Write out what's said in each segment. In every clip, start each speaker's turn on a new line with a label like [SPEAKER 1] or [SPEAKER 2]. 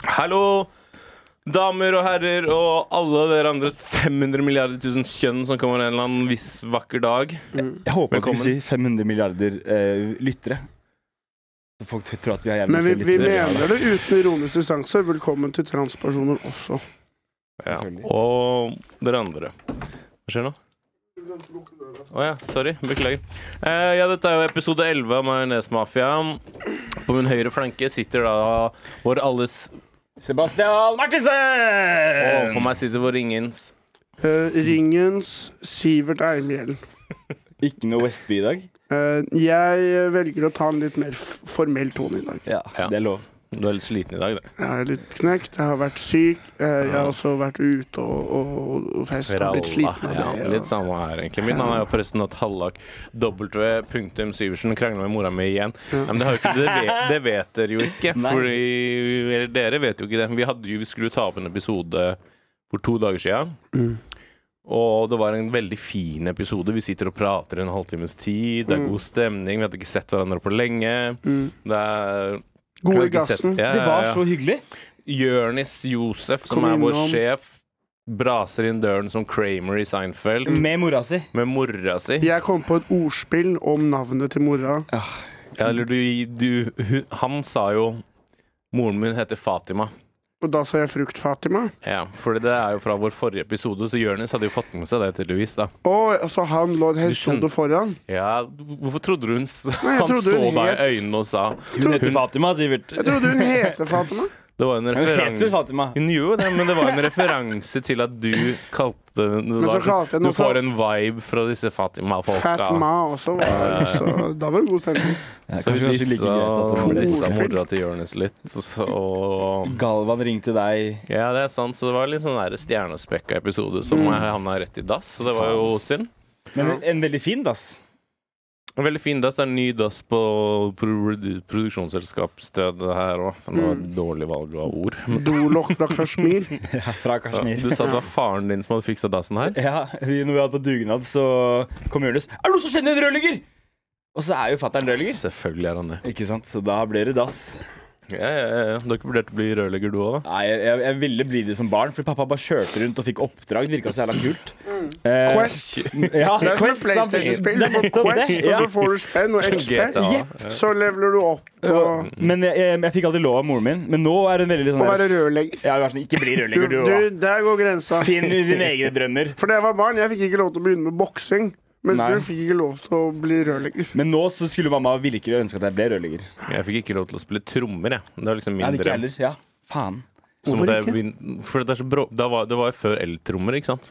[SPEAKER 1] Hallo, damer og herrer og alle dere andre 500 milliarder tusen kjønn som kommer en eller annen viss vakker dag.
[SPEAKER 2] Jeg håper at vi
[SPEAKER 1] Velkommen.
[SPEAKER 2] si 500 milliarder eh, lyttere. Så Folk tror at vi har jævlig
[SPEAKER 3] Men vi,
[SPEAKER 2] mange
[SPEAKER 3] vi
[SPEAKER 2] lyttere.
[SPEAKER 3] mener det uten ironisk distanse. Velkommen til transpersoner også.
[SPEAKER 1] Ja.
[SPEAKER 2] Selvfølgelig.
[SPEAKER 1] Og dere andre. Hva skjer nå? Å ja, sorry. Beklager. Eh, ja, dette er jo episode 11 av Majonesmafia. På min høyre flanke sitter da vår alles
[SPEAKER 2] Sebastian
[SPEAKER 1] Og
[SPEAKER 2] Martinsen!
[SPEAKER 1] for meg sitter vår ingens.
[SPEAKER 3] Eh, ringens Sivert Eimhjell.
[SPEAKER 2] Ikke noe Vestby i dag.
[SPEAKER 3] Eh, jeg velger å ta en litt mer f- formell tone i dag.
[SPEAKER 2] Ja,
[SPEAKER 1] Ja.
[SPEAKER 2] Det er lov.
[SPEAKER 1] Du er litt sliten i dag, da.
[SPEAKER 3] Jeg er litt knekt, jeg har vært syk. eh, jeg har også vært ute og, og, og festet og blitt sliten av
[SPEAKER 1] Ja,
[SPEAKER 3] det.
[SPEAKER 1] litt sånn. samme her, egentlig. Mitt navn er jo forresten at Hallak W.Syversen krangla med mora mi igjen. Nei, men det, har jo ikke, det, vet, det vet dere jo ikke.
[SPEAKER 2] Nei.
[SPEAKER 1] Fordi, eller dere vet jo ikke det. Vi, hadde jo, vi skulle ta opp en episode for to dager sia.
[SPEAKER 3] Mm.
[SPEAKER 1] Og det var en veldig fin episode. Vi sitter og prater en halvtimes tid. Det er god stemning. Vi hadde ikke sett hverandre på lenge.
[SPEAKER 3] Mm.
[SPEAKER 1] Det er
[SPEAKER 3] God i
[SPEAKER 1] vi hadde ikke sett-
[SPEAKER 3] gassen.
[SPEAKER 1] Ja,
[SPEAKER 2] Det var
[SPEAKER 1] ja, ja.
[SPEAKER 2] så hyggelig.
[SPEAKER 1] Jørnis Josef, som
[SPEAKER 3] Kom
[SPEAKER 1] er vår
[SPEAKER 3] innom.
[SPEAKER 1] sjef, braser inn døren som Kramer i Seinfeld
[SPEAKER 3] Mm.
[SPEAKER 2] Med mora si.
[SPEAKER 1] med mora si.
[SPEAKER 3] Jeg kom på et ordspill om navnet til mora.
[SPEAKER 1] Ja, eller du, du hun, Han sa jo Moren min heter Fatima.
[SPEAKER 3] Og da sa jeg frukt, Fatima.
[SPEAKER 1] Ja, for det er jo fra vår forrige episode, så Jonis hadde jo fått med seg det, tydeligvis. da
[SPEAKER 3] Og så han lå et
[SPEAKER 1] skjønner.
[SPEAKER 3] hestehode foran.
[SPEAKER 1] Ja, Hvorfor trodde du hun s-
[SPEAKER 3] Nei, jeg
[SPEAKER 1] Han
[SPEAKER 3] trodde
[SPEAKER 1] så
[SPEAKER 3] hun
[SPEAKER 1] deg
[SPEAKER 3] het-
[SPEAKER 1] i øynene og sa
[SPEAKER 2] Hun heter Fatima, Sivert.
[SPEAKER 3] Jeg trodde hun heter Fatima.
[SPEAKER 1] Det var en
[SPEAKER 2] Hun heter
[SPEAKER 1] referanse
[SPEAKER 2] Fatima.
[SPEAKER 1] Hun gjorde jo det, men det var en referanse til at du kalte det
[SPEAKER 3] Men så
[SPEAKER 1] var,
[SPEAKER 3] kalte jeg
[SPEAKER 1] Du
[SPEAKER 3] noe for-
[SPEAKER 1] får en vibe fra disse Fatima-folka.
[SPEAKER 3] Fatma også. Var, så da var det god stemning.
[SPEAKER 2] Ja,
[SPEAKER 1] Så hun
[SPEAKER 2] kanskje like
[SPEAKER 1] dissa,
[SPEAKER 2] greit at det ble
[SPEAKER 3] disse-
[SPEAKER 1] dissa mora til Jonis litt, og så og
[SPEAKER 2] Galvan ringte deg.
[SPEAKER 1] Ja, det er sant. Så det var litt sånn der stjernespekka episode som mm. havna rett i dass. Så det var jo synd.
[SPEAKER 2] Men en- en veldig fin dass.
[SPEAKER 1] En veldig fin dass. Det er en ny dass på pro produksjonsselskapsstedet her òg. Det var et dårlig valg av ord.
[SPEAKER 3] Dolokk fra Kashmir.
[SPEAKER 2] Ja, fra Kashmir.
[SPEAKER 1] Du sa det var faren din som hadde fiksa dassen her.
[SPEAKER 2] Ja, vi, når vi hadde på dugnad, så kom Jonis. Er det noen som kjenner en rørlegger? Og så er jo fatter'n rørlegger.
[SPEAKER 1] Selvfølgelig er han det.
[SPEAKER 2] Ikke sant, så da ble det dass.
[SPEAKER 1] Ja, ja, ja. Du har ikke vurdert å bli rørlegger, du òg, da?
[SPEAKER 2] Nei, jeg, jeg, jeg ville bli det som barn, for pappa bare kjørte rundt og fikk oppdrag. Det virka så jævla kult. Eh,
[SPEAKER 3] Quest.
[SPEAKER 2] ja,
[SPEAKER 3] Det er som et
[SPEAKER 2] Quest, sant?
[SPEAKER 3] PlayStation-spill. Du får
[SPEAKER 2] Det er nettopp
[SPEAKER 3] Quest,
[SPEAKER 2] det,
[SPEAKER 3] og
[SPEAKER 2] ja.
[SPEAKER 3] så får du spenn og XP.
[SPEAKER 1] GTA.
[SPEAKER 2] Jepp.
[SPEAKER 3] Så leveler du opp på å
[SPEAKER 2] Men jeg, jeg, jeg fikk aldri lov av moren min. Men nå er hun veldig litt sånn der-
[SPEAKER 3] være rørlegger.
[SPEAKER 2] Ja, hun er sånn, Ikke bli
[SPEAKER 3] Du,
[SPEAKER 2] rørlegger, du
[SPEAKER 3] du,
[SPEAKER 2] òg.
[SPEAKER 3] der går grensa.
[SPEAKER 2] Finn dine egne drømmer.
[SPEAKER 3] For da jeg var barn, jeg fikk ikke lov til å begynne med boksing. Mens
[SPEAKER 2] Nei.
[SPEAKER 3] du fikk ikke lov til å bli rørlegger.
[SPEAKER 2] Men nå så skulle mamma virkelig ønske at jeg ble rørlegger.
[SPEAKER 1] Jeg fikk ikke lov til å spille trommer, jeg. Det var liksom
[SPEAKER 2] Ja,
[SPEAKER 1] min
[SPEAKER 2] det er ikke
[SPEAKER 1] drøm.
[SPEAKER 2] heller. Ja, faen.
[SPEAKER 1] Så
[SPEAKER 2] Hvorfor
[SPEAKER 1] måtte jeg
[SPEAKER 2] ikke?
[SPEAKER 1] begynne- For det, er så brå, da var, det var jo før eltrommer, ikke sant?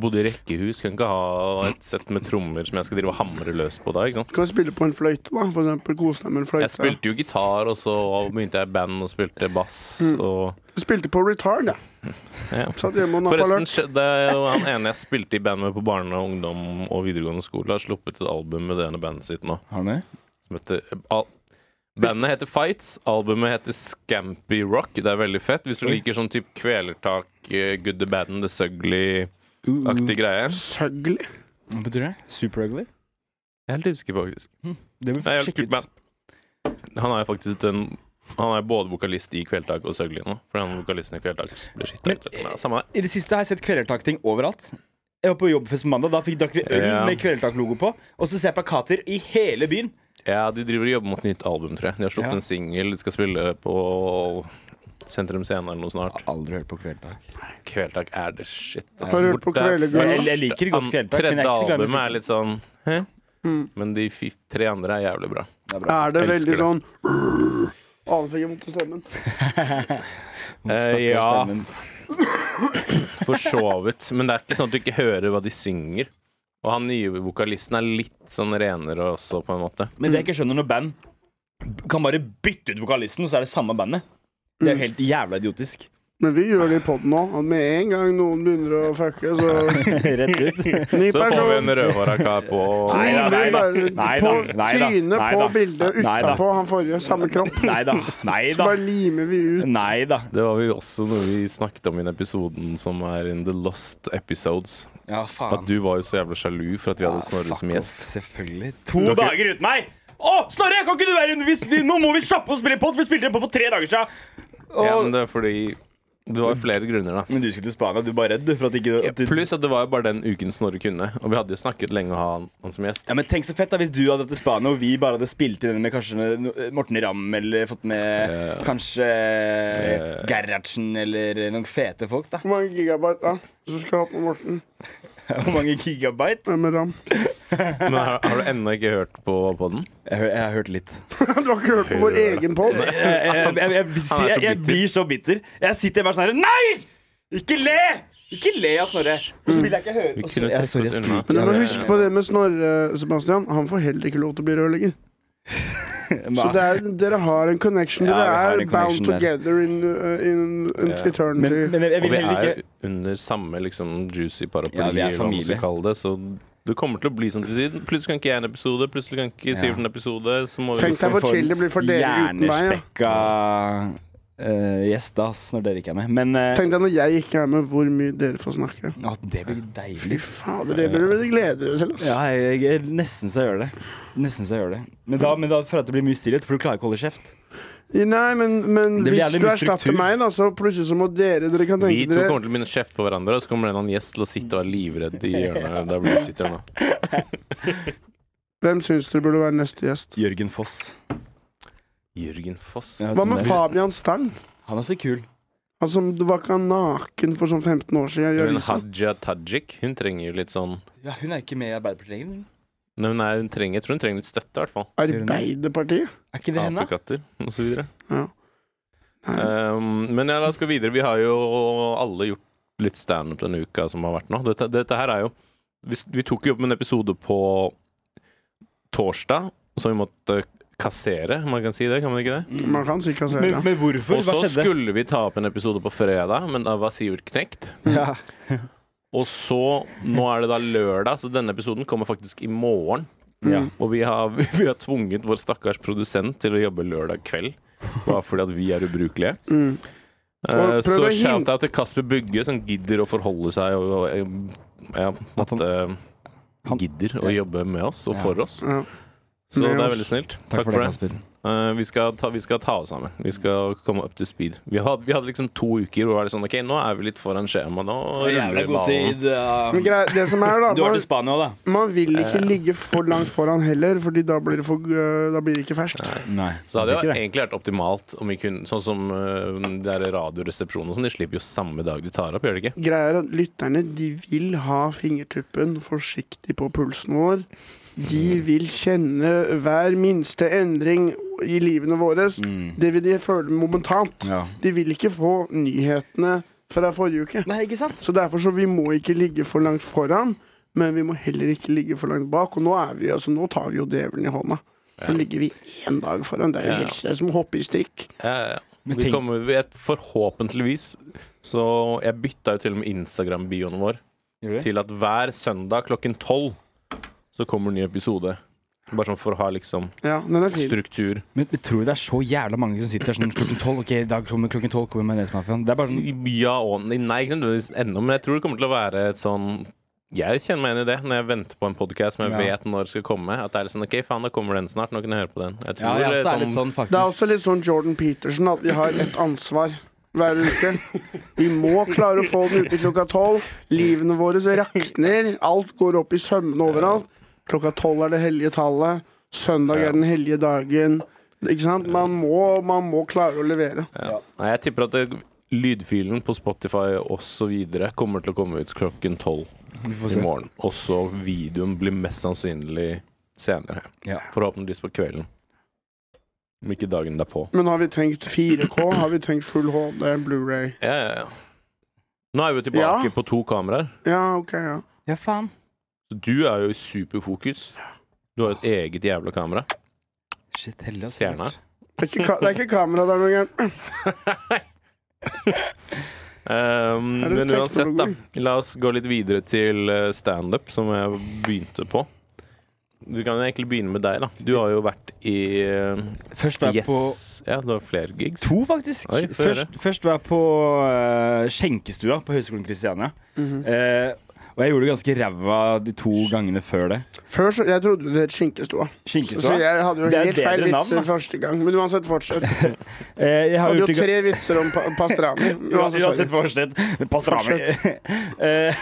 [SPEAKER 1] Bodde i rekkehus, kan ikke ha et sett med trommer som jeg skal drive og hamre løs på da. ikke sant?
[SPEAKER 3] Du kan spille på en fløyte, da. For eksempel kose deg med en
[SPEAKER 1] Jeg
[SPEAKER 3] fløyte.
[SPEAKER 1] spilte jo gitar, og så begynte jeg i band og spilte bass. Og
[SPEAKER 3] Jeg spilte på retard, jeg.
[SPEAKER 1] ja.
[SPEAKER 3] Satt hjemme og nappa
[SPEAKER 1] Forresten,
[SPEAKER 3] løk.
[SPEAKER 1] skj- det er jo han ene jeg spilte i band med på barne- og ungdom og videregående skole, har sluppet et album med det ene bandet sitt nå.
[SPEAKER 2] Har du det?
[SPEAKER 1] Som heter al Bandet heter Fights, albumet heter Scampy Rock. Det er veldig fett. Hvis du liker sånn type kvelertak, eh, good the bad and the sugly-aktig greie.
[SPEAKER 3] Søgli.
[SPEAKER 2] Hva betyr det? Super ugly?
[SPEAKER 1] Jeg er helt usikker, faktisk.
[SPEAKER 2] Det
[SPEAKER 1] Det er
[SPEAKER 2] blir
[SPEAKER 1] helt kult
[SPEAKER 2] sjekket.
[SPEAKER 1] band. Han er jo faktisk den Han er både vokalist i Kveldtak og Søgli nå. For han vokalisten i Kveldtak blir skitt
[SPEAKER 2] Men-
[SPEAKER 1] ut. Men altså, Samme det.
[SPEAKER 2] I det siste har jeg sett kvelertakting overalt. Jeg var på jobbfest på mandag, da fikk, drakk vi øl
[SPEAKER 1] Ja.
[SPEAKER 2] med kvelertaklogo på. Og så ser jeg plakater i hele byen.
[SPEAKER 1] Ja, de driver og jobber mot nytt album, tror jeg. De har sluppet
[SPEAKER 2] Ja.
[SPEAKER 1] en singel. De skal spille på Sentrum Scene eller noe snart.
[SPEAKER 2] Aldri hørt på kvelertak.
[SPEAKER 1] Kveldtak er det shit. ass.
[SPEAKER 3] Har du hørt på
[SPEAKER 1] Det er
[SPEAKER 3] Kvelergulvet?
[SPEAKER 1] første-
[SPEAKER 2] Jeg- jeg liker godt Kvelertak, men jeg er
[SPEAKER 1] Tredje
[SPEAKER 2] ikke så glad i
[SPEAKER 1] albumet
[SPEAKER 2] musikken.
[SPEAKER 1] er litt sånn Hæ?
[SPEAKER 3] Mm.
[SPEAKER 1] Men de fi- tre andre er jævlig bra.
[SPEAKER 3] Er det
[SPEAKER 1] Elsker
[SPEAKER 3] veldig
[SPEAKER 1] det.
[SPEAKER 3] sånn Aner ikke mot stemmen.
[SPEAKER 1] Eh, ja, for så vidt. Men det er ikke sånn at du ikke hører hva de synger. Og han nye vokalisten er litt sånn renere også, på en måte.
[SPEAKER 2] Men det jeg ikke skjønner når band kan bare bytte ut vokalisten, og så er det samme bandet. Det er
[SPEAKER 1] Mm.
[SPEAKER 2] jo helt jævla idiotisk.
[SPEAKER 3] Men vi gjør det i poden nå. At med en gang noen begynner å fucke, så
[SPEAKER 2] Rett ut.
[SPEAKER 1] Så
[SPEAKER 3] Ny
[SPEAKER 1] får vi en
[SPEAKER 3] person.
[SPEAKER 1] rødhåra kar på.
[SPEAKER 2] Nei da, nei
[SPEAKER 3] Rimer
[SPEAKER 2] da,
[SPEAKER 3] bare
[SPEAKER 2] nei da,
[SPEAKER 3] på
[SPEAKER 2] nei da,
[SPEAKER 3] trynet
[SPEAKER 2] nei
[SPEAKER 3] på
[SPEAKER 2] da,
[SPEAKER 3] bildet
[SPEAKER 2] nei da.
[SPEAKER 3] utapå han forrige. Samme kropp.
[SPEAKER 2] Nei da. Nei
[SPEAKER 3] Så
[SPEAKER 2] da.
[SPEAKER 3] bare limer vi ut.
[SPEAKER 2] Nei da.
[SPEAKER 1] Det var jo også noe vi snakket om i den episoden som er in The Lost Episodes.
[SPEAKER 2] Ja,
[SPEAKER 1] At
[SPEAKER 2] faen.
[SPEAKER 1] du var jo så jævla sjalu for at vi hadde Snorre
[SPEAKER 2] Fuck
[SPEAKER 1] som gjest.
[SPEAKER 2] off, Selvfølgelig. To dager uten meg! Å, Snorre, kan ikke du være undervist? Nå må vi kjappe og spille pod, for vi spilte den på for tre dager siden!
[SPEAKER 1] Ja, men
[SPEAKER 2] Og,
[SPEAKER 1] det er fordi Det var flere grunner, da.
[SPEAKER 2] men du skulle til Spania, du var redd for at ikke at du-
[SPEAKER 1] Pluss at det var jo bare den uken Snorre kunne, og vi hadde jo snakket lenge å ha han, han som gjest.
[SPEAKER 2] Ja, men Tenk så fett da hvis du hadde dratt til Spania, og vi bare hadde spilt inn den med kanskje no- eh, Morten Ramm, eller fått med
[SPEAKER 1] Ja.
[SPEAKER 2] kanskje eh, Gerhardsen, eller eh, noen fete folk, da.
[SPEAKER 3] Hvor mange gigabyte da? Så skal jeg ha på Morten
[SPEAKER 2] Hvor mange gigabyte?
[SPEAKER 3] eh, med ram.
[SPEAKER 1] Men har, har du ennå ikke hørt på podden?
[SPEAKER 2] Jeg, hø- jeg har hørt litt.
[SPEAKER 3] du har ikke hørt på vår egen pod?
[SPEAKER 2] Jeg, jeg, jeg, jeg,
[SPEAKER 1] Han er så
[SPEAKER 2] jeg, jeg
[SPEAKER 1] bitter.
[SPEAKER 2] blir så bitter. Jeg sitter bare sånn her Nei! Ikke le! Ikke le av Snorre. Og så vil jeg ikke høre
[SPEAKER 1] Vi
[SPEAKER 2] og så-
[SPEAKER 1] kunne
[SPEAKER 2] jeg-
[SPEAKER 1] trekke
[SPEAKER 2] sorry,
[SPEAKER 1] oss
[SPEAKER 2] jeg
[SPEAKER 1] unna.
[SPEAKER 2] skriker.
[SPEAKER 3] Men du må
[SPEAKER 2] Ja,
[SPEAKER 3] huske på det med Snorre, Sebastian. Han får heller ikke lov til å bli rørlegger. Så det er, dere har en connection.
[SPEAKER 2] Ja,
[SPEAKER 3] Dere
[SPEAKER 2] vi har
[SPEAKER 3] er
[SPEAKER 2] en
[SPEAKER 3] bound
[SPEAKER 2] connection der.
[SPEAKER 3] together in, uh, in, in
[SPEAKER 1] Ja.
[SPEAKER 2] Men,
[SPEAKER 3] eternity.
[SPEAKER 2] men jeg, jeg
[SPEAKER 1] Og
[SPEAKER 2] vil
[SPEAKER 1] vi
[SPEAKER 2] heller
[SPEAKER 1] er
[SPEAKER 2] ikke
[SPEAKER 1] under samme liksom juicy paraply,
[SPEAKER 2] Ja, vi er
[SPEAKER 1] eller hva man skal
[SPEAKER 2] familie.
[SPEAKER 1] kalle det, så det kommer til å bli sånn til tiden. Plutselig kan ikke jeg en episode, plutselig kan ikke Sivert en episode, så må vi
[SPEAKER 3] Tenk deg hvor chill det blir for dere uten meg. Ja.
[SPEAKER 2] Hjernespekka eh, gjest, da, ass, når dere ikke er med. Men eh,
[SPEAKER 3] Tenk deg når jeg ikke er med, hvor mye dere får snakke.
[SPEAKER 2] ja, det blir
[SPEAKER 3] Fy
[SPEAKER 2] deilig.
[SPEAKER 3] fader, det burde dere glede dere til. ass.
[SPEAKER 2] Ja, jeg, jeg, nesten så jeg gjør det. Nesten så jeg gjør det. Men da, men da føler jeg at det blir mye stillhet, for du klarer ikke å holde kjeft.
[SPEAKER 3] Nei, men, men
[SPEAKER 2] Det blir
[SPEAKER 3] hvis
[SPEAKER 2] jævlig
[SPEAKER 3] du
[SPEAKER 2] mye
[SPEAKER 3] erstatter
[SPEAKER 2] struktur.
[SPEAKER 3] meg, da, så plutselig så må dere Dere kan
[SPEAKER 1] Vi
[SPEAKER 3] tenke
[SPEAKER 1] to
[SPEAKER 3] dere
[SPEAKER 1] kommer til å begynne å kjefte på hverandre, og så kommer det en eller annen gjest til å sitte og være livredd i hjørnet der hvor du sitter nå.
[SPEAKER 3] Hvem syns dere burde være neste gjest?
[SPEAKER 2] Jørgen Foss.
[SPEAKER 1] Jørgen Foss.
[SPEAKER 2] Jeg vet
[SPEAKER 3] Hva
[SPEAKER 2] om
[SPEAKER 3] med
[SPEAKER 2] det.
[SPEAKER 3] Fabian Stang?
[SPEAKER 2] Han er så kul.
[SPEAKER 3] Han som du var ikke naken for sånn 15 år siden. i
[SPEAKER 1] Men
[SPEAKER 3] avisa.
[SPEAKER 1] Haja Tajik, hun trenger jo litt sånn
[SPEAKER 2] Ja, hun er ikke med i Arbeiderpartiet lenger.
[SPEAKER 1] Nei, nei hun trenger, jeg tror hun trenger litt støtte, i hvert fall.
[SPEAKER 3] Arbeiderpartiet?
[SPEAKER 2] Er ikke det henne?
[SPEAKER 1] Apekatter og så videre.
[SPEAKER 3] Ja. Nei.
[SPEAKER 2] Eh,
[SPEAKER 1] Um, men ja, la oss gå videre. Vi har jo alle gjort litt standup denne uka som har vært nå. Dette, dette her er jo vi, vi tok jo opp en episode på torsdag som vi måtte kassere, om man kan si det? Kan man ikke det?
[SPEAKER 3] Man kan si
[SPEAKER 2] Men,
[SPEAKER 3] kassera.
[SPEAKER 2] men hvorfor?
[SPEAKER 1] Og
[SPEAKER 2] Hva
[SPEAKER 1] så
[SPEAKER 2] skjedde?
[SPEAKER 1] skulle vi ta opp en episode på fredag, men da var Sivert knekt.
[SPEAKER 2] Ja.
[SPEAKER 1] Og så, nå er det da lørdag, så denne episoden kommer faktisk i morgen.
[SPEAKER 2] Ja.
[SPEAKER 1] Og vi har, vi har tvunget vår stakkars produsent til å jobbe lørdag kveld. Bare fordi at vi er ubrukelige.
[SPEAKER 3] Mm.
[SPEAKER 1] Eh,
[SPEAKER 3] Og prøv
[SPEAKER 1] så
[SPEAKER 3] å hin-
[SPEAKER 1] shout-out til Kasper Bugge, som gidder å forholde seg og, og eh, ja, at han
[SPEAKER 2] han-
[SPEAKER 1] gidder å jobbe med oss og
[SPEAKER 2] Ja.
[SPEAKER 1] for oss.
[SPEAKER 3] Ja.
[SPEAKER 1] Så
[SPEAKER 3] Med
[SPEAKER 1] det er
[SPEAKER 3] oss.
[SPEAKER 1] veldig snilt. Takk,
[SPEAKER 2] Takk for det, Kasper.
[SPEAKER 1] Eh, vi, skal ta, vi skal ta oss sammen. Vi skal komme up to speed. Vi hadde, vi hadde liksom to uker hvor det var litt sånn OK, nå er vi litt foran skjema. Nå ruller
[SPEAKER 2] Jævla
[SPEAKER 1] vi
[SPEAKER 2] god
[SPEAKER 1] ballen.
[SPEAKER 2] tid. ja.
[SPEAKER 3] Men grei, det som er, da
[SPEAKER 2] Du
[SPEAKER 3] man,
[SPEAKER 2] har Eh. vært i Spania òg, da?
[SPEAKER 3] man vil ikke ligge for langt foran heller, Fordi da blir det, for, øh, da blir det ikke ferskt.
[SPEAKER 2] Nei.
[SPEAKER 1] Så det hadde jo
[SPEAKER 2] ikke det.
[SPEAKER 1] egentlig vært optimalt om vi kunne Sånn som uh, der Radioresepsjonen og sånn, de slipper jo samme dag de tar opp, gjør de ikke?
[SPEAKER 3] Greia er at lytterne de vil ha fingertuppen forsiktig på pulsen vår. De vil kjenne hver minste endring i livene våre. Det vil de føle momentant.
[SPEAKER 2] Ja.
[SPEAKER 3] De vil ikke få nyhetene fra forrige uke.
[SPEAKER 2] Nei, ikke sant?
[SPEAKER 3] Så derfor så vi må ikke ligge for langt foran, men vi må heller ikke ligge for langt bak. Og nå er vi, altså nå tar vi jo djevelen i hånda. Nå ligger vi én dag foran. Det er jo
[SPEAKER 1] Ja.
[SPEAKER 3] helt det er som å hoppe i strikk.
[SPEAKER 1] Ja, ja, ja.
[SPEAKER 2] Men
[SPEAKER 1] Vi
[SPEAKER 2] tenk-
[SPEAKER 1] kommer vet, Forhåpentligvis Så jeg bytta jo til og med Instagram-bioen vår
[SPEAKER 2] Gjorde du?
[SPEAKER 1] til at hver søndag klokken tolv så kommer en ny episode. Bare sånn for å ha liksom
[SPEAKER 3] Ja, den er fin.
[SPEAKER 1] struktur.
[SPEAKER 2] Men, men tror du det er så jævla mange som sitter der sånn klokken tolv? Ok, i dag kommer klokken tolv, kommer Majonesmafiaen. Det er bare sånn
[SPEAKER 1] Ja og nei, nei, ikke nødvendigvis ennå, men jeg tror det kommer til å være et sånn jeg kjenner meg igjen i det når jeg venter på en podkast som jeg
[SPEAKER 2] Ja.
[SPEAKER 1] vet når skal komme. At det er litt sånn, ok, faen, da kommer den snart. Nå kan jeg høre på den. Jeg
[SPEAKER 2] Ja,
[SPEAKER 1] tror det
[SPEAKER 2] ja, så
[SPEAKER 1] er
[SPEAKER 2] er det
[SPEAKER 1] sånn-
[SPEAKER 3] Det
[SPEAKER 2] sånn
[SPEAKER 3] er
[SPEAKER 2] faktisk.
[SPEAKER 3] også litt sånn Jordan Peterson at vi har et ansvar hver uke. Vi må klare å få den ute klokka tolv. Livene våre rakner. Alt går opp i sømmene overalt. Klokka tolv er det hellige tallet. Søndag er den hellige dagen. Ikke sant? Man må, man må klare å levere.
[SPEAKER 2] sånn-
[SPEAKER 1] Nei, jeg tipper at det, lydfilen på Spotify og så videre kommer til å komme ut klokken tolv
[SPEAKER 2] Vi får
[SPEAKER 1] i
[SPEAKER 2] se.
[SPEAKER 1] morgen. Og så videoen blir mest sannsynlig senere.
[SPEAKER 2] Ja.
[SPEAKER 1] Forhåpentligvis på kvelden. Om ikke dagen derpå.
[SPEAKER 3] Men har vi tenkt 4K? Har vi tenkt full HD, Blu-ray?
[SPEAKER 1] Ja, ja, ja. Nå er vi jo tilbake
[SPEAKER 3] Ja.
[SPEAKER 1] på to kameraer.
[SPEAKER 3] Ja, ok, ja.
[SPEAKER 2] Ja, faen.
[SPEAKER 1] Så du er jo i superfokus. Du har jo et eget jævla kamera.
[SPEAKER 2] Shit, heldig altså. ass.
[SPEAKER 1] Stjerna.
[SPEAKER 3] Det er ikke, ka det er ikke kamera der noen gang.
[SPEAKER 1] Um,
[SPEAKER 3] Er
[SPEAKER 1] Ehm,
[SPEAKER 3] det
[SPEAKER 1] men uansett, da.
[SPEAKER 3] teknologi?
[SPEAKER 1] La oss gå litt videre til eh, standup, som jeg begynte på. Du kan jo egentlig begynne med deg, da. Du har jo vært i eh,
[SPEAKER 2] Først var jeg på
[SPEAKER 1] Yes. Ja, du har flere gigs.
[SPEAKER 2] To, faktisk.
[SPEAKER 1] Oi, få høre.
[SPEAKER 3] Mhm.
[SPEAKER 2] først, først var jeg på eh, skjenkestua på Høgskolen Kristiania. Eh, og Og jeg gjorde det ganske ræva de to gangene før det.
[SPEAKER 3] Før så, Jeg trodde det het Skinkestua. Så
[SPEAKER 2] Skinkestua.
[SPEAKER 3] jeg hadde jo
[SPEAKER 2] Det er
[SPEAKER 3] helt
[SPEAKER 2] bedre
[SPEAKER 3] feil
[SPEAKER 2] navn,
[SPEAKER 3] vitser
[SPEAKER 2] da.
[SPEAKER 3] første gang. Men uansett, fortsett. Jeg
[SPEAKER 2] Eh, jeg har
[SPEAKER 3] hadde jo
[SPEAKER 2] gjort det
[SPEAKER 3] tre vitser om pa pastrami. Uansett, sorry.
[SPEAKER 2] Uansett, fortsett. Pastrami. Eh,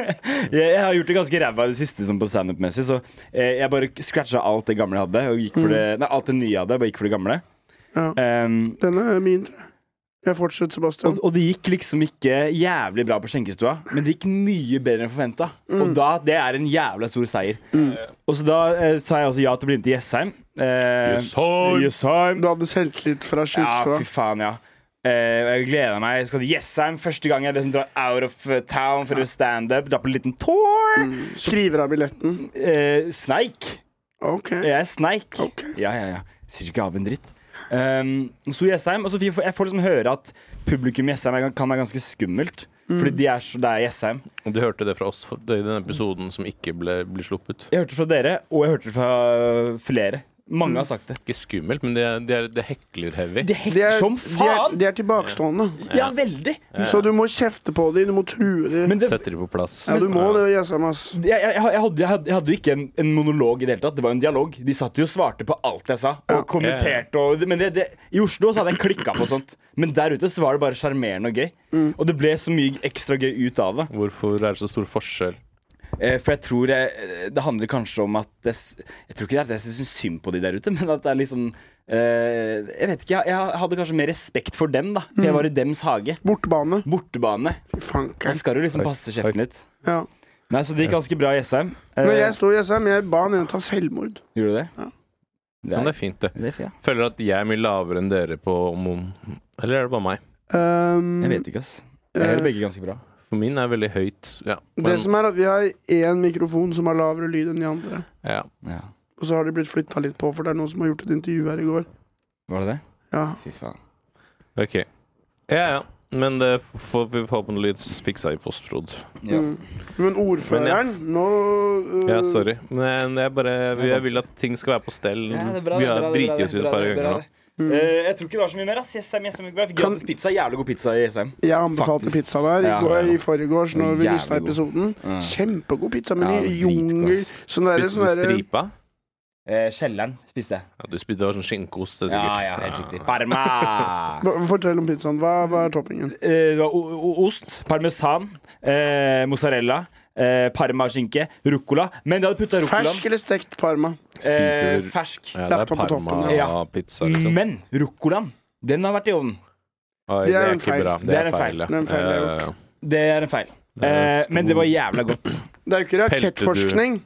[SPEAKER 2] jeg, jeg har gjort det ganske ræva i det siste sånn på standup-messig, så eh, jeg bare scratcha alt det gamle jeg hadde, og gikk for det Nei, alt det nye jeg hadde, bare gikk for det gamle.
[SPEAKER 3] Mm. Ja.
[SPEAKER 2] Ehm,
[SPEAKER 3] Denne er min, tror jeg. Jeg fortsetter, Sebastian.
[SPEAKER 2] og, og det gikk liksom ikke jævlig bra på skjenkestua, men det gikk mye bedre enn forventa.
[SPEAKER 3] Mm.
[SPEAKER 2] Og da, det er en jævla stor seier. Og så da eh, sa jeg også ja til å bli med til Jessheim. Eh,
[SPEAKER 1] Jessheim.
[SPEAKER 2] Jessheim.
[SPEAKER 3] Du hadde selvtillit fra
[SPEAKER 2] Ja,
[SPEAKER 3] Skinkestua.
[SPEAKER 2] fy faen, ja. Eh, og jeg gleder meg. Jeg skal til Jessheim første gang jeg liksom drar out of eh, town for å standup. Drar på en liten tour.
[SPEAKER 3] Mm. Skriver av billetten.
[SPEAKER 2] Eh, sneik.
[SPEAKER 3] Ok.
[SPEAKER 2] Jeg er sneik.
[SPEAKER 3] Ok.
[SPEAKER 2] Ja, ja, ja. Sier ikke av en dritt. Um, så i Jessheim, altså, jeg får- jeg får liksom høre at publikum i Jessheim er- kan være ganske skummelt.
[SPEAKER 3] Mm.
[SPEAKER 2] Fordi de er så, det er Jessheim.
[SPEAKER 1] Du hørte det fra oss for- i den episoden som ikke ble, blir sluppet.
[SPEAKER 2] Jeg hørte det fra dere, og jeg hørte det fra øh, flere.
[SPEAKER 3] Mm.
[SPEAKER 2] Mange har sagt det.
[SPEAKER 1] Ikke skummelt, men det er, det er, det er hekler-heavy.
[SPEAKER 2] De
[SPEAKER 3] De
[SPEAKER 2] hekker
[SPEAKER 3] er,
[SPEAKER 2] som
[SPEAKER 3] de, er,
[SPEAKER 2] faen!
[SPEAKER 3] de er tilbakestående.
[SPEAKER 2] Ja, veldig.
[SPEAKER 3] Så du må kjefte på dem, du må true dem.
[SPEAKER 2] Men det,
[SPEAKER 1] Setter de på plass.
[SPEAKER 3] Ja, du må det, Jessheim, ass.
[SPEAKER 2] jeg, jeg, jeg, hadde, jeg, hadde, jeg hadde jo ikke en, en monolog i det hele tatt. Det var jo en dialog. De satt jo og svarte på alt jeg sa. Og kommenterte og Men det, det, i Oslo så hadde jeg klikka på sånt. Men der ute så var det bare sjarmerende og gøy.
[SPEAKER 3] Mm.
[SPEAKER 2] Og det ble så mye ekstra gøy ut av det.
[SPEAKER 1] Hvorfor er det så stor forskjell?
[SPEAKER 2] Eh, for jeg tror eh, det handler kanskje om at det, s- Jeg tror ikke det er at jeg syns synd på de der ute, men at det er liksom eh, Jeg vet ikke. Jeg, jeg hadde kanskje mer respekt for dem, da. Jeg
[SPEAKER 3] Mm.
[SPEAKER 2] var i dems hage.
[SPEAKER 3] Bortebane.
[SPEAKER 2] Bortebane.
[SPEAKER 3] Fy
[SPEAKER 2] Da
[SPEAKER 3] fankeren.
[SPEAKER 2] skal du liksom passe kjeften litt.
[SPEAKER 3] Ja.
[SPEAKER 2] Nei, så det gikk ganske bra i Jessheim.
[SPEAKER 3] Når
[SPEAKER 2] Eh,
[SPEAKER 3] jeg sto i Jessheim, jeg ba han igjen ta selvmord.
[SPEAKER 2] gjorde du det?
[SPEAKER 1] Men det er fint, det.
[SPEAKER 2] Det er, ja.
[SPEAKER 1] Føler at jeg er mye lavere enn dere på om om- Eller er det bare meg?
[SPEAKER 3] Um,
[SPEAKER 2] Jeg vet ikke, ass. Jeg
[SPEAKER 3] Eh,
[SPEAKER 2] hører begge ganske bra.
[SPEAKER 1] For min er veldig høyt. Ja.
[SPEAKER 3] Det
[SPEAKER 1] Men,
[SPEAKER 3] som er at vi har én mikrofon som har lavere lyd enn de andre.
[SPEAKER 1] ja.
[SPEAKER 2] Ja.
[SPEAKER 3] Og så har de blitt flytta litt på, for det er noen som har gjort et intervju her i går.
[SPEAKER 2] Var det det?
[SPEAKER 3] Ja.
[SPEAKER 2] Fy faen.
[SPEAKER 1] OK. Ja, ja. Men det får vi forhåpentligvis fiksa i postprod.
[SPEAKER 2] Ja.
[SPEAKER 3] Mm. Men ordføreren Nå øh,
[SPEAKER 1] Ja,
[SPEAKER 2] Mm.
[SPEAKER 1] sorry. Men jeg bare jeg vil at ting skal være på stell. vi har driti oss ut et par ganger nå.
[SPEAKER 3] Mm.
[SPEAKER 2] Eh, jeg tror ikke det var så mye mer. ass Jessheim, Jessheim, Jessheim. Jeg fikk
[SPEAKER 3] Kan-
[SPEAKER 2] gratis pizza. Jævlig god pizza i Jessheim.
[SPEAKER 3] Jeg anbefalte
[SPEAKER 2] Faktisk.
[SPEAKER 3] pizza der i,
[SPEAKER 2] Ja,
[SPEAKER 3] går,
[SPEAKER 2] ja, ja.
[SPEAKER 3] i forgårs når vi
[SPEAKER 2] Jævlig
[SPEAKER 3] lista
[SPEAKER 2] god.
[SPEAKER 3] episoden.
[SPEAKER 2] Mm.
[SPEAKER 3] Kjempegod pizza, men
[SPEAKER 2] Ja,
[SPEAKER 3] i
[SPEAKER 2] dritgod,
[SPEAKER 3] jungel.
[SPEAKER 2] ass.
[SPEAKER 3] Sånn derre
[SPEAKER 1] Spiste
[SPEAKER 3] sånn
[SPEAKER 1] du
[SPEAKER 3] derre-
[SPEAKER 1] stripa?
[SPEAKER 2] Eh, kjelleren spiste jeg.
[SPEAKER 1] Ja, du spiste det var sånn skinnkost, det er
[SPEAKER 2] Ja,
[SPEAKER 1] sikkert.
[SPEAKER 2] ja, helt riktig. Parma!
[SPEAKER 3] Hva- Fortell om pizzaen. Hva, hva er toppingen?
[SPEAKER 2] Eh, det var o- o- ost, parmesan, eh, mozzarella, eh, parmaskinke, ruccola. Men de hadde putta ruccolaen
[SPEAKER 3] Fersk eller stekt parma?
[SPEAKER 2] eh,
[SPEAKER 1] Spiser du-
[SPEAKER 2] fersk.
[SPEAKER 1] Ja, det
[SPEAKER 3] Lagt
[SPEAKER 1] er
[SPEAKER 3] på på toppen,
[SPEAKER 1] Parma-pizza, liksom.
[SPEAKER 2] Men ruccolaen, den har vært i ovnen.
[SPEAKER 1] Oi,
[SPEAKER 3] Det
[SPEAKER 1] det
[SPEAKER 3] er
[SPEAKER 1] er
[SPEAKER 3] en
[SPEAKER 1] ikke
[SPEAKER 3] feil.
[SPEAKER 1] bra.
[SPEAKER 2] Det
[SPEAKER 1] Det
[SPEAKER 2] er
[SPEAKER 1] er
[SPEAKER 2] en feil.
[SPEAKER 1] feil. ja.
[SPEAKER 3] Det er en feil jeg har
[SPEAKER 1] Eh,
[SPEAKER 2] Det er en feil.
[SPEAKER 1] er en
[SPEAKER 2] Eh, men det var jævla godt.
[SPEAKER 3] Det er jo ikke
[SPEAKER 1] Pelte du-
[SPEAKER 3] rakettforskning.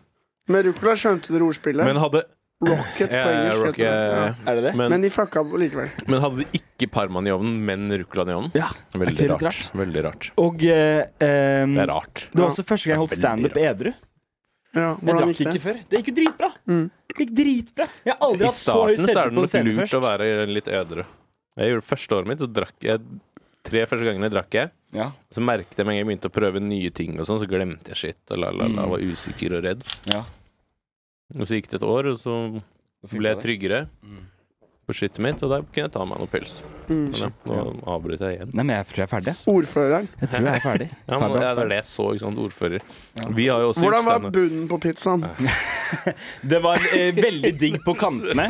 [SPEAKER 3] Med ruccola skjønte dere ordspillet.
[SPEAKER 1] Men hadde
[SPEAKER 3] Rocket på
[SPEAKER 1] Ja, ja,
[SPEAKER 3] engelsk.
[SPEAKER 1] Rocky,
[SPEAKER 3] heter det.
[SPEAKER 1] ja,
[SPEAKER 3] Ja.
[SPEAKER 1] ja.
[SPEAKER 2] Er det det?
[SPEAKER 1] Men,
[SPEAKER 3] Men de fucka opp likevel.
[SPEAKER 1] men hadde de ikke parmaen i ovnen, men ruccolaen i ovnen?
[SPEAKER 2] Ja. Er
[SPEAKER 1] Veldig
[SPEAKER 2] ikke det
[SPEAKER 1] rart. Veldig rart.
[SPEAKER 2] Og eh, ehm,
[SPEAKER 1] Det er rart.
[SPEAKER 2] Det var også første gang jeg holdt
[SPEAKER 1] Veldig
[SPEAKER 2] standup edru.
[SPEAKER 3] Ja,
[SPEAKER 2] Jeg
[SPEAKER 3] hvordan
[SPEAKER 2] drakk
[SPEAKER 3] gikk
[SPEAKER 2] ikke
[SPEAKER 3] det?
[SPEAKER 2] før. Det gikk jo dritbra.
[SPEAKER 3] Mm.
[SPEAKER 2] Det gikk dritbra. Jeg har aldri
[SPEAKER 1] I
[SPEAKER 2] hatt så høy
[SPEAKER 1] starten så er
[SPEAKER 2] selvtillit
[SPEAKER 1] det
[SPEAKER 2] på en
[SPEAKER 1] nok
[SPEAKER 2] scene
[SPEAKER 1] lurt å
[SPEAKER 2] først.
[SPEAKER 1] være litt edru. Jeg gjorde Første året mitt så drakk jeg Tre første gangene drakk jeg.
[SPEAKER 2] Ja.
[SPEAKER 1] Så merket jeg med en gang jeg begynte å prøve nye ting, og sånn, så glemte jeg shit. Og la, la, la, var usikker og redd.
[SPEAKER 2] Ja.
[SPEAKER 1] Og så gikk det et år, og så ble jeg tryggere
[SPEAKER 2] Mm.
[SPEAKER 1] på shitet mitt, og da kunne jeg ta meg noen pils.
[SPEAKER 3] Mm.
[SPEAKER 1] Men ja, nå avbryter jeg igjen.
[SPEAKER 2] Nei, men jeg tror jeg er ferdig.
[SPEAKER 3] Ordføreren.
[SPEAKER 2] Jeg tror jeg er ferdig. altså.
[SPEAKER 1] Ja, men, ja, det er det jeg så, ikke sant, ordfører. Vi har jo også
[SPEAKER 3] Hvordan var
[SPEAKER 1] standup.
[SPEAKER 3] bunnen på pizzaen?
[SPEAKER 2] Det var eh, veldig digg på kantene.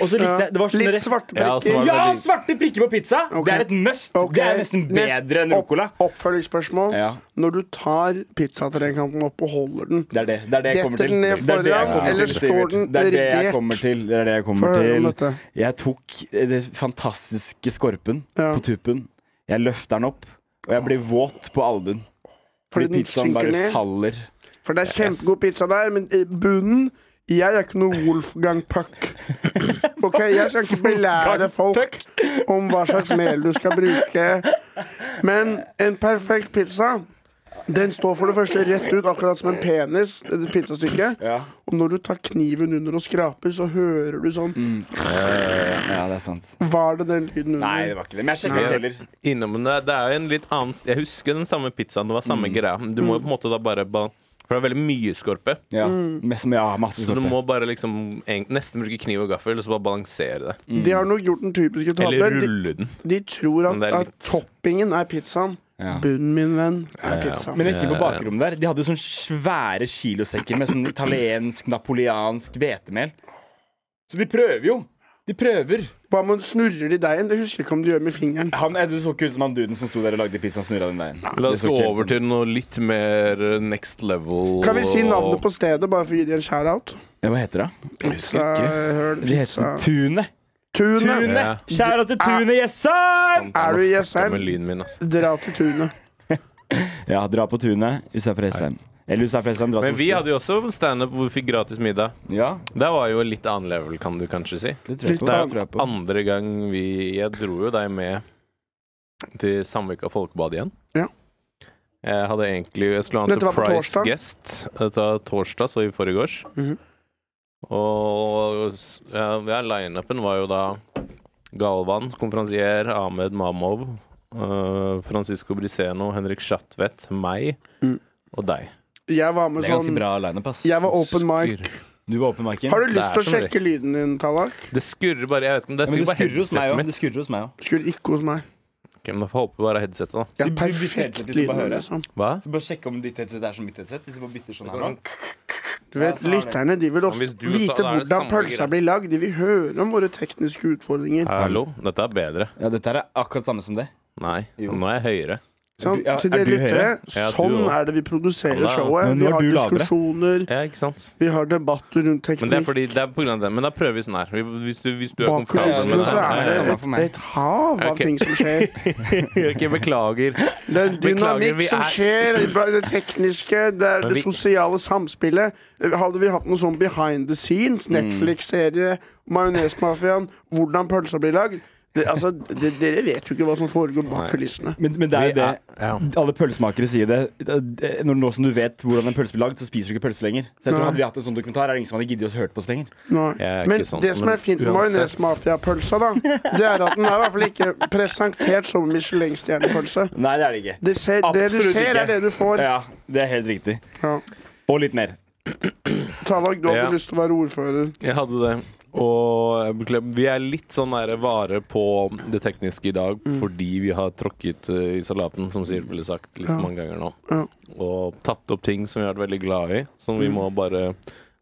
[SPEAKER 2] Og så likte jeg Det var sånn
[SPEAKER 3] Litt
[SPEAKER 2] dere-
[SPEAKER 3] svarte
[SPEAKER 1] Ja, så
[SPEAKER 3] prikker.
[SPEAKER 1] var det-
[SPEAKER 2] Ja, svarte prikker på pizza!
[SPEAKER 3] Ok.
[SPEAKER 2] Det er et must.
[SPEAKER 3] Ok,
[SPEAKER 2] Det er nesten
[SPEAKER 3] nest-
[SPEAKER 2] bedre enn ruccola.
[SPEAKER 3] Opp, oppfølgingsspørsmål.
[SPEAKER 2] Ja.
[SPEAKER 3] Når du tar pizzatrekanten opp og holder den
[SPEAKER 2] Det er det, det, er det jeg
[SPEAKER 3] Detter
[SPEAKER 2] kommer til.
[SPEAKER 3] den ned
[SPEAKER 2] Det er det jeg
[SPEAKER 3] foran,
[SPEAKER 2] kommer
[SPEAKER 3] eller
[SPEAKER 2] til,
[SPEAKER 3] står
[SPEAKER 2] Sivert.
[SPEAKER 3] den
[SPEAKER 2] Det er det jeg
[SPEAKER 3] erigert?
[SPEAKER 2] kommer til. Det er det jeg
[SPEAKER 3] Få
[SPEAKER 2] kommer
[SPEAKER 3] høre om
[SPEAKER 2] til.
[SPEAKER 3] dette.
[SPEAKER 2] Jeg tok eh, det fantastiske skorpen
[SPEAKER 3] Ja.
[SPEAKER 2] på tuppen. Jeg løfter den opp, og jeg blir våt på albuen.
[SPEAKER 3] Fordi
[SPEAKER 2] Fordi
[SPEAKER 3] den
[SPEAKER 2] pizzaen
[SPEAKER 3] synker
[SPEAKER 2] bare
[SPEAKER 3] ned.
[SPEAKER 2] faller.
[SPEAKER 3] For det er kjempegod pizza der, men i bunnen Jeg er ikke noe Wolfgang Puck. Ok, Jeg skal ikke belære folk om hva slags mel du skal bruke. Men en perfekt pizza den står for det første rett ut, akkurat som en penis. et pizzastykke
[SPEAKER 2] Ja.
[SPEAKER 3] Og når du tar kniven under og skraper, så hører du sånn
[SPEAKER 2] Mm. ja, det er sant.
[SPEAKER 3] Var det den lyden
[SPEAKER 2] Nei,
[SPEAKER 3] under?
[SPEAKER 2] det var ikke det. Men jeg sjekka
[SPEAKER 1] Nei.
[SPEAKER 2] ikke heller.
[SPEAKER 1] Innom men det. Det er jo en litt annen s- Jeg husker den samme pizzaen, det var
[SPEAKER 2] Mm.
[SPEAKER 1] samme greia. men Du må jo på en måte da bare ba- For det er veldig mye skorpe,
[SPEAKER 2] Ja,
[SPEAKER 3] Mm.
[SPEAKER 2] mest- ja masse
[SPEAKER 1] så du
[SPEAKER 2] skorpe.
[SPEAKER 1] må bare liksom en- nesten bruke kniv og gaffel, og så bare balansere det.
[SPEAKER 3] De har nok gjort den typiske
[SPEAKER 1] Eller
[SPEAKER 3] tabben. De,
[SPEAKER 1] rulle den.
[SPEAKER 3] de
[SPEAKER 1] Men
[SPEAKER 3] tror at,
[SPEAKER 1] det er
[SPEAKER 3] at
[SPEAKER 1] litt-
[SPEAKER 3] toppingen er pizzaen.
[SPEAKER 2] Ja.
[SPEAKER 3] Bunnen, min venn, er pizza.
[SPEAKER 2] Men ikke på bakrommet der. De hadde sånn svære kilosekker med sånn italiensk, napoleansk hvetemel. Så de prøver jo. De prøver.
[SPEAKER 3] Hva om man snurrer i deigen? Det husker jeg ikke om du gjør med fingeren.
[SPEAKER 2] Han, eh, det så ikke ut som han duden som sto der og lagde pizzaen, snurra den veien.
[SPEAKER 1] La oss gå over til noe litt mer eh, next level.
[SPEAKER 3] Kan vi si navnet
[SPEAKER 1] og-
[SPEAKER 3] på stedet, bare for å gi dem en shout-out?
[SPEAKER 2] ja, Hva heter det? Jeg husker ikke.
[SPEAKER 3] Høl,
[SPEAKER 2] Det
[SPEAKER 3] pizza.
[SPEAKER 2] heter Tunet.
[SPEAKER 3] Tunet!
[SPEAKER 1] Ja.
[SPEAKER 2] Tunet! Kjære til Tunet,
[SPEAKER 3] Er
[SPEAKER 2] Jessheim!
[SPEAKER 3] du i
[SPEAKER 1] Fucka med
[SPEAKER 3] Jessheim?
[SPEAKER 1] lyden min, altså.
[SPEAKER 3] Dra til Tunet.
[SPEAKER 2] Ja, dra på Tunet istedenfor Jessheim. Eller istedenfor Jessheim, dra til
[SPEAKER 1] Men vi
[SPEAKER 2] Oslo.
[SPEAKER 1] hadde jo også standup hvor vi fikk gratis middag.
[SPEAKER 2] Ja,
[SPEAKER 1] Det var jo litt annen level, kan du kanskje si.
[SPEAKER 2] det tror
[SPEAKER 1] Det
[SPEAKER 2] jeg på. Det
[SPEAKER 1] er
[SPEAKER 2] tror jeg
[SPEAKER 1] jo
[SPEAKER 2] på.
[SPEAKER 1] andre gang vi Jeg dro jo deg med til Samvika Folkebad igjen.
[SPEAKER 3] Ja.
[SPEAKER 1] Jeg hadde egentlig Jeg skulle ha en
[SPEAKER 3] Dette var på
[SPEAKER 1] surprise
[SPEAKER 3] torsdag.
[SPEAKER 1] guest. Dette var torsdag, så i forgårs.
[SPEAKER 3] Mhm.
[SPEAKER 1] Og ja, ja, lineupen var jo da Galvan, konferansier, Ahmed Mamov, eh, Francisco Briseno, Henrik Schatvedt, meg
[SPEAKER 3] Mm.
[SPEAKER 1] og deg.
[SPEAKER 3] Jeg var med
[SPEAKER 2] Det er ganske
[SPEAKER 3] sånn
[SPEAKER 2] bra lineup, ass.
[SPEAKER 3] Jeg var open mic.
[SPEAKER 1] Skurr.
[SPEAKER 2] Du var åpen, Maiken.
[SPEAKER 3] Har du
[SPEAKER 1] Det
[SPEAKER 3] lyst
[SPEAKER 1] er
[SPEAKER 3] til å
[SPEAKER 1] som det.
[SPEAKER 3] sjekke lyden din, Tallak?
[SPEAKER 1] Det skurrer bare. Jeg vet ikke om det er
[SPEAKER 2] Ja, men
[SPEAKER 1] sikkert
[SPEAKER 2] det
[SPEAKER 1] bare
[SPEAKER 2] skurrer hos meg
[SPEAKER 1] headsetet
[SPEAKER 2] òg.
[SPEAKER 1] mitt.
[SPEAKER 2] Det skurrer hos meg òg.
[SPEAKER 3] Skulle ikke hos meg.
[SPEAKER 1] Ok, men da får jeg håpe bare headsetet, da.
[SPEAKER 3] Jeg
[SPEAKER 2] Så
[SPEAKER 3] er
[SPEAKER 2] du- du bytter
[SPEAKER 3] perfekt
[SPEAKER 2] headset til å
[SPEAKER 3] lydende,
[SPEAKER 2] høre?
[SPEAKER 3] liksom.
[SPEAKER 1] Hva?
[SPEAKER 2] Så bare sjekke om ditt headset er som mitt headset. Hvis vi bare bytter sånn her nå.
[SPEAKER 3] Du vet,
[SPEAKER 2] Ja, så har det.
[SPEAKER 3] Lytterne de vil også
[SPEAKER 1] Men hvis du også-
[SPEAKER 3] vite
[SPEAKER 1] da er det
[SPEAKER 3] hvordan
[SPEAKER 1] samme
[SPEAKER 3] pølsa
[SPEAKER 1] greie.
[SPEAKER 3] blir lagd. De vil høre om våre tekniske utfordringer.
[SPEAKER 1] Hallo, dette er bedre.
[SPEAKER 2] Ja, dette her er akkurat samme som det.
[SPEAKER 1] Nei,
[SPEAKER 2] Jo.
[SPEAKER 1] nå er jeg høyere.
[SPEAKER 3] Sånn,
[SPEAKER 2] Er du-
[SPEAKER 3] til dere
[SPEAKER 2] er du
[SPEAKER 3] lyttere,
[SPEAKER 1] Ja, du
[SPEAKER 3] sånn
[SPEAKER 1] også.
[SPEAKER 3] er det vi produserer
[SPEAKER 1] Ja, da.
[SPEAKER 3] showet.
[SPEAKER 2] Men nå
[SPEAKER 3] Vi
[SPEAKER 2] er
[SPEAKER 3] har
[SPEAKER 2] du lavere.
[SPEAKER 3] diskusjoner,
[SPEAKER 1] Ja, ikke sant?
[SPEAKER 3] vi har debatter rundt
[SPEAKER 1] Men det er
[SPEAKER 3] teknikk.
[SPEAKER 1] fordi, det er på grunn av det. Men da prøver vi sånn her. Vi- Hvis du, hvis du er
[SPEAKER 3] Bak
[SPEAKER 1] komfortabel med
[SPEAKER 3] kulissene
[SPEAKER 2] men-
[SPEAKER 1] det.
[SPEAKER 3] så er
[SPEAKER 1] Ja,
[SPEAKER 3] det
[SPEAKER 1] ja,
[SPEAKER 3] sånn.
[SPEAKER 2] samme
[SPEAKER 3] et,
[SPEAKER 2] for meg.
[SPEAKER 3] et hav av
[SPEAKER 1] Ok.
[SPEAKER 3] ting som skjer.
[SPEAKER 1] ja. Ok, beklager.
[SPEAKER 3] Det er
[SPEAKER 1] Beklager,
[SPEAKER 3] en dynamikk
[SPEAKER 1] vi
[SPEAKER 3] som
[SPEAKER 1] er-
[SPEAKER 3] skjer. Det er Det tekniske, det er
[SPEAKER 1] Men
[SPEAKER 3] det
[SPEAKER 1] vi-
[SPEAKER 3] sosiale samspillet. Hadde vi hatt noe sånn behind the
[SPEAKER 1] Mm.
[SPEAKER 3] scenes, Netflix-serie, Majonesmafiaen, hvordan pølsa blir lagd det, altså, det, Dere vet jo ikke hva som foregår bak kulissene.
[SPEAKER 2] Men, men det er jo
[SPEAKER 1] Vi
[SPEAKER 2] det
[SPEAKER 1] er- ja.
[SPEAKER 2] alle pølsemakere sier det. det- Når, nå som du vet hvordan en pølse blir lagd, så spiser du ikke pølse lenger. Så jeg tror
[SPEAKER 3] Nei.
[SPEAKER 2] Hadde vi hatt en sånn dokumentar, er det ingen som hadde giddet å høre på oss lenger.
[SPEAKER 3] Nei.
[SPEAKER 1] Jeg er
[SPEAKER 3] Men
[SPEAKER 1] ikke sånn,
[SPEAKER 3] det som
[SPEAKER 1] men
[SPEAKER 3] er fint med
[SPEAKER 1] uansett.
[SPEAKER 3] majonesmafiapølsa, da, det er at den er i hvert fall ikke presentert som Michelin-stjernepølse.
[SPEAKER 2] Nei, det er det ikke.
[SPEAKER 3] Det, ser, det du
[SPEAKER 2] Absolutt
[SPEAKER 3] ser,
[SPEAKER 2] ikke.
[SPEAKER 3] er det du får.
[SPEAKER 2] Ja, det er helt riktig.
[SPEAKER 3] Ja.
[SPEAKER 2] Og litt mer.
[SPEAKER 3] Tallak, du hadde
[SPEAKER 1] Ja.
[SPEAKER 3] lyst til å være ordfører.
[SPEAKER 1] Jeg hadde det. Og jeg beklager. vi er litt sånn nære vare på det tekniske i dag
[SPEAKER 3] Mm.
[SPEAKER 1] fordi vi har tråkket eh, i salaten, som Sivert ville sagt, litt for mange ganger nå.
[SPEAKER 3] Ja. Mm.
[SPEAKER 1] Og tatt opp ting som vi har vært veldig glad i, som vi må bare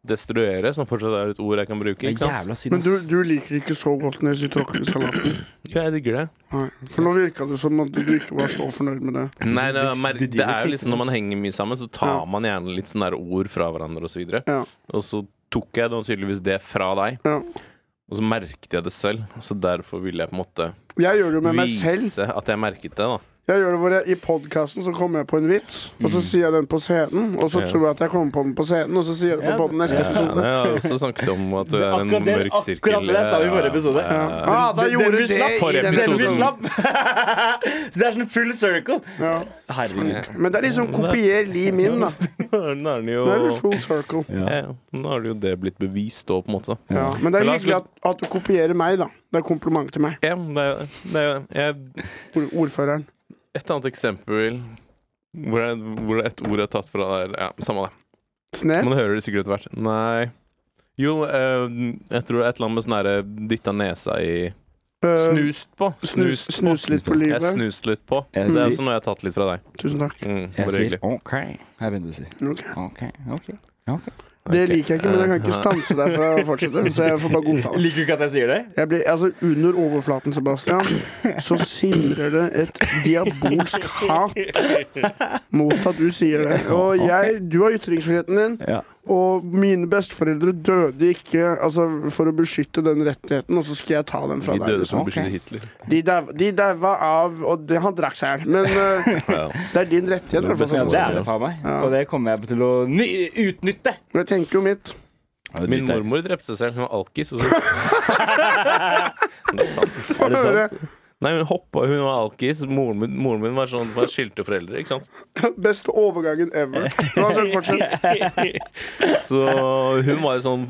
[SPEAKER 1] destruere, som fortsatt er et ord jeg kan bruke. Ikke sant?
[SPEAKER 2] synd,
[SPEAKER 3] Men du, du liker ikke så godt når jeg tråkker i salaten.
[SPEAKER 1] Ja, jeg digger det.
[SPEAKER 3] Nei. For nå virka det som at du ikke var så fornøyd med det.
[SPEAKER 1] Nei, det,
[SPEAKER 2] de-
[SPEAKER 1] er mer-
[SPEAKER 2] de
[SPEAKER 1] det
[SPEAKER 2] driver
[SPEAKER 1] er jo
[SPEAKER 2] klikken,
[SPEAKER 1] liksom Når man henger mye sammen, så tar
[SPEAKER 3] Ja.
[SPEAKER 1] man gjerne litt sånne der ord fra hverandre osv. Og,
[SPEAKER 3] Ja.
[SPEAKER 1] så og så tok jeg da tydeligvis det fra deg,
[SPEAKER 3] Ja.
[SPEAKER 1] og så merket jeg det selv. Så derfor ville jeg på en måte
[SPEAKER 3] Jeg gjør det jo med meg selv.
[SPEAKER 1] vise at jeg merket det. da
[SPEAKER 3] Jeg gjør det hvor jeg, I podkasten så kommer jeg på en vits, og så sier jeg den på scenen. Og så
[SPEAKER 1] Mm. Ja.
[SPEAKER 3] tror jeg at jeg kommer på den på scenen, og så sier jeg den
[SPEAKER 2] Ja,
[SPEAKER 3] på den neste
[SPEAKER 1] Ja,
[SPEAKER 3] episode.
[SPEAKER 1] jeg har også snakket om at du
[SPEAKER 2] Det-
[SPEAKER 1] er en
[SPEAKER 2] akkurat det-
[SPEAKER 1] mørk
[SPEAKER 2] akkurat
[SPEAKER 1] sirkel.
[SPEAKER 2] det sa vi i
[SPEAKER 1] Ja,
[SPEAKER 2] forrige episode.
[SPEAKER 1] ja, ja.
[SPEAKER 3] Ja, da
[SPEAKER 2] Den- den
[SPEAKER 3] gjorde
[SPEAKER 2] vi
[SPEAKER 3] du det
[SPEAKER 2] slapp
[SPEAKER 3] i
[SPEAKER 1] forrige
[SPEAKER 3] den
[SPEAKER 2] Den vi
[SPEAKER 1] episoden.
[SPEAKER 2] slapp! så det er sånn full circle.
[SPEAKER 3] Ja.
[SPEAKER 2] Herregud.
[SPEAKER 3] Men det er liksom kopier li min, da.
[SPEAKER 1] Nå er den jo
[SPEAKER 3] Det er jo full circle.
[SPEAKER 1] ja, Nå er det jo det blitt bevist òg, på en måte.
[SPEAKER 3] Ja. Men det er
[SPEAKER 1] Men la oss
[SPEAKER 3] hyggelig at, at du kopierer meg, da. Det er kompliment til meg.
[SPEAKER 1] Ja, det er, jo- det er, jo- jeg,
[SPEAKER 3] Ord- Ordføreren.
[SPEAKER 1] Et annet eksempel hvor, jeg, hvor et ord er tatt fra der. Ja, samme det.
[SPEAKER 3] Snev.
[SPEAKER 1] Man hører det sikkert etter hvert. Nei Jo, eh, jeg tror det er et eller annet med sånn herre dytta nesa i
[SPEAKER 3] Eh,
[SPEAKER 1] Snust på. Snust
[SPEAKER 3] snus,
[SPEAKER 1] på.
[SPEAKER 3] snus litt på
[SPEAKER 1] Jeg
[SPEAKER 3] livet.
[SPEAKER 1] snust litt på.
[SPEAKER 2] Jeg
[SPEAKER 1] Det er
[SPEAKER 2] sier-
[SPEAKER 1] også noe jeg har tatt litt fra deg.
[SPEAKER 3] Tusen takk.
[SPEAKER 1] Mm,
[SPEAKER 2] Jeg
[SPEAKER 1] bare
[SPEAKER 2] sier
[SPEAKER 1] hyggelig.
[SPEAKER 2] OK. Her begynner du å si
[SPEAKER 3] Ok.
[SPEAKER 2] OK. OK. ok.
[SPEAKER 3] Det
[SPEAKER 1] Ok.
[SPEAKER 3] liker jeg ikke, men jeg kan ikke
[SPEAKER 1] Eh,
[SPEAKER 3] stanse deg fra å fortsette. Så jeg får bare godta det.
[SPEAKER 2] Liker du ikke at jeg sier det?
[SPEAKER 3] Jeg blir, altså, under overflaten, Sebastian, så simrer det et diabolsk hat mot at du sier det. Og jeg, du har ytringsfriheten din,
[SPEAKER 2] Ja.
[SPEAKER 3] og mine besteforeldre døde ikke altså, for å beskytte den rettigheten, og så skal jeg ta den fra
[SPEAKER 1] De
[SPEAKER 3] deg. liksom.
[SPEAKER 1] døde som
[SPEAKER 2] Ok.
[SPEAKER 1] beskyttet Hitler.
[SPEAKER 3] De dau- de daua av Og det, han drakk seg i hjel. Men eh,
[SPEAKER 1] Ja.
[SPEAKER 3] det er din rettighet. i hvert fall,
[SPEAKER 2] Ja,
[SPEAKER 1] Sånn
[SPEAKER 2] det
[SPEAKER 1] er
[SPEAKER 2] er
[SPEAKER 1] det.
[SPEAKER 2] det faen meg. Og det kommer jeg til å ny utnytte.
[SPEAKER 3] Men jeg tenker jo mitt.
[SPEAKER 1] Min mormor drepte seg selv. Hun var alkis. Og så... det er sant.
[SPEAKER 3] Få
[SPEAKER 2] det sant?
[SPEAKER 3] høre.
[SPEAKER 1] Nei, hun hoppa, hun var alkis. Moren min, moren min var sånn, var skilte foreldre, ikke sant.
[SPEAKER 3] Beste overgangen ever. Uansett, fortsett.
[SPEAKER 1] Så hun var jo sånn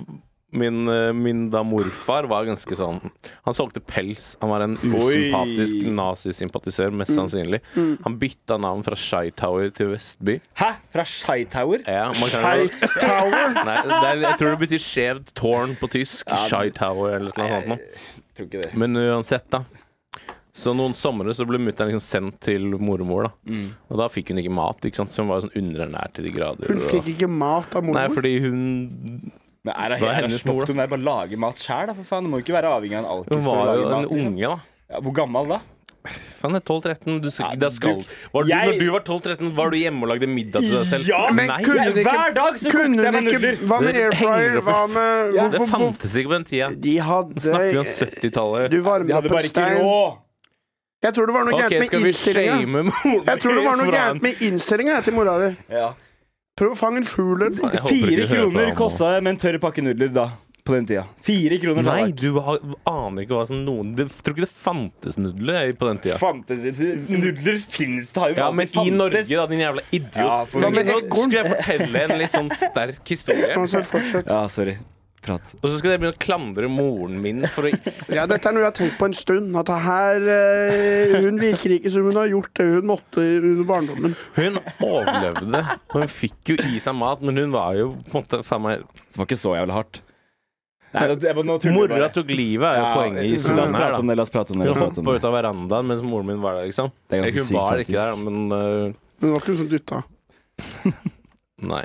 [SPEAKER 1] Min, eh, min da morfar var ganske sånn Han solgte pels. Han var en usympatisk
[SPEAKER 2] Oi.
[SPEAKER 1] nazisympatisør, mest
[SPEAKER 2] Mm.
[SPEAKER 1] sannsynlig. Han bytta navn fra Shytower til Vestby.
[SPEAKER 2] Hæ? Fra Shy Tower?
[SPEAKER 1] Ja, man kan
[SPEAKER 3] Hei, Tower.
[SPEAKER 1] Nei, det er, jeg tror det betyr skjevt tårn på tysk.
[SPEAKER 2] Ja,
[SPEAKER 1] Shytower eller noe sånt. nå.
[SPEAKER 2] Tror ikke det.
[SPEAKER 1] Men uansett, da. Så noen somre så ble mutter'n liksom sendt til mormor, da.
[SPEAKER 2] Mm.
[SPEAKER 1] Og da fikk hun ikke mat, ikke sant? så hun var jo sånn underernært til de grader.
[SPEAKER 3] Hun fikk ikke mat av
[SPEAKER 1] Nei,
[SPEAKER 3] mormor.
[SPEAKER 1] fordi hun,
[SPEAKER 2] Men er det,
[SPEAKER 1] Da er
[SPEAKER 2] er
[SPEAKER 1] hennes
[SPEAKER 2] hennes
[SPEAKER 1] mor, da.
[SPEAKER 2] faktum der bare å lage mat sjæl, da, for faen? Du må jo ikke være avhengig av en alkis
[SPEAKER 1] hun
[SPEAKER 2] for å
[SPEAKER 1] var jo
[SPEAKER 2] lage
[SPEAKER 1] en
[SPEAKER 2] mat. Liksom.
[SPEAKER 1] unge, da.
[SPEAKER 2] Ja, hvor gammel da?
[SPEAKER 1] Faen, jeg er 12-13. Du skal,
[SPEAKER 2] Ja,
[SPEAKER 1] ikke- da skal,
[SPEAKER 2] du-
[SPEAKER 1] var du,
[SPEAKER 2] jeg-
[SPEAKER 1] når du var 12-13, var du hjemme og lagde middag til deg selv?
[SPEAKER 2] Ja,
[SPEAKER 3] Men
[SPEAKER 1] Nei,
[SPEAKER 3] kunne hun ikke,
[SPEAKER 2] Hver dag så
[SPEAKER 3] kunne
[SPEAKER 2] kokte jeg
[SPEAKER 3] hun
[SPEAKER 2] meg
[SPEAKER 3] ikke
[SPEAKER 2] nudler.
[SPEAKER 3] Hva med
[SPEAKER 1] Det
[SPEAKER 3] air
[SPEAKER 1] henger
[SPEAKER 3] fryer?
[SPEAKER 1] opp i
[SPEAKER 3] Hva
[SPEAKER 1] f-
[SPEAKER 3] med
[SPEAKER 1] det
[SPEAKER 3] hvorfor-
[SPEAKER 1] fantes ikke på den tida.
[SPEAKER 3] De
[SPEAKER 1] Snakker vi om
[SPEAKER 3] hadde
[SPEAKER 1] 70-tallet?
[SPEAKER 3] Du
[SPEAKER 2] De
[SPEAKER 3] varmer opp
[SPEAKER 2] hadde
[SPEAKER 3] en
[SPEAKER 2] bare ikke
[SPEAKER 3] stein.
[SPEAKER 2] råd.
[SPEAKER 3] Jeg tror det var noe
[SPEAKER 1] Ok,
[SPEAKER 3] gærent
[SPEAKER 1] skal
[SPEAKER 3] med
[SPEAKER 1] vi
[SPEAKER 3] innstillinga.
[SPEAKER 1] shame moren
[SPEAKER 3] Jeg tror det var noe
[SPEAKER 1] fra
[SPEAKER 3] gærent med innstillinga til mora di.
[SPEAKER 2] Ja.
[SPEAKER 3] Prøv å fange en fugl. eller-
[SPEAKER 1] Jeg håper ikke
[SPEAKER 2] Fire
[SPEAKER 1] du hører på
[SPEAKER 2] kroner
[SPEAKER 1] han nå.
[SPEAKER 2] kosta det med en tørr pakke nudler da. På den tida. Fire kroner. da.
[SPEAKER 1] Nei, du har- aner ikke hva som noen Du tror ikke det fantes nudler jeg, på den tida.
[SPEAKER 2] Fantes Nudler fins, det har jo
[SPEAKER 1] Ja, men
[SPEAKER 2] alltid
[SPEAKER 1] i Norge,
[SPEAKER 2] fantes.
[SPEAKER 1] da, din jævla idiot.
[SPEAKER 2] Ja, for-
[SPEAKER 1] Nå-
[SPEAKER 3] Hva med
[SPEAKER 1] Nå skulle
[SPEAKER 3] ekorn?
[SPEAKER 1] jeg fortelle en litt sånn sterk historie,
[SPEAKER 3] Altså, fortsett.
[SPEAKER 2] Ja, sorry. Prat.
[SPEAKER 1] og så skal jeg begynne å klandre moren min for å
[SPEAKER 3] Ja, dette er noe jeg har tenkt på en stund. At det her eh, Hun virker ikke som hun har gjort det hun måtte under barndommen.
[SPEAKER 1] Hun overlevde, og hun fikk jo i seg mat, men hun var jo på en måte faen meg
[SPEAKER 2] Det var ikke så jævlig hardt. Nei, nå- jeg, nå tuller jeg
[SPEAKER 1] Mora
[SPEAKER 2] bare.
[SPEAKER 1] tok livet, er jo
[SPEAKER 2] Ja,
[SPEAKER 1] poenget i
[SPEAKER 2] La oss
[SPEAKER 1] historien her,
[SPEAKER 2] prate om
[SPEAKER 1] da.
[SPEAKER 2] det. La oss prate om det. La
[SPEAKER 1] Hun
[SPEAKER 2] oss prate om
[SPEAKER 1] hoppa ut
[SPEAKER 2] det.
[SPEAKER 1] av verandaen mens moren min var der, liksom.
[SPEAKER 2] Det er
[SPEAKER 1] Jeg,
[SPEAKER 2] ganske
[SPEAKER 1] hun
[SPEAKER 2] sykt,
[SPEAKER 1] var ikke der,
[SPEAKER 2] faktisk.
[SPEAKER 1] men øh,
[SPEAKER 3] Men det var ikke sånn dytta.
[SPEAKER 1] Nei.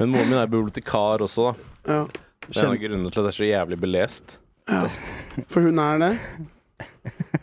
[SPEAKER 1] Men moren min er bibliotekar også, da.
[SPEAKER 3] Ja.
[SPEAKER 1] Det er en av grunnene til at jeg er så jævlig belest.
[SPEAKER 3] For hun er det.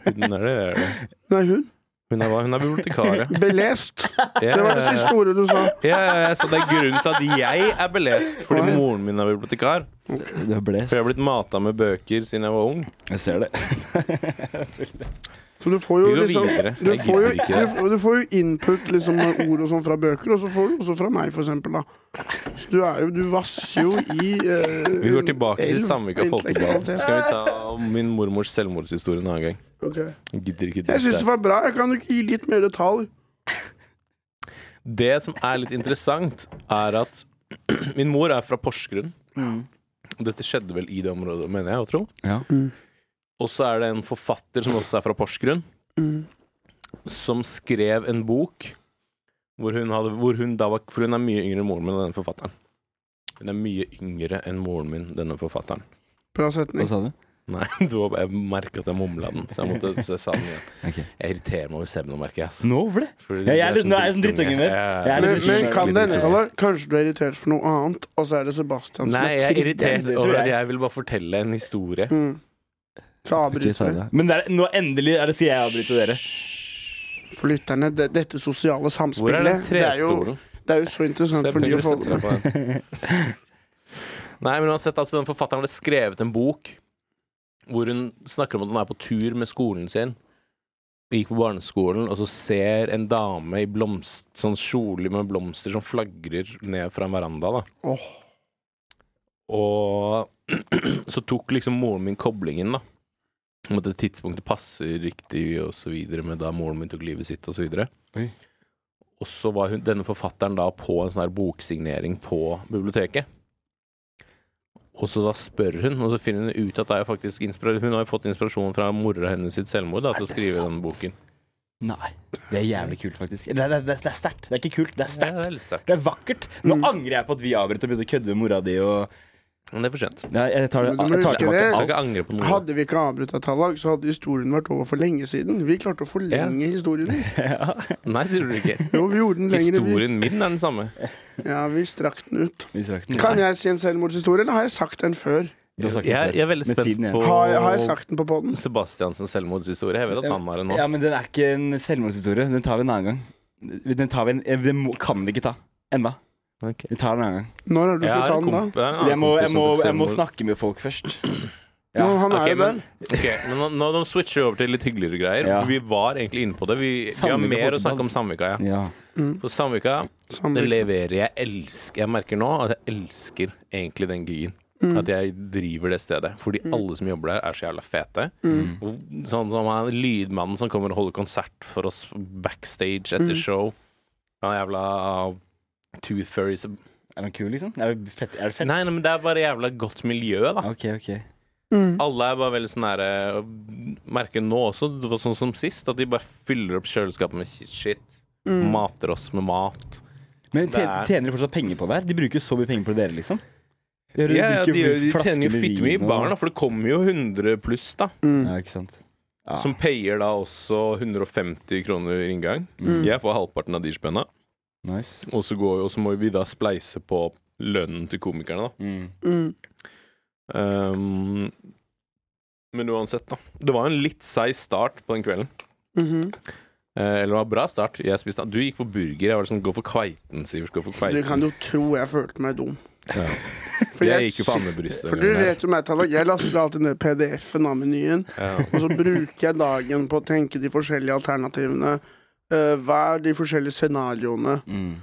[SPEAKER 1] Hun er det, er det.
[SPEAKER 3] Nei, hun.
[SPEAKER 1] Hun er hva? Hun er bibliotekar, ja.
[SPEAKER 3] Belest. Det var det
[SPEAKER 1] Ja, ja,
[SPEAKER 3] siste ordet du sa.
[SPEAKER 1] Ja, ja, ja, så det er grunnen til at jeg er belest, fordi
[SPEAKER 3] Oi.
[SPEAKER 1] moren min er bibliotekar.
[SPEAKER 2] Du er blest.
[SPEAKER 1] For jeg har blitt mata med bøker siden jeg var ung.
[SPEAKER 2] Jeg ser det.
[SPEAKER 3] Så du får jo
[SPEAKER 1] Vi går
[SPEAKER 3] liksom
[SPEAKER 1] videre.
[SPEAKER 3] Du
[SPEAKER 1] Jeg
[SPEAKER 3] får jo,
[SPEAKER 1] gidder ikke
[SPEAKER 3] du,
[SPEAKER 1] det.
[SPEAKER 3] får- du får jo input liksom med ord og sånn fra bøker, og så får du også fra meg, for eksempel. Da. Så du er jo Du vasser jo i eh,
[SPEAKER 1] Vi går tilbake til
[SPEAKER 3] elv
[SPEAKER 1] Sandvika
[SPEAKER 3] av
[SPEAKER 1] folkeblad. Så
[SPEAKER 3] intellektualitet.
[SPEAKER 1] skal vi ta om min mormors selvmordshistorie en annen gang.
[SPEAKER 3] Ok.
[SPEAKER 1] Jeg Gidder ikke
[SPEAKER 3] Jeg syns det
[SPEAKER 1] det.
[SPEAKER 3] var bra. Jeg kan jo ikke gi litt mer detalj.
[SPEAKER 1] Det som er litt interessant, er at min mor er fra Porsgrunn.
[SPEAKER 3] Mm.
[SPEAKER 1] Og Dette skjedde vel i det området, mener jeg å tro.
[SPEAKER 2] Ja.
[SPEAKER 1] Og så er det en forfatter som også er fra Porsgrunn, som skrev en bok hvor hun hadde hvor hun da var, For hun er mye yngre enn moren min, denne forfatteren. Hun er mye yngre enn moren min, denne forfatteren.
[SPEAKER 3] Bra
[SPEAKER 1] Altså,
[SPEAKER 2] Hva
[SPEAKER 3] setning.
[SPEAKER 2] sa du?
[SPEAKER 1] Nei, det var, jeg merka at jeg mumla den, så jeg måtte så jeg sa den igjen.
[SPEAKER 2] Ok.
[SPEAKER 1] Jeg irriterer meg over Sebno, merker jeg. ass.
[SPEAKER 2] Nå ble det
[SPEAKER 1] Fordi
[SPEAKER 2] Ja, jeg er
[SPEAKER 1] de
[SPEAKER 2] litt-
[SPEAKER 1] sånn
[SPEAKER 2] nå er jeg sånn
[SPEAKER 1] drittunge.
[SPEAKER 2] drittunge mer.
[SPEAKER 1] Ja,
[SPEAKER 2] Jeg er
[SPEAKER 3] Men,
[SPEAKER 2] litt sånn-
[SPEAKER 3] men
[SPEAKER 2] bekymret.
[SPEAKER 3] kan
[SPEAKER 1] Litt
[SPEAKER 3] denne
[SPEAKER 1] bekymret.
[SPEAKER 3] talen Kanskje du er irritert for noe annet, og så er det Sebastian som
[SPEAKER 1] Nei,
[SPEAKER 3] er
[SPEAKER 1] jeg er
[SPEAKER 3] triggeren.
[SPEAKER 1] irritert
[SPEAKER 2] det tror
[SPEAKER 1] over at
[SPEAKER 2] jeg.
[SPEAKER 1] jeg vil bare fortelle en historie.
[SPEAKER 3] Mm. Så
[SPEAKER 2] Ok, ta
[SPEAKER 3] avbryter jeg.
[SPEAKER 2] det. Men det er, nå endelig er det skal jeg avbryte dere.
[SPEAKER 3] For lytterne, det, dette sosiale
[SPEAKER 1] Hvor er den
[SPEAKER 3] samspillet det er, jo,
[SPEAKER 1] trestolen?
[SPEAKER 3] det er jo så interessant
[SPEAKER 1] Se,
[SPEAKER 3] for de å
[SPEAKER 1] Pelle
[SPEAKER 3] få
[SPEAKER 1] setter
[SPEAKER 3] det
[SPEAKER 1] deg
[SPEAKER 3] med.
[SPEAKER 1] på den. Nei, men uansett, altså, den forfatteren hadde skrevet en bok hvor hun snakker om at hun er på tur med skolen sin. Gikk på barneskolen, og så ser en dame i blomst, sånn kjole med blomster som flagrer ned fra en veranda. da.
[SPEAKER 3] Åh.
[SPEAKER 1] Og så tok liksom moren min koblingen, da. Om at det tidspunktet passer riktig, og så videre, med da moren min tok livet sitt, og så videre.
[SPEAKER 2] Oi.
[SPEAKER 1] Og så var hun, denne forfatteren da på en sånn her boksignering på biblioteket. Og så da spør hun, og så finner hun ut at det er jo faktisk inspira- hun har jo fått inspirasjon fra mora hennes sitt selvmord da, til å
[SPEAKER 2] det
[SPEAKER 1] skrive
[SPEAKER 2] sant?
[SPEAKER 1] denne boken.
[SPEAKER 2] Nei. Det er jævlig kult, faktisk. Det er, det er, det er sterkt. Det er ikke kult, det er
[SPEAKER 1] Ja,
[SPEAKER 2] sterkt.
[SPEAKER 1] det er litt sterkt.
[SPEAKER 2] Det er vakkert. Nå angrer jeg på at vi avbrøt og begynte å kødde med mora di og
[SPEAKER 1] Men det er for sent.
[SPEAKER 2] Nei, jeg tar det,
[SPEAKER 3] Men du må
[SPEAKER 2] jeg tar
[SPEAKER 1] Jeg
[SPEAKER 3] huske det.
[SPEAKER 1] skal
[SPEAKER 2] tilbake
[SPEAKER 1] ikke
[SPEAKER 2] alt.
[SPEAKER 1] angre på noe.
[SPEAKER 3] Hadde vi ikke avbrutt et halvdag, så hadde historien vært over for lenge siden. Vi klarte å forlenge historien.
[SPEAKER 1] Nei, det gjorde du ikke.
[SPEAKER 3] Jo, vi gjorde den lenger.
[SPEAKER 1] Historien min er den samme.
[SPEAKER 3] Ja, vi strakk den ut.
[SPEAKER 2] Vi strakk den.
[SPEAKER 3] Kan jeg si en selvmordshistorie, eller har jeg sagt den før?
[SPEAKER 2] Du har sagt
[SPEAKER 1] Jeg,
[SPEAKER 2] det før.
[SPEAKER 1] jeg er veldig
[SPEAKER 2] Men
[SPEAKER 1] spent
[SPEAKER 2] siden jeg-
[SPEAKER 1] på
[SPEAKER 3] Har, har jeg sagt den på poden?
[SPEAKER 1] Sebastiansens selvmordshistorie. Jeg vet at han har en nå.
[SPEAKER 2] Ja, men den er ikke en selvmordshistorie. Den tar vi en annen gang. Den, tar vi en, eh, den må, kan vi ikke ta enda.
[SPEAKER 1] Ok.
[SPEAKER 2] Vi tar den en annen gang.
[SPEAKER 3] Når er det du
[SPEAKER 1] Jeg
[SPEAKER 3] skal
[SPEAKER 1] har
[SPEAKER 3] ta
[SPEAKER 1] en
[SPEAKER 3] den, da?
[SPEAKER 1] komp- jeg har en annen
[SPEAKER 2] Jeg må, jeg
[SPEAKER 1] kompis som
[SPEAKER 2] må,
[SPEAKER 1] tok
[SPEAKER 2] jeg må
[SPEAKER 1] selvmord.
[SPEAKER 2] snakke med folk først. Ja.
[SPEAKER 3] Nå, han
[SPEAKER 1] Ok,
[SPEAKER 3] er jo
[SPEAKER 1] men,
[SPEAKER 3] der.
[SPEAKER 1] ok, men nå, nå nå switcher vi over til litt hyggeligere greier.
[SPEAKER 2] Ja.
[SPEAKER 1] Vi var egentlig inne på det. Vi, vi har
[SPEAKER 2] Samvika
[SPEAKER 1] mer å
[SPEAKER 2] fotball.
[SPEAKER 1] snakke om Samvika. Ja.
[SPEAKER 2] Ja.
[SPEAKER 1] For Samvika det
[SPEAKER 3] Samme.
[SPEAKER 1] leverer jeg elsker Jeg merker nå at jeg elsker egentlig den gigen.
[SPEAKER 2] Mm.
[SPEAKER 1] At jeg driver det stedet. Fordi alle som jobber der, er så jævla fete.
[SPEAKER 2] Mm.
[SPEAKER 1] Og Sånn som han lydmannen som kommer og holder konsert for oss backstage
[SPEAKER 2] Mm.
[SPEAKER 1] etter show. Han jævla Tooth Fairies
[SPEAKER 2] Er den kul, liksom? Er det fett? Er det fett?
[SPEAKER 1] Nei, nei, men det er bare jævla godt miljø, da.
[SPEAKER 2] OK, OK.
[SPEAKER 3] Mm,
[SPEAKER 1] Alle er bare veldig sånn her eh, Merker nå også, det var sånn som sist, at de bare fyller opp kjøleskapet med shit.
[SPEAKER 3] mm,
[SPEAKER 1] Mater oss med mat.
[SPEAKER 2] Men
[SPEAKER 1] Det
[SPEAKER 2] tjen-
[SPEAKER 1] er-
[SPEAKER 2] tjener de fortsatt penger på det her? De bruker så mye penger på dere, liksom? De,
[SPEAKER 1] Ja, ja, de, gjør- de
[SPEAKER 2] flasker
[SPEAKER 1] tjener jo
[SPEAKER 2] med
[SPEAKER 1] fitte mye i
[SPEAKER 2] vin og-
[SPEAKER 3] mm,
[SPEAKER 1] baren, da, for det kommer jo 100 pluss, da.
[SPEAKER 2] Ja, ikke sant.
[SPEAKER 1] Som payer da også 150 kroner inngang. Jeg får halvparten av de spenna.
[SPEAKER 2] Mm. Nice.
[SPEAKER 1] Og så, går, og så må vi da spleise på lønnen til komikerne, da.
[SPEAKER 2] Mm.
[SPEAKER 3] Mm.
[SPEAKER 1] Ehm, men uansett, da. Det var en litt seig start på den kvelden.
[SPEAKER 3] mhm.
[SPEAKER 1] Eh, eller det var en bra start. Jeg spiste, du gikk for burger. Jeg var sånn Gå for kveiten, Sivert. Gå for
[SPEAKER 3] Du
[SPEAKER 1] kveiten.
[SPEAKER 3] kan jo tro jeg følte meg dum.
[SPEAKER 1] Ja.
[SPEAKER 3] For
[SPEAKER 1] jeg,
[SPEAKER 3] jeg
[SPEAKER 1] gikk jo for andebryst.
[SPEAKER 3] For du vet jo meg, Tallak, jeg laster alltid ned PDF-en av menyen.
[SPEAKER 1] Ja.
[SPEAKER 3] Og så bruker jeg dagen på å tenke de forskjellige alternativene. eh, hva er de forskjellige scenarioene?
[SPEAKER 2] Mm.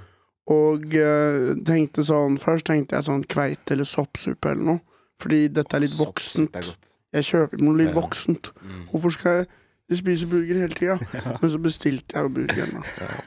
[SPEAKER 3] Og eh, tenkte sånn Først tenkte jeg sånn kveite eller soppsuppe eller noe. Fordi dette er litt voksent.
[SPEAKER 2] Soppsuppe er godt.
[SPEAKER 3] Jeg kjøper noe litt
[SPEAKER 1] Ja.
[SPEAKER 3] voksent.
[SPEAKER 2] Mm.
[SPEAKER 3] Hvorfor skal jeg jeg spiser burger hele tida? Men så bestilte jeg jo burgeren. da.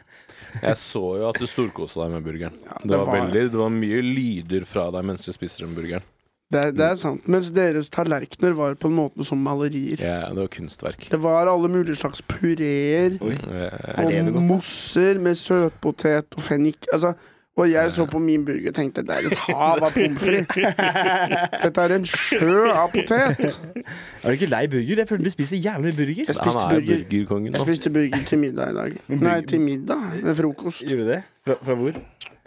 [SPEAKER 1] Jeg så jo at du storkosa deg med burgeren.
[SPEAKER 3] Ja,
[SPEAKER 1] Det var, veldig, det var mye lyder fra deg mens du spiste den burgeren.
[SPEAKER 3] det, er- det
[SPEAKER 2] Mm.
[SPEAKER 3] er sant. Mens deres tallerkener var på en måte som malerier.
[SPEAKER 1] Ja, det var kunstverk.
[SPEAKER 3] Det var alle mulige slags pureer.
[SPEAKER 2] Oi.
[SPEAKER 1] Eh,
[SPEAKER 2] Er det det
[SPEAKER 3] Og
[SPEAKER 2] godt, da?
[SPEAKER 3] mosser med søtpotet og fennik. Altså, og jeg så på min burger og tenkte det er et hav av pommes frites. Dette er en sjø av potet.
[SPEAKER 2] Er du ikke lei burger? Jeg føler du spiser jævlig mye burger.
[SPEAKER 1] Han
[SPEAKER 3] Jeg spiste
[SPEAKER 1] er jo
[SPEAKER 3] burger.
[SPEAKER 1] burgerkongen.
[SPEAKER 3] Jeg
[SPEAKER 1] da.
[SPEAKER 3] spiste burger til middag i dag. Nei, til middag. Det er frokost.
[SPEAKER 2] Gjorde du det? Fra, fra hvor?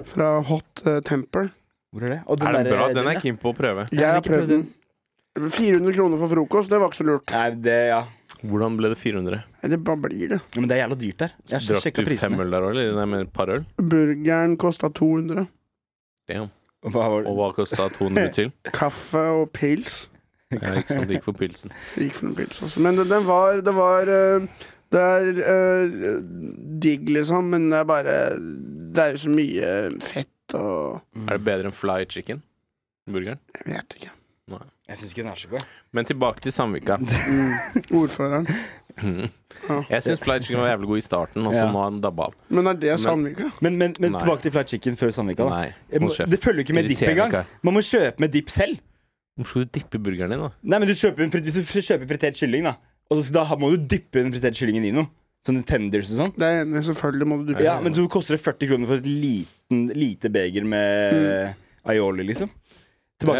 [SPEAKER 3] Fra Hot eh, Temper.
[SPEAKER 2] Hvor er det? Og
[SPEAKER 1] Er den
[SPEAKER 2] der-
[SPEAKER 1] bra? Den
[SPEAKER 3] eh,
[SPEAKER 1] er
[SPEAKER 2] ja.
[SPEAKER 1] jeg keen på å prøve.
[SPEAKER 3] Jeg har
[SPEAKER 2] ikke
[SPEAKER 3] prøvd
[SPEAKER 2] prøvd
[SPEAKER 3] den. 400 kroner for frokost, det var ikke så lurt.
[SPEAKER 2] Nei, det, ja.
[SPEAKER 1] Hvordan ble det 400?
[SPEAKER 3] Eller bare blir det.
[SPEAKER 2] Ja, Men det er jævla dyrt der. Jeg har
[SPEAKER 1] Drakk
[SPEAKER 2] sjekka
[SPEAKER 1] du fem
[SPEAKER 2] prisene.
[SPEAKER 1] øl der òg, eller? Nei, men et par øl?
[SPEAKER 3] Burgeren kosta 200.
[SPEAKER 1] Damn.
[SPEAKER 2] Hva var
[SPEAKER 1] Og hva kosta 200 til?
[SPEAKER 3] Kaffe og pils.
[SPEAKER 1] Ja, ikke sant, det gikk for pilsen.
[SPEAKER 3] Det gikk for en pils også. Men det, den var Det var eh, Det er eh, digg, liksom, men det er bare Det er jo så mye fett og
[SPEAKER 1] Er det bedre enn fly chicken? Burgeren?
[SPEAKER 3] Jeg vet ikke.
[SPEAKER 2] Jeg syns ikke den er så god.
[SPEAKER 1] Men tilbake til Sandvika.
[SPEAKER 3] Mm. Ordføreren.
[SPEAKER 1] Jeg syns fly chicken var jævlig god i starten, og så
[SPEAKER 2] Ja.
[SPEAKER 1] nå har den dabba av.
[SPEAKER 3] Men er det
[SPEAKER 1] Men-
[SPEAKER 3] Sandvika?
[SPEAKER 2] Men, men, men
[SPEAKER 1] Nei.
[SPEAKER 2] tilbake til fried chicken før Sandvika. Da.
[SPEAKER 1] Nei,
[SPEAKER 2] Jeg må-
[SPEAKER 1] hold kjeft.
[SPEAKER 2] Det følger jo ikke med dipp
[SPEAKER 1] Irriterende
[SPEAKER 2] engang.
[SPEAKER 1] kar.
[SPEAKER 2] Man må kjøpe med dipp selv.
[SPEAKER 1] Hvorfor skal du dippe burgeren din, da?
[SPEAKER 2] Nei, men du kjøper, en frit- Hvis du fri- kjøper fritert kylling, da Og så, da må du dyppe den fritert kyllingen i noe. Sånne tenders og sånn.
[SPEAKER 3] Det er jeg enig, i, selvfølgelig må du
[SPEAKER 2] Ja, Men så koster det 40 kroner for et liten, lite beger med aioli, liksom. Tilbake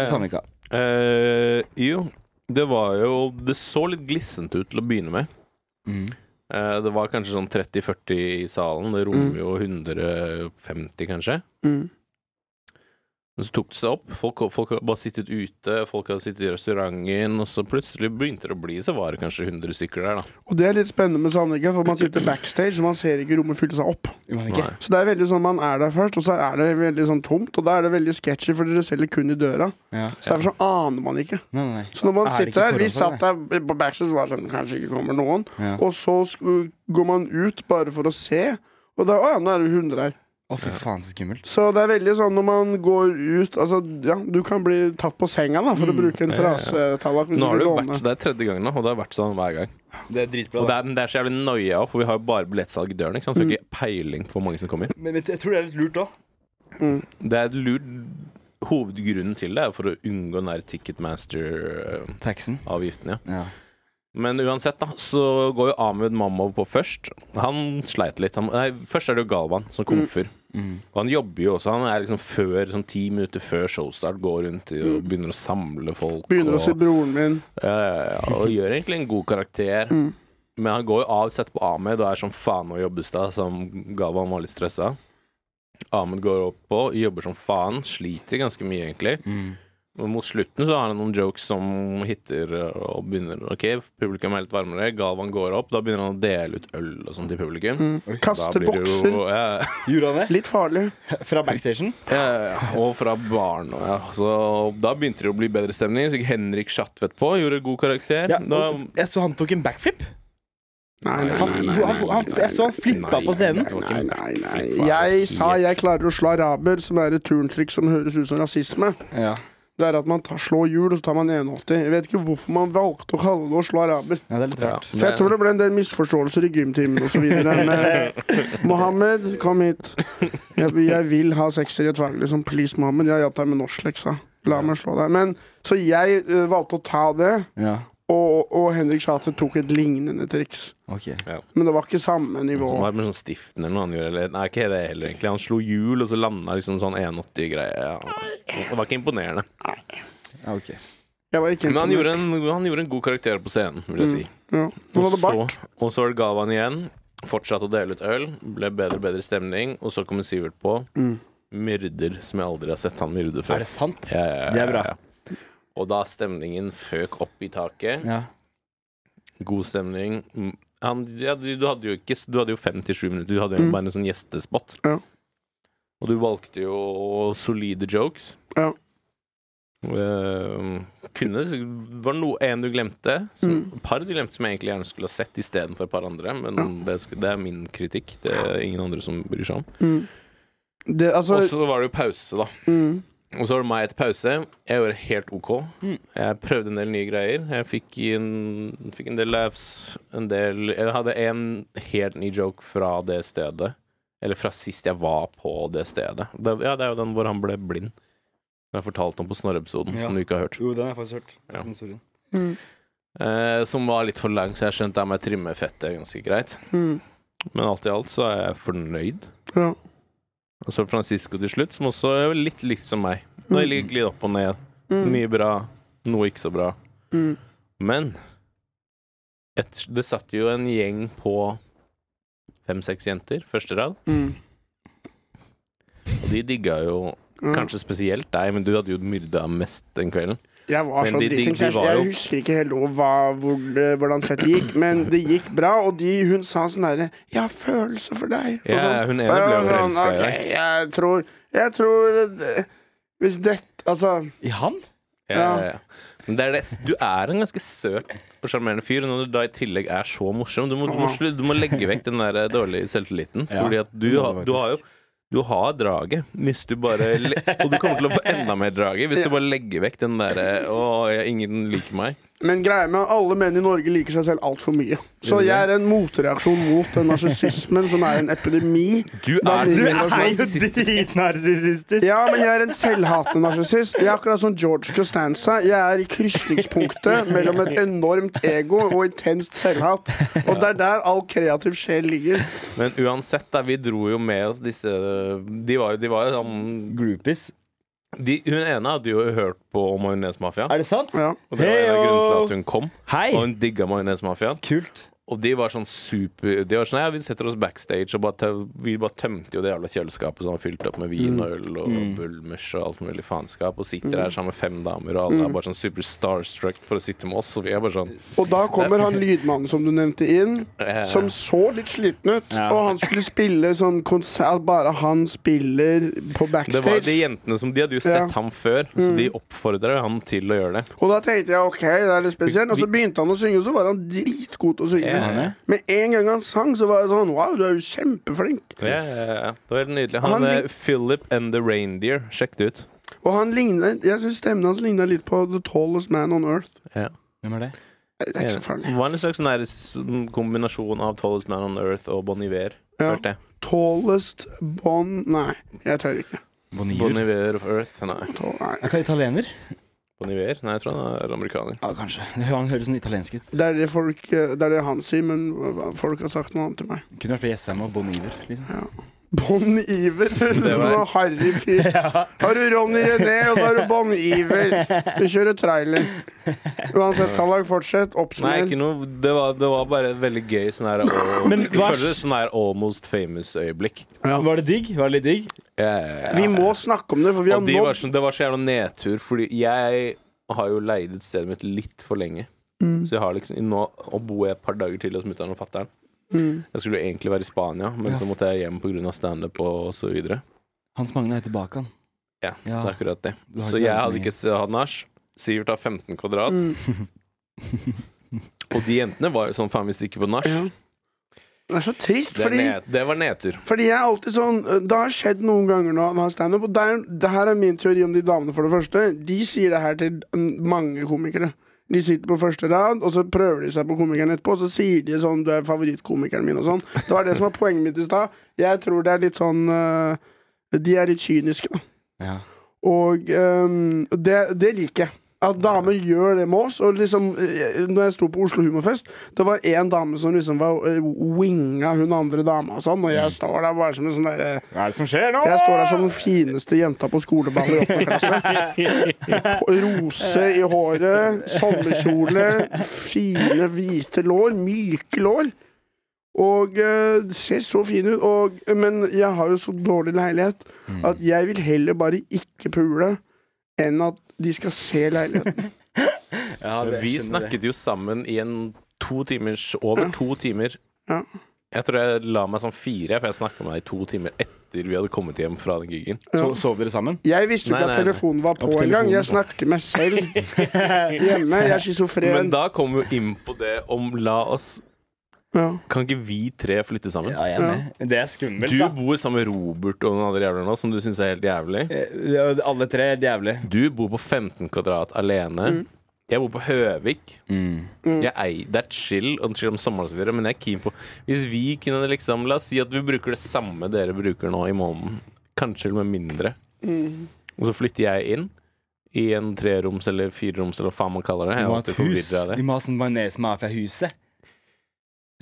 [SPEAKER 1] Ja, ja.
[SPEAKER 2] til Sandvika.
[SPEAKER 1] Eh, jo, det var jo Det så litt glissent ut til å begynne med.
[SPEAKER 2] Mm.
[SPEAKER 1] Eh, det var kanskje sånn 30-40 i salen. Det rommer
[SPEAKER 3] Mm.
[SPEAKER 1] jo 150, kanskje.
[SPEAKER 3] Mm.
[SPEAKER 1] Men så tok det seg opp. Folk, folk hadde bare sittet ute, folk hadde sittet i restauranten, og så plutselig begynte det å bli, så var det kanskje 100 stykker der, da.
[SPEAKER 3] Og det er litt spennende med Sandvika, for man sitter backstage, og man ser ikke rommet fylle seg opp.
[SPEAKER 2] Gjør man ikke?
[SPEAKER 1] Nei.
[SPEAKER 3] Så det er veldig sånn man er der først, og så er det veldig sånn tomt, og da er det veldig sketchy, for dere selger kun i døra.
[SPEAKER 2] Ja.
[SPEAKER 3] Så derfor så aner man ikke.
[SPEAKER 2] Nei, nei, nei.
[SPEAKER 3] Så når man
[SPEAKER 2] Er det ikke
[SPEAKER 3] sitter her Vi
[SPEAKER 2] forhåndssalg,
[SPEAKER 3] satt der på backstage og var sånn Kanskje ikke kommer noen.
[SPEAKER 2] Ja.
[SPEAKER 3] Og så sku- går man ut bare for å se. Og da, å ja, nå er det 100 her.
[SPEAKER 2] Å, fy faen, så skummelt.
[SPEAKER 3] Så det er veldig sånn når man går ut Altså, ja, du kan bli tatt på senga, da, for
[SPEAKER 1] Mm.
[SPEAKER 3] å bruke en frase, Tallak. hvis
[SPEAKER 1] Nå har
[SPEAKER 3] du
[SPEAKER 1] det jo
[SPEAKER 3] vil låne.
[SPEAKER 1] vært, det er tredje gangen nå, og det har vært sånn hver gang.
[SPEAKER 2] Det er dritbra.
[SPEAKER 1] Og det er, men det er så jævlig noia òg, for vi har jo bare billettsalg i døren, ikke sant? så det er
[SPEAKER 3] Mm.
[SPEAKER 1] ikke peiling på hvor mange som kommer.
[SPEAKER 2] Men jeg tror det er litt lurt òg.
[SPEAKER 1] Det er et lurt Hovedgrunnen til det er for å unngå den der Ticketmaster-avgiften,
[SPEAKER 2] Taxen.
[SPEAKER 1] ja.
[SPEAKER 2] Ja.
[SPEAKER 1] Men uansett, da, så går jo Ahmed Mamov på først. Han sleit litt. Han, nei, først er det jo Galvan som
[SPEAKER 3] Mm.
[SPEAKER 1] komfer. Og han jobber jo også. Han er liksom før, sånn ti minutter før showstart går rundt og begynner å samle folk.
[SPEAKER 3] Mm. Begynner å
[SPEAKER 1] og,
[SPEAKER 3] se broren min. Mm,
[SPEAKER 1] ja, ja, ja, og gjør egentlig en god karakter. Men han går jo av, setter på Ahmed og er sånn faen og jobbes da, som Galvan var litt stressa. Ahmed går opp på, jobber som faen, sliter ganske mye, egentlig.
[SPEAKER 2] Mm.
[SPEAKER 1] Men mot slutten så har han noen jokes som hitter og begynner Ok, publikum er litt varmere, Galvan går opp, da begynner han å dele ut øl og sånn til publikum.
[SPEAKER 3] Mm.
[SPEAKER 1] Da
[SPEAKER 3] Kaster
[SPEAKER 1] blir det
[SPEAKER 3] bokser.
[SPEAKER 1] jo ja,
[SPEAKER 2] Gjorde han det?
[SPEAKER 3] Litt farlig.
[SPEAKER 2] Fra backstation?
[SPEAKER 1] ja, ja, Og fra baren og ja. Så da begynte det å bli bedre stemning. Så gikk Henrik Schatvedt på, gjorde god karakter.
[SPEAKER 2] Ja,
[SPEAKER 1] da,
[SPEAKER 2] og jeg så han tok en backflip.
[SPEAKER 3] Nei, nei,
[SPEAKER 2] Han,
[SPEAKER 3] nei.
[SPEAKER 2] han,
[SPEAKER 3] nei,
[SPEAKER 2] han,
[SPEAKER 3] nei, nei,
[SPEAKER 2] jeg så han flippa
[SPEAKER 1] Nei,
[SPEAKER 2] på scenen.
[SPEAKER 1] det var ikke
[SPEAKER 3] Nei,
[SPEAKER 1] en
[SPEAKER 3] nei, nei.
[SPEAKER 1] backflip, hva er det?
[SPEAKER 3] Jeg sa jeg klarer å slå araber, som er et turntrikk som høres ut som rasisme.
[SPEAKER 2] Ja.
[SPEAKER 3] Det er at man tar, slår hjul, og så tar man 81. Jeg vet ikke hvorfor man valgte å kalle det å slå araber.
[SPEAKER 2] ja, det er litt
[SPEAKER 1] Ja,
[SPEAKER 2] rart.
[SPEAKER 3] For jeg tror det ble en del misforståelser i gymtimen osv. eh,
[SPEAKER 2] eh,
[SPEAKER 3] Mohammed, kom hit. Jeg, jeg vil ha sekser i et fag. Liksom. Please, Mohammed. Jeg har hjelpt deg med norskleksa. La meg slå deg. Men, så jeg eh, valgte å ta det,
[SPEAKER 2] Ja.
[SPEAKER 3] og, og Henrik Schathe tok et lignende triks.
[SPEAKER 2] Ok.
[SPEAKER 3] Men det var ikke samme nivå.
[SPEAKER 1] Han var med sånn stiften eller noe han gjorde. Eller, nei, ikke det heller, egentlig. Han slo hjul, og så landa liksom sånn 180-greie. Ja. Det var ikke imponerende.
[SPEAKER 2] Ja, ok.
[SPEAKER 3] Jeg var ikke
[SPEAKER 1] Men han
[SPEAKER 3] imponert.
[SPEAKER 1] gjorde, en, han gjorde en god karakter på scenen, vil
[SPEAKER 3] Mm.
[SPEAKER 1] jeg si.
[SPEAKER 3] ja. Hun
[SPEAKER 1] Og
[SPEAKER 3] hadde
[SPEAKER 1] så,
[SPEAKER 3] bart.
[SPEAKER 1] og så var det Gavan igjen. Fortsatte å dele ut øl. Ble bedre og bedre stemning. Og så kommer Sivert på. Myrder som jeg aldri har sett han myrde
[SPEAKER 2] Er
[SPEAKER 1] før.
[SPEAKER 2] det sant?
[SPEAKER 1] Ja, ja, ja,
[SPEAKER 2] Det er bra.
[SPEAKER 1] ja, ja. Og da stemningen føk opp i taket.
[SPEAKER 2] Ja.
[SPEAKER 1] God stemning. Mm. Han, ja, du, du hadde jo ikke Du hadde jo fem til sju minutter. Du hadde jo
[SPEAKER 3] Mm.
[SPEAKER 1] bare en sånn gjestespot.
[SPEAKER 3] Ja.
[SPEAKER 1] Og du valgte jo solide jokes.
[SPEAKER 3] Ja.
[SPEAKER 1] Eh, kunne Var det noe en du glemte? Som,
[SPEAKER 3] Mm.
[SPEAKER 1] Par du glemte som jeg egentlig gjerne skulle ha sett istedenfor et par andre. Men det, sku- det er min kritikk. Det er ingen andre som bryr seg om.
[SPEAKER 3] Mm. Det, altså
[SPEAKER 1] Og så var det jo pause, da.
[SPEAKER 3] mm.
[SPEAKER 1] Og så var det meg etter pause. Jeg gjorde helt OK.
[SPEAKER 2] Mm.
[SPEAKER 1] Jeg prøvde en del nye greier. Jeg fikk en, fikk en del laughs. En del Jeg hadde en helt ny joke fra det stedet. Eller fra sist jeg var på det stedet. Det, ja, det er jo den hvor han ble blind. Som jeg fortalte om på Snorre-episoden,
[SPEAKER 2] Ja.
[SPEAKER 1] som du ikke har hørt.
[SPEAKER 2] Jo, den har jeg faktisk hørt.
[SPEAKER 1] Ja.
[SPEAKER 2] Sånn, sorry.
[SPEAKER 3] Mm.
[SPEAKER 1] Eh, som var litt for lang, så jeg skjønte at jeg må trimme fettet ganske greit.
[SPEAKER 3] Mm.
[SPEAKER 1] Men alt i alt så er jeg fornøyd.
[SPEAKER 3] Ja.
[SPEAKER 1] Og så Francisco til slutt, som også er litt likt som meg. Det er litt litt opp og ned.
[SPEAKER 3] Mm.
[SPEAKER 1] Mye bra, noe ikke så bra.
[SPEAKER 3] Mm.
[SPEAKER 1] Men et, det satt jo en gjeng på fem-seks jenter første rad,
[SPEAKER 3] Mm.
[SPEAKER 1] og de digga jo
[SPEAKER 3] Ja.
[SPEAKER 1] Kanskje spesielt deg, men du hadde jo myrda mest den kvelden.
[SPEAKER 3] Jeg var
[SPEAKER 1] Men
[SPEAKER 3] så
[SPEAKER 1] de- de-
[SPEAKER 3] dritings.
[SPEAKER 1] de
[SPEAKER 3] Jeg,
[SPEAKER 1] var jo-
[SPEAKER 3] jeg husker ikke helt over hva, hvor, det- hvordan fett gikk, men det gikk bra. Og de, hun sa sånn derre 'Jeg har følelser for deg'. og
[SPEAKER 1] Ja,
[SPEAKER 3] sånn.
[SPEAKER 1] hun ene
[SPEAKER 3] Og jeg
[SPEAKER 1] ble jo
[SPEAKER 3] var sånn,
[SPEAKER 1] forelska i
[SPEAKER 3] «Ok,
[SPEAKER 1] deg.
[SPEAKER 3] Jeg tror Jeg tror det- Hvis dette Altså
[SPEAKER 2] I han?
[SPEAKER 1] Ja, ja, ja. Men det er det, du er en ganske søt og sjarmerende fyr, og når du da i tillegg er så morsom Du må, du må, slu- du må legge vekk den der eh, dårlige selvtilliten,
[SPEAKER 2] Ja,
[SPEAKER 1] fordi at du,
[SPEAKER 2] det må
[SPEAKER 1] har-
[SPEAKER 2] du
[SPEAKER 1] du har jo du har draget, hvis du bare le- Og du kommer til å få enda mer draget hvis du bare legger vekk den derre 'Å, jeg- ingen liker meg'.
[SPEAKER 3] Men greia med at alle menn i Norge liker seg selv altfor mye.
[SPEAKER 1] Gjør
[SPEAKER 3] Så
[SPEAKER 1] de
[SPEAKER 3] jeg er en motreaksjon mot den narsissismen som er en epidemi.
[SPEAKER 1] Du
[SPEAKER 3] Da
[SPEAKER 1] er,
[SPEAKER 3] blir
[SPEAKER 2] Du
[SPEAKER 1] du er
[SPEAKER 3] det
[SPEAKER 2] er jo
[SPEAKER 1] narsissist.
[SPEAKER 2] dritnarsissistisk!
[SPEAKER 3] Ja, men jeg er en selvhatende narsissist. Jeg er akkurat som George Costanza. Jeg er i krysningspunktet mellom et enormt ego og intenst selvhat. Og det er der all kreativ sjel ligger.
[SPEAKER 1] Men uansett, da, vi dro jo med oss disse De var jo, de var jo sånn
[SPEAKER 2] Groupies.
[SPEAKER 1] de, Hun ene hadde jo hørt på Majonesmafia.
[SPEAKER 2] Er det sant?
[SPEAKER 3] Ja.
[SPEAKER 1] Og det var en av
[SPEAKER 2] Heyo!
[SPEAKER 1] grunnene til at hun kom.
[SPEAKER 2] Hei!
[SPEAKER 1] Og hun digga Majonesmafiaen.
[SPEAKER 2] Kult.
[SPEAKER 1] Og de var sånn super De var sånn, ja, vi setter oss backstage og bare, tø- vi bare tømte jo det jævla kjøleskapet som var fylt opp med
[SPEAKER 2] Mm.
[SPEAKER 1] vin og øl og bulmers og alt mulig faenskap, og sitter her sammen med fem damer, og
[SPEAKER 2] Mm.
[SPEAKER 1] alle er bare sånn super starstruck for å sitte med oss, og vi er bare sånn
[SPEAKER 3] Og da kommer han lydmannen som du nevnte inn,
[SPEAKER 1] eh,
[SPEAKER 3] som så litt sliten ut.
[SPEAKER 2] Ja.
[SPEAKER 3] Og han skulle spille sånn konsert Bare han spiller på
[SPEAKER 1] Det var de
[SPEAKER 3] backstage.
[SPEAKER 1] jentene som De hadde jo
[SPEAKER 3] Ja.
[SPEAKER 1] sett ham før, så de
[SPEAKER 2] Mm.
[SPEAKER 1] oppfordra han til å gjøre det.
[SPEAKER 3] Og da tenkte jeg OK, det er litt spesielt. Og så begynte han å synge, og så var han dritgod til å
[SPEAKER 1] Ja.
[SPEAKER 3] synge.
[SPEAKER 2] Arne?
[SPEAKER 3] Med en gang han sang, så var jeg sånn Wow, du er jo kjempeflink.
[SPEAKER 1] Ja, ja, ja. Det var helt nydelig. Han,
[SPEAKER 3] Han
[SPEAKER 1] eh,
[SPEAKER 3] lik-
[SPEAKER 1] Philip and the Reindeer. Sjekk det ut.
[SPEAKER 3] Og han lignet, jeg synes stemmen hans lignet litt på The Tallest Man on Earth.
[SPEAKER 2] Hvem er det?
[SPEAKER 3] Det er ikke så farlig.
[SPEAKER 1] Det var en slags sånn her s- kombinasjon av Tallest Man on Earth og Bon Iver.
[SPEAKER 3] Ja.
[SPEAKER 1] Hørte jeg.
[SPEAKER 3] Tallest Bon... Nei, jeg tør ikke.
[SPEAKER 1] Bon Iver of Earth. Nei.
[SPEAKER 3] Tall- Nei.
[SPEAKER 2] Er det italiener?
[SPEAKER 1] Bon Iver? Nei, jeg tror han er amerikaner.
[SPEAKER 2] Ja, kanskje. Han høres sånn italiensk ut.
[SPEAKER 3] Det er det, folk, eh, det er det han sier, men hva- folk har sagt noe annet til meg.
[SPEAKER 2] Kunne vært fra Jessheim og Bon Iver. Liksom.
[SPEAKER 3] Bon Iver.
[SPEAKER 1] Det var-
[SPEAKER 3] Sånn harry fyr. Har du Ronny René, og så har du Bon Iver. Du kjører trailer. Uansett, Tallak, fortsett.
[SPEAKER 1] Nei,
[SPEAKER 3] Oppsummer.
[SPEAKER 1] ikke noe Det var, det var bare et veldig gøy sånn her og,
[SPEAKER 2] Men
[SPEAKER 1] Jeg
[SPEAKER 2] hva-
[SPEAKER 1] føler det sånn her almost famous-øyeblikk.
[SPEAKER 2] Var det digg? Var det litt digg?
[SPEAKER 3] Vi må snakke om det, for vi har
[SPEAKER 1] Og de var
[SPEAKER 3] nådd
[SPEAKER 1] sånn, det var så jævla nedtur, fordi jeg har jo leid ut stedet mitt litt for lenge.
[SPEAKER 3] Mm,
[SPEAKER 1] Så jeg har liksom Nå og bor jeg et par dager til hos mutter'n og fatter'n.
[SPEAKER 3] mm,
[SPEAKER 1] Jeg skulle jo egentlig være i Spania, men
[SPEAKER 2] Ja.
[SPEAKER 1] så måtte jeg hjem pga. standup og så videre.
[SPEAKER 2] Hans Magne er tilbake, han.
[SPEAKER 1] Ja,
[SPEAKER 2] Ja.
[SPEAKER 1] det er akkurat det.
[SPEAKER 2] Du har Mm.
[SPEAKER 1] Så
[SPEAKER 2] ikke
[SPEAKER 1] jeg
[SPEAKER 2] vært
[SPEAKER 1] hadde
[SPEAKER 2] med.
[SPEAKER 1] ikke et sted å ha nach. Sivert har 15 kvadrat.
[SPEAKER 3] mm,
[SPEAKER 1] og de jentene var jo sånn faen, vi stikker på nach.
[SPEAKER 3] Ja. Det er så trist,
[SPEAKER 1] Det, er
[SPEAKER 3] fordi
[SPEAKER 1] ned, det var nedtur.
[SPEAKER 3] Fordi jeg er alltid sånn Det har skjedd noen ganger nå, han har standup, og det er, det her er min teori om de damene, for det første. De sier det her til mm, mange komikere. De sitter på første rad, og så prøver de seg på komikeren etterpå, og så sier de sånn 'Du er favorittkomikeren min', og sånn. Det var det som var poenget mitt i stad. Jeg tror det er litt sånn øh, De er litt kyniske, da.
[SPEAKER 2] Ja.
[SPEAKER 3] Og øhm, ehm, det, det liker jeg. At damer gjør det med oss. Og liksom, eh, når jeg sto på Oslo Humorfest, det var én dame som liksom var eh, winga hun andre dama og sånn, og jeg står der bare som en sånn derre
[SPEAKER 2] Hva er det som skjer nå?
[SPEAKER 3] jeg står der som den fineste jenta på skoleballet i åttende klasse. Rose i håret, sommerkjole, fine hvite lår, myke lår. Og eh, ser så fin ut. Og, men jeg har jo så dårlig leilighet
[SPEAKER 1] Mm.
[SPEAKER 3] at jeg vil heller bare ikke pule enn at de skal se leiligheten.
[SPEAKER 2] Ja, det-
[SPEAKER 1] Vi
[SPEAKER 2] jeg skjønner det.
[SPEAKER 1] snakket jo sammen i en to timers Over to timer.
[SPEAKER 3] Ja.
[SPEAKER 1] Jeg tror jeg la meg sånn fire, for jeg snakka med deg i to timer etter vi hadde kommet hjem fra den gigen.
[SPEAKER 2] So, Sov dere sammen?
[SPEAKER 3] Jeg visste
[SPEAKER 1] Nei,
[SPEAKER 3] ikke
[SPEAKER 1] nei,
[SPEAKER 3] at
[SPEAKER 1] nei.
[SPEAKER 3] telefonen var på
[SPEAKER 2] Opp
[SPEAKER 3] engang.
[SPEAKER 2] telefonen
[SPEAKER 3] Jeg
[SPEAKER 2] på.
[SPEAKER 3] snakker til meg selv hjemme. Jeg er
[SPEAKER 1] Men
[SPEAKER 3] schizofren.
[SPEAKER 1] da kom vi jo inn på det om la oss
[SPEAKER 3] Ja.
[SPEAKER 1] Kan ikke vi tre flytte sammen?
[SPEAKER 2] jeg er med. Det er skummelt,
[SPEAKER 1] Du
[SPEAKER 2] da.
[SPEAKER 1] bor sammen med Robert og noen andre jævler nå, som du syns er helt jævlig.
[SPEAKER 2] Eh, Alle tre er helt jævlig.
[SPEAKER 1] Du bor på 15 kvadrat alene.
[SPEAKER 2] Mm.
[SPEAKER 1] Jeg bor på Høvik. Jeg eier, det er chill, og chill om sommeren, og så videre, men jeg er keen på Hvis vi kunne liksom La oss si at vi bruker det samme dere bruker nå i måneden. Kanskje til og med mindre.
[SPEAKER 2] Mm.
[SPEAKER 1] Og så flytter jeg inn i en treroms eller fireroms eller hva faen man kaller det.
[SPEAKER 2] Vi
[SPEAKER 1] Jeg er
[SPEAKER 2] må ha et
[SPEAKER 1] alltid
[SPEAKER 2] hus.
[SPEAKER 1] forvirret av
[SPEAKER 2] Vi
[SPEAKER 1] det.
[SPEAKER 2] må ha sånn Majones Mafia-huset.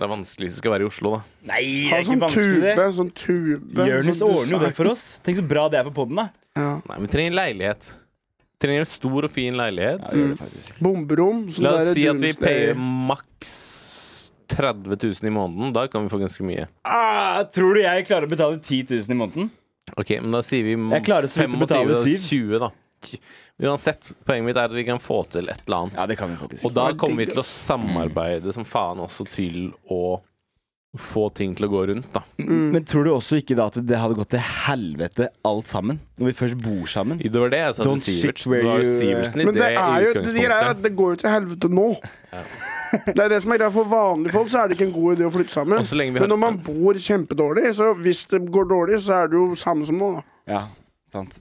[SPEAKER 1] det er vanskelig hvis det skal være i Oslo, da.
[SPEAKER 2] Nei, det
[SPEAKER 3] Ha
[SPEAKER 2] er ikke
[SPEAKER 3] sånn
[SPEAKER 2] vanskelig,
[SPEAKER 3] tube.
[SPEAKER 2] det.
[SPEAKER 3] Sånn tube
[SPEAKER 2] Jonis
[SPEAKER 3] sånn
[SPEAKER 2] ordner jo det for oss. Tenk så bra det er for podden, da.
[SPEAKER 3] Ja.
[SPEAKER 1] Nei, vi trenger leilighet. Vi trenger en stor og fin leilighet.
[SPEAKER 2] Ja, gjør det faktisk.
[SPEAKER 3] Bomberom. sånn
[SPEAKER 1] La oss
[SPEAKER 3] der
[SPEAKER 1] si at vi
[SPEAKER 3] dunstøy.
[SPEAKER 1] payer maks 30 000 i måneden. Da kan vi få ganske mye.
[SPEAKER 2] Ah, tror du jeg klarer å betale 10 000 i måneden?
[SPEAKER 1] Ok, men da sier vi
[SPEAKER 2] Jeg klarer så vidt å betale
[SPEAKER 1] 25,
[SPEAKER 2] syv.
[SPEAKER 1] 20, da. Uansett, poenget mitt er at vi kan få til et eller annet.
[SPEAKER 2] Ja, det kan vi faktisk.
[SPEAKER 1] og da kommer vi til å samarbeide som faen også til å få ting til å gå rundt, da.
[SPEAKER 2] Men tror du også ikke da at det hadde gått til helvete alt sammen? Når vi først bor sammen?
[SPEAKER 1] Det var det jeg sa
[SPEAKER 2] Don't
[SPEAKER 1] til
[SPEAKER 2] shit
[SPEAKER 1] Sivert.
[SPEAKER 2] where
[SPEAKER 1] Det var
[SPEAKER 2] you-
[SPEAKER 1] Sivertsen i
[SPEAKER 3] Men det, er jo, det, greia er at
[SPEAKER 1] utgangspunktet.
[SPEAKER 3] det går jo til helvete nå. Det er det som er greia For vanlige folk så er det ikke en god idé å flytte sammen.
[SPEAKER 1] Og så lenge vi har-
[SPEAKER 3] Men når man bor kjempedårlig, så hvis det går dårlig, så er det jo samme som nå. da.
[SPEAKER 2] Ja, sant.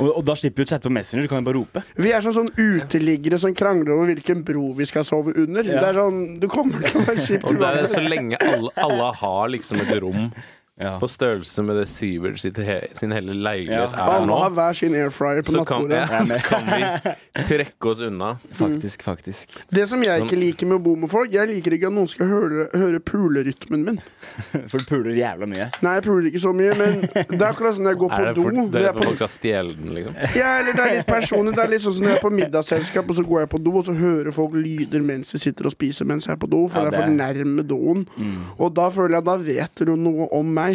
[SPEAKER 2] og, og da slipper vi å chatte på Messenger, du kan jo bare rope.
[SPEAKER 3] Vi er sånn, sånn uteliggere som krangler over hvilken bro vi skal sove under.
[SPEAKER 2] Ja.
[SPEAKER 3] Det er sånn, Du kommer til å være kjipt
[SPEAKER 1] Og det er
[SPEAKER 3] uansett.
[SPEAKER 1] så lenge alle, alle har liksom et rom
[SPEAKER 2] Ja.
[SPEAKER 1] på størrelse med det Sivert sitt he- sin hele leilighet
[SPEAKER 2] Ja.
[SPEAKER 1] er nå,
[SPEAKER 3] Alle har hver sin air fryer på
[SPEAKER 1] så kan,
[SPEAKER 3] nattbordet.
[SPEAKER 1] ja, så kan vi trekke oss unna.
[SPEAKER 2] Faktisk, faktisk.
[SPEAKER 3] Det som jeg ikke liker med å bo med folk, jeg liker ikke at noen skal høre, høre pulerytmen min.
[SPEAKER 2] For du puler jævla mye.
[SPEAKER 3] Nei, jeg puler ikke så mye, men det er akkurat sånn jeg går
[SPEAKER 1] Er
[SPEAKER 3] på
[SPEAKER 1] det
[SPEAKER 3] do.
[SPEAKER 1] for, det
[SPEAKER 3] Det
[SPEAKER 1] er
[SPEAKER 3] er på
[SPEAKER 1] for folk skal stjele den, liksom?
[SPEAKER 3] Ja, eller det er litt personlig. Det er litt sånn som når jeg er på middagsselskap, og så går jeg på do, og så hører folk lyder mens de sitter og spiser mens jeg er på do, for
[SPEAKER 2] Ja,
[SPEAKER 3] det er
[SPEAKER 2] det-
[SPEAKER 3] for nærme doen.
[SPEAKER 2] Mm.
[SPEAKER 3] Og da føler jeg da vet du noe om meg.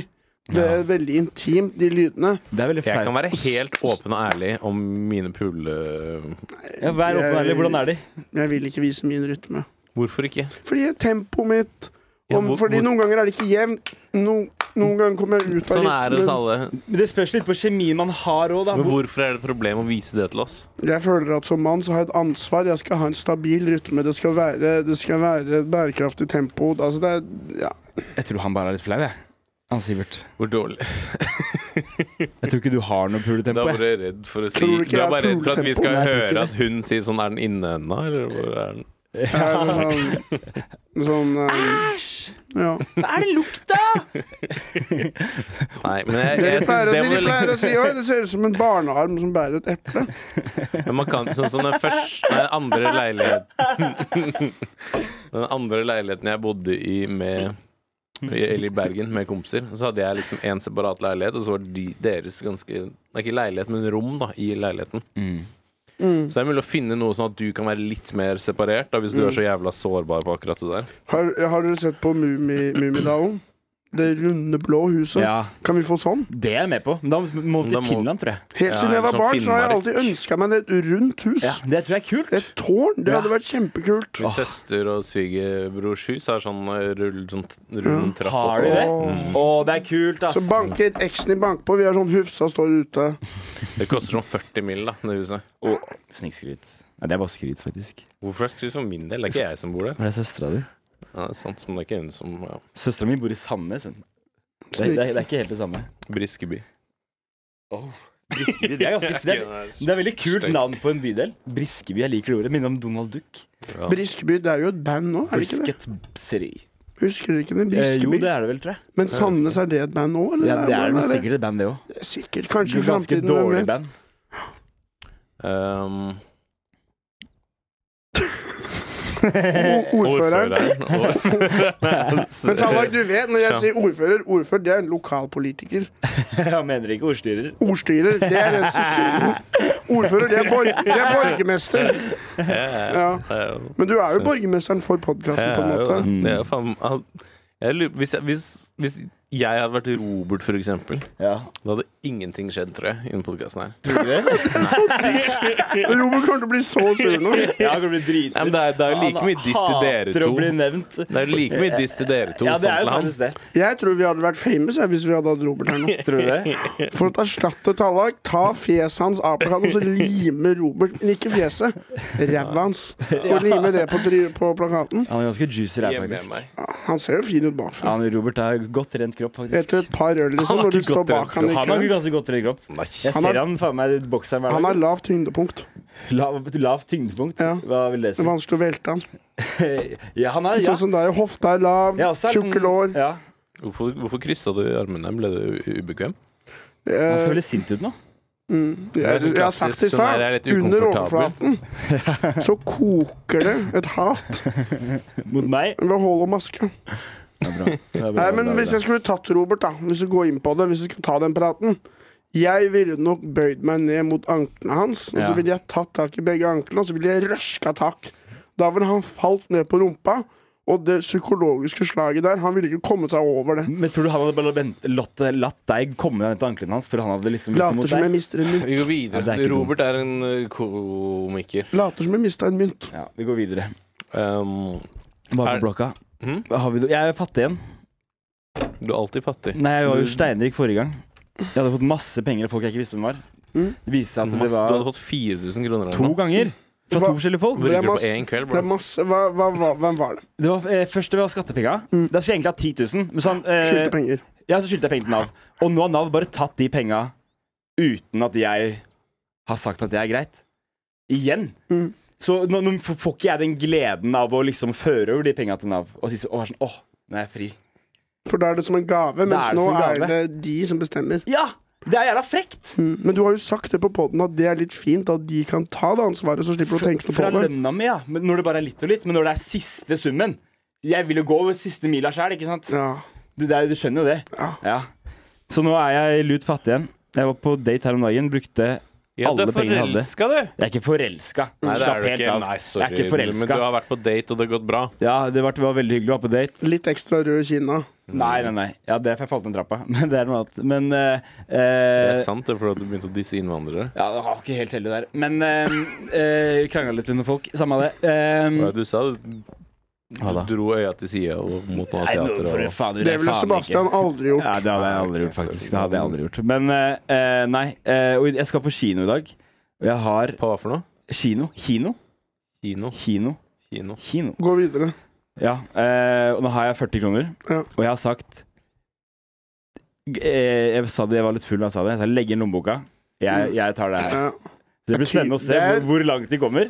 [SPEAKER 3] Det er veldig intimt, de lydene.
[SPEAKER 2] Det er veldig
[SPEAKER 1] Jeg kan
[SPEAKER 2] flaut.
[SPEAKER 1] være helt åpen og ærlig om mine pule...
[SPEAKER 2] Ja, vær åpen og ærlig. Hvordan er de?
[SPEAKER 3] Men jeg vil ikke vise min rytme.
[SPEAKER 1] Hvorfor ikke?
[SPEAKER 3] Fordi tempoet mitt
[SPEAKER 1] Ja,
[SPEAKER 3] om,
[SPEAKER 1] hvor-
[SPEAKER 3] Fordi
[SPEAKER 1] hvor-
[SPEAKER 3] noen ganger er det ikke jevnt. No, noen ganger kommer jeg ut av
[SPEAKER 1] Sånn er det hos
[SPEAKER 3] rytmen.
[SPEAKER 1] alle.
[SPEAKER 2] Men Det spørs litt på kjemien man har òg, da.
[SPEAKER 1] Men hvorfor er det et problem å vise det til oss?
[SPEAKER 3] Jeg føler at som mann så har jeg et ansvar. Jeg skal ha en stabil rytme. Det skal være, det skal være et bærekraftig tempo. Altså det er ja.
[SPEAKER 2] Jeg tror han bare er litt flau, jeg. Han Sivert.
[SPEAKER 1] Hvor dårlig?
[SPEAKER 2] Jeg tror ikke du har noe
[SPEAKER 1] Du er
[SPEAKER 2] puletempo. jeg.
[SPEAKER 1] bare redd for å si
[SPEAKER 3] Tror du ikke
[SPEAKER 1] Du
[SPEAKER 3] jeg
[SPEAKER 1] er
[SPEAKER 3] er
[SPEAKER 1] bare redd for at vi
[SPEAKER 3] puletempo?
[SPEAKER 1] skal
[SPEAKER 2] Nei, jeg tror ikke
[SPEAKER 1] høre at hun sier sånn Er den inne ennå, eller hvor er den?
[SPEAKER 3] Ja, eller sånn, sånn Æsj! Ja.
[SPEAKER 2] Hva er det lukta?!
[SPEAKER 1] Nei, men jeg,
[SPEAKER 3] Dere
[SPEAKER 1] jeg
[SPEAKER 3] pleier
[SPEAKER 1] syns det
[SPEAKER 3] å si,
[SPEAKER 1] må du
[SPEAKER 3] de pleier å
[SPEAKER 1] liksom
[SPEAKER 3] si Oi, det ser ut som en barnearm som bærer et eple.
[SPEAKER 1] Men man kan sånn som den første Nei, den andre leiligheten Den andre leiligheten jeg bodde i med eller i Bergen med kompiser. Så hadde jeg liksom en separat leilighet, og så var de, deres ganske Det er ikke leilighet, men rom da i leiligheten.
[SPEAKER 2] Mm.
[SPEAKER 1] Så det er mulig å finne noe sånn at du kan være litt mer separert, da, hvis du er så jævla sårbar på akkurat det der.
[SPEAKER 3] Har, har dere sett på Mummi- Mummidalen? Det runde, blå huset.
[SPEAKER 2] Ja,
[SPEAKER 3] Kan vi få sånn?
[SPEAKER 2] det er jeg med på. Men da må vi
[SPEAKER 1] Da
[SPEAKER 2] til
[SPEAKER 1] må-
[SPEAKER 2] Finland, tror jeg.
[SPEAKER 3] Helt
[SPEAKER 1] Ja,
[SPEAKER 3] siden jeg
[SPEAKER 1] eller
[SPEAKER 3] var
[SPEAKER 1] sånn
[SPEAKER 3] barn, så har jeg
[SPEAKER 1] Finnmark.
[SPEAKER 3] alltid ønska meg et rundt hus.
[SPEAKER 2] Ja, det tror jeg er kult.
[SPEAKER 3] Et tårn. Det
[SPEAKER 2] Ja.
[SPEAKER 3] hadde vært kjempekult.
[SPEAKER 1] Min søster og svigerbrors hus har sånn eh, rull, sånn t- rund trapp
[SPEAKER 2] Har
[SPEAKER 1] opp.
[SPEAKER 2] du det?
[SPEAKER 3] Mm.
[SPEAKER 2] Å, det er kult, ass.
[SPEAKER 3] Så banket eksen i bank på. Vi har sånn Hufsa står ute.
[SPEAKER 1] Det koster sånn 40 mill., da, det huset.
[SPEAKER 2] Å, Snikskryt. Nei, det er bare skryt, faktisk.
[SPEAKER 1] Hvorfor er det skryt for min del? Det er ikke jeg som bor der.
[SPEAKER 2] Men det er søstera di.
[SPEAKER 1] Ja, det er sant, men det er ikke hun som ja.
[SPEAKER 2] Søstera mi bor i Sandnes. hun. Det, det, det er ikke helt det samme.
[SPEAKER 1] Briskeby.
[SPEAKER 2] Briskeby, det er ganske det er, det er veldig kult navn på en bydel. Briskeby, jeg liker det ordet. Minner om Donald Duck.
[SPEAKER 1] Ja.
[SPEAKER 3] Briskeby, det er jo et band nå, er det ikke det?
[SPEAKER 2] Brisket City.
[SPEAKER 3] Husker dere ikke det?
[SPEAKER 2] Eh, jo,
[SPEAKER 3] Briskeby.
[SPEAKER 2] det er det vel, tror jeg.
[SPEAKER 3] Men Sandnes, er det et band nå, eller?
[SPEAKER 2] Ja, det er
[SPEAKER 3] hvordan
[SPEAKER 2] det sikkert et band, det òg.
[SPEAKER 3] Sikkert. Kanskje i
[SPEAKER 2] Ganske
[SPEAKER 3] framtiden. hvem
[SPEAKER 2] dårlig
[SPEAKER 3] vet?
[SPEAKER 2] band.
[SPEAKER 1] Um,
[SPEAKER 3] O- Ordføreren. Men Tallak,
[SPEAKER 1] Ordføreren.
[SPEAKER 3] du vet, når jeg sier ordfører, ordfører det er en lokalpolitiker.
[SPEAKER 2] Jeg mener ikke ordstyrer.
[SPEAKER 3] Ordstyrer, det er den som styrer. Ordfører, det er, borg, det er borgermester. Ja. Men du er jo borgermesteren for podkasten, på en måte.
[SPEAKER 1] Jeg er jo faen han- jeg lurer- Hvis jeg- hvis- hvis jeg hadde vært Robert, for eksempel,
[SPEAKER 2] Ja.
[SPEAKER 1] da hadde ingenting skjedd, tror jeg, innen podkasten her.
[SPEAKER 2] Tror du det?
[SPEAKER 3] Robert kommer til å bli så sur nå.
[SPEAKER 2] Ja, han kan bli dritsur.
[SPEAKER 1] Ja, men det er- det er jo
[SPEAKER 2] Han
[SPEAKER 1] like mye diss til dere
[SPEAKER 2] hater å
[SPEAKER 1] to.
[SPEAKER 2] bli nevnt.
[SPEAKER 1] Det er jo like mye diss til dere to
[SPEAKER 2] Ja, det
[SPEAKER 1] som
[SPEAKER 2] er
[SPEAKER 1] til
[SPEAKER 2] jo
[SPEAKER 1] han.
[SPEAKER 2] faktisk det.
[SPEAKER 3] Jeg tror vi hadde vært famous jeg, hvis vi hadde hatt Robert her nå.
[SPEAKER 2] Tror du det?
[SPEAKER 3] For å erstatte Tallak, ta fjeset hans, apekann, og så lime Robert Men ikke fjeset, ræva hans. Og lime det på, tri- på plakaten.
[SPEAKER 2] Han er ganske juicy her,
[SPEAKER 1] Hjemme med
[SPEAKER 2] faktisk.
[SPEAKER 1] meg.
[SPEAKER 3] Han ser jo fin ut
[SPEAKER 2] Ja,
[SPEAKER 3] bakfra.
[SPEAKER 2] men Robert har godt trent kropp, faktisk.
[SPEAKER 3] Etter et par øl,
[SPEAKER 1] Han
[SPEAKER 3] liksom,
[SPEAKER 1] har
[SPEAKER 3] når du
[SPEAKER 1] ikke
[SPEAKER 3] står
[SPEAKER 1] gått
[SPEAKER 3] bak
[SPEAKER 1] rundt,
[SPEAKER 3] han i
[SPEAKER 2] Han har
[SPEAKER 3] køen.
[SPEAKER 2] ganske godt trent kropp. Jeg
[SPEAKER 1] Nei.
[SPEAKER 3] Han har-
[SPEAKER 2] ser han faen meg i bokseren hver
[SPEAKER 3] Han har
[SPEAKER 2] dag.
[SPEAKER 3] lavt tyngdepunkt.
[SPEAKER 2] Lav, lav tyngdepunkt.
[SPEAKER 3] Ja.
[SPEAKER 2] Hva vil det
[SPEAKER 3] Det
[SPEAKER 2] si?
[SPEAKER 3] er vanskelig å velte han.
[SPEAKER 2] Ja, han er ja.
[SPEAKER 3] Sånn som deg, hofta er lav,
[SPEAKER 2] Jeg også er litt
[SPEAKER 3] tjukke
[SPEAKER 2] sånn-
[SPEAKER 3] lår.
[SPEAKER 2] Ja.
[SPEAKER 1] Hvorfor, hvorfor kryssa du armene? Ble du u- ubekvem?
[SPEAKER 2] Han ser
[SPEAKER 3] Eh,
[SPEAKER 2] veldig sint ut nå.
[SPEAKER 3] mm, jeg,
[SPEAKER 1] Det er
[SPEAKER 3] jeg,
[SPEAKER 1] sånn
[SPEAKER 3] har sagt det i
[SPEAKER 1] klassisk sånn her, er litt
[SPEAKER 3] stad. Under overflaten
[SPEAKER 1] ukomfortabel.
[SPEAKER 3] så koker det et hat.
[SPEAKER 2] Mot meg.
[SPEAKER 3] Behold og maske.
[SPEAKER 2] Det er bra,
[SPEAKER 3] Nei,
[SPEAKER 2] det er
[SPEAKER 3] men
[SPEAKER 2] bra.
[SPEAKER 3] Hvis jeg skulle tatt Robert, da hvis vi går inn på det, hvis vi skal ta den praten Jeg ville nok bøyd meg ned mot anklene hans, og så
[SPEAKER 2] Ja.
[SPEAKER 3] ville jeg tatt tak i begge anklene og så ville jeg røska tak. Da ville han falt ned på rumpa, og det psykologiske slaget der Han ville ikke kommet seg over det.
[SPEAKER 2] Men tror du han hadde bare vent- latt, latt deg komme ned til ankelen hans før han hadde liksom gjort
[SPEAKER 3] Later
[SPEAKER 2] mot
[SPEAKER 3] som jeg
[SPEAKER 2] deg?
[SPEAKER 3] mister en mynt.
[SPEAKER 1] Vi går
[SPEAKER 2] Ja, det er
[SPEAKER 1] videre.
[SPEAKER 2] ikke
[SPEAKER 1] Robert er en ø, komiker.
[SPEAKER 3] Later som jeg mista en mynt.
[SPEAKER 2] Ja, vi går videre.
[SPEAKER 1] Um,
[SPEAKER 2] Hva
[SPEAKER 1] Er-
[SPEAKER 2] er på blokka?
[SPEAKER 1] hm?
[SPEAKER 2] Hva Har vi, jeg er fattig igjen.
[SPEAKER 1] Du er alltid fattig.
[SPEAKER 2] Nei, jeg var jo steinrik forrige gang. Jeg hadde fått masse penger av folk jeg ikke visste hvem var.
[SPEAKER 3] Mm.
[SPEAKER 2] Det viste seg at
[SPEAKER 1] Masse,
[SPEAKER 2] det
[SPEAKER 1] du hadde
[SPEAKER 2] var
[SPEAKER 1] fått 4000 kroner eller
[SPEAKER 2] to
[SPEAKER 1] noe.
[SPEAKER 2] ganger fra to
[SPEAKER 3] Hva-
[SPEAKER 2] forskjellige folk.
[SPEAKER 1] Hvorfor
[SPEAKER 3] Det
[SPEAKER 1] ligger
[SPEAKER 3] er
[SPEAKER 1] du på
[SPEAKER 3] masse-
[SPEAKER 1] én kveld?
[SPEAKER 3] Det
[SPEAKER 1] Bare?
[SPEAKER 3] er masse hva, hva, hva, Hvem var det?
[SPEAKER 2] Det var, eh, først det var skattepenger.
[SPEAKER 3] Mm.
[SPEAKER 2] Da skulle jeg egentlig ha 10 000, men så, han,
[SPEAKER 3] Skyldte
[SPEAKER 2] eh,
[SPEAKER 3] penger.
[SPEAKER 2] ja, så skyldte jeg penger til Nav. Og nå har Nav bare tatt de penga uten at jeg har sagt at det er greit. Igjen.
[SPEAKER 3] Mm.
[SPEAKER 2] Så nå, nå f- får ikke jeg den gleden av å liksom føre over de penga til Nav og si så, å, være sånn, åh, nå er jeg fri.
[SPEAKER 3] For da er det som en gave,
[SPEAKER 2] Da
[SPEAKER 3] mens
[SPEAKER 2] er det
[SPEAKER 3] nå
[SPEAKER 2] som en
[SPEAKER 3] er
[SPEAKER 2] gave.
[SPEAKER 3] det de som bestemmer.
[SPEAKER 2] Ja! Det er jævla frekt!
[SPEAKER 3] Mm. Men du har jo sagt det på poden at det er litt fint at de kan ta det ansvaret, så slipper du å tenke noe
[SPEAKER 2] Fra
[SPEAKER 3] på det.
[SPEAKER 2] lønna mi, ja. Men når det bare er litt og litt. Men når det er siste summen Jeg vil jo gå siste mila sjæl, ikke sant?
[SPEAKER 3] Ja.
[SPEAKER 2] Du, det er, du skjønner jo det.
[SPEAKER 3] Ja.
[SPEAKER 2] Så nå er jeg lut fattig igjen. Jeg var på date her om dagen, brukte
[SPEAKER 1] Ja, du
[SPEAKER 2] alle
[SPEAKER 1] er
[SPEAKER 2] pengene jeg hadde.
[SPEAKER 1] forelska, du!
[SPEAKER 2] Jeg er ikke forelska.
[SPEAKER 1] Nei, det er
[SPEAKER 2] Slapp
[SPEAKER 1] du
[SPEAKER 2] helt
[SPEAKER 1] ikke.
[SPEAKER 2] av.
[SPEAKER 1] Nei,
[SPEAKER 2] jeg
[SPEAKER 1] sorry.
[SPEAKER 2] er ikke
[SPEAKER 1] Men du
[SPEAKER 2] forelska.
[SPEAKER 1] har vært på date, og det har gått bra.
[SPEAKER 2] Ja, det var, det var veldig hyggelig å være på date.
[SPEAKER 3] Litt ekstra rød i kinna.
[SPEAKER 1] Mm.
[SPEAKER 2] Nei, nei, nei. Ja, det er for jeg falt ned trappa. Men det er noe annet. Men eh,
[SPEAKER 1] Det
[SPEAKER 2] eh,
[SPEAKER 1] er sant, det er fordi at du begynte å disse innvandrere.
[SPEAKER 2] Ja, det var ikke helt heldig der. Men uh, uh, krangla litt med noen folk. Samme av det. Eh,
[SPEAKER 1] Hva er det du sa? Du
[SPEAKER 2] Hva da?
[SPEAKER 1] dro øya til sida og mot noen
[SPEAKER 2] nei, nå
[SPEAKER 1] asiater.
[SPEAKER 2] får du
[SPEAKER 1] Og...
[SPEAKER 2] faen
[SPEAKER 3] Det
[SPEAKER 2] gjøre
[SPEAKER 3] ville
[SPEAKER 2] faen ikke.
[SPEAKER 3] Sebastian aldri gjort.
[SPEAKER 2] Ja, det hadde jeg aldri gjort, faktisk. Det hadde jeg aldri gjort. Men eh, eh, nei. eh, og jeg skal på kino i dag. Og jeg har
[SPEAKER 1] På hva for noe?
[SPEAKER 2] kino. Kino.
[SPEAKER 1] Kino.
[SPEAKER 2] Kino.
[SPEAKER 1] Kino.
[SPEAKER 2] Kino.
[SPEAKER 3] Gå videre.
[SPEAKER 2] Ja. eh, og nå har jeg 40 kroner,
[SPEAKER 3] Ja.
[SPEAKER 2] og jeg har sagt eh, Jeg sa det, jeg var litt full da jeg sa det. Jeg sa legg inn lommeboka. Jeg, jeg tar det her.
[SPEAKER 3] Ja.
[SPEAKER 2] Det blir spennende å se hvor, hvor langt de kommer.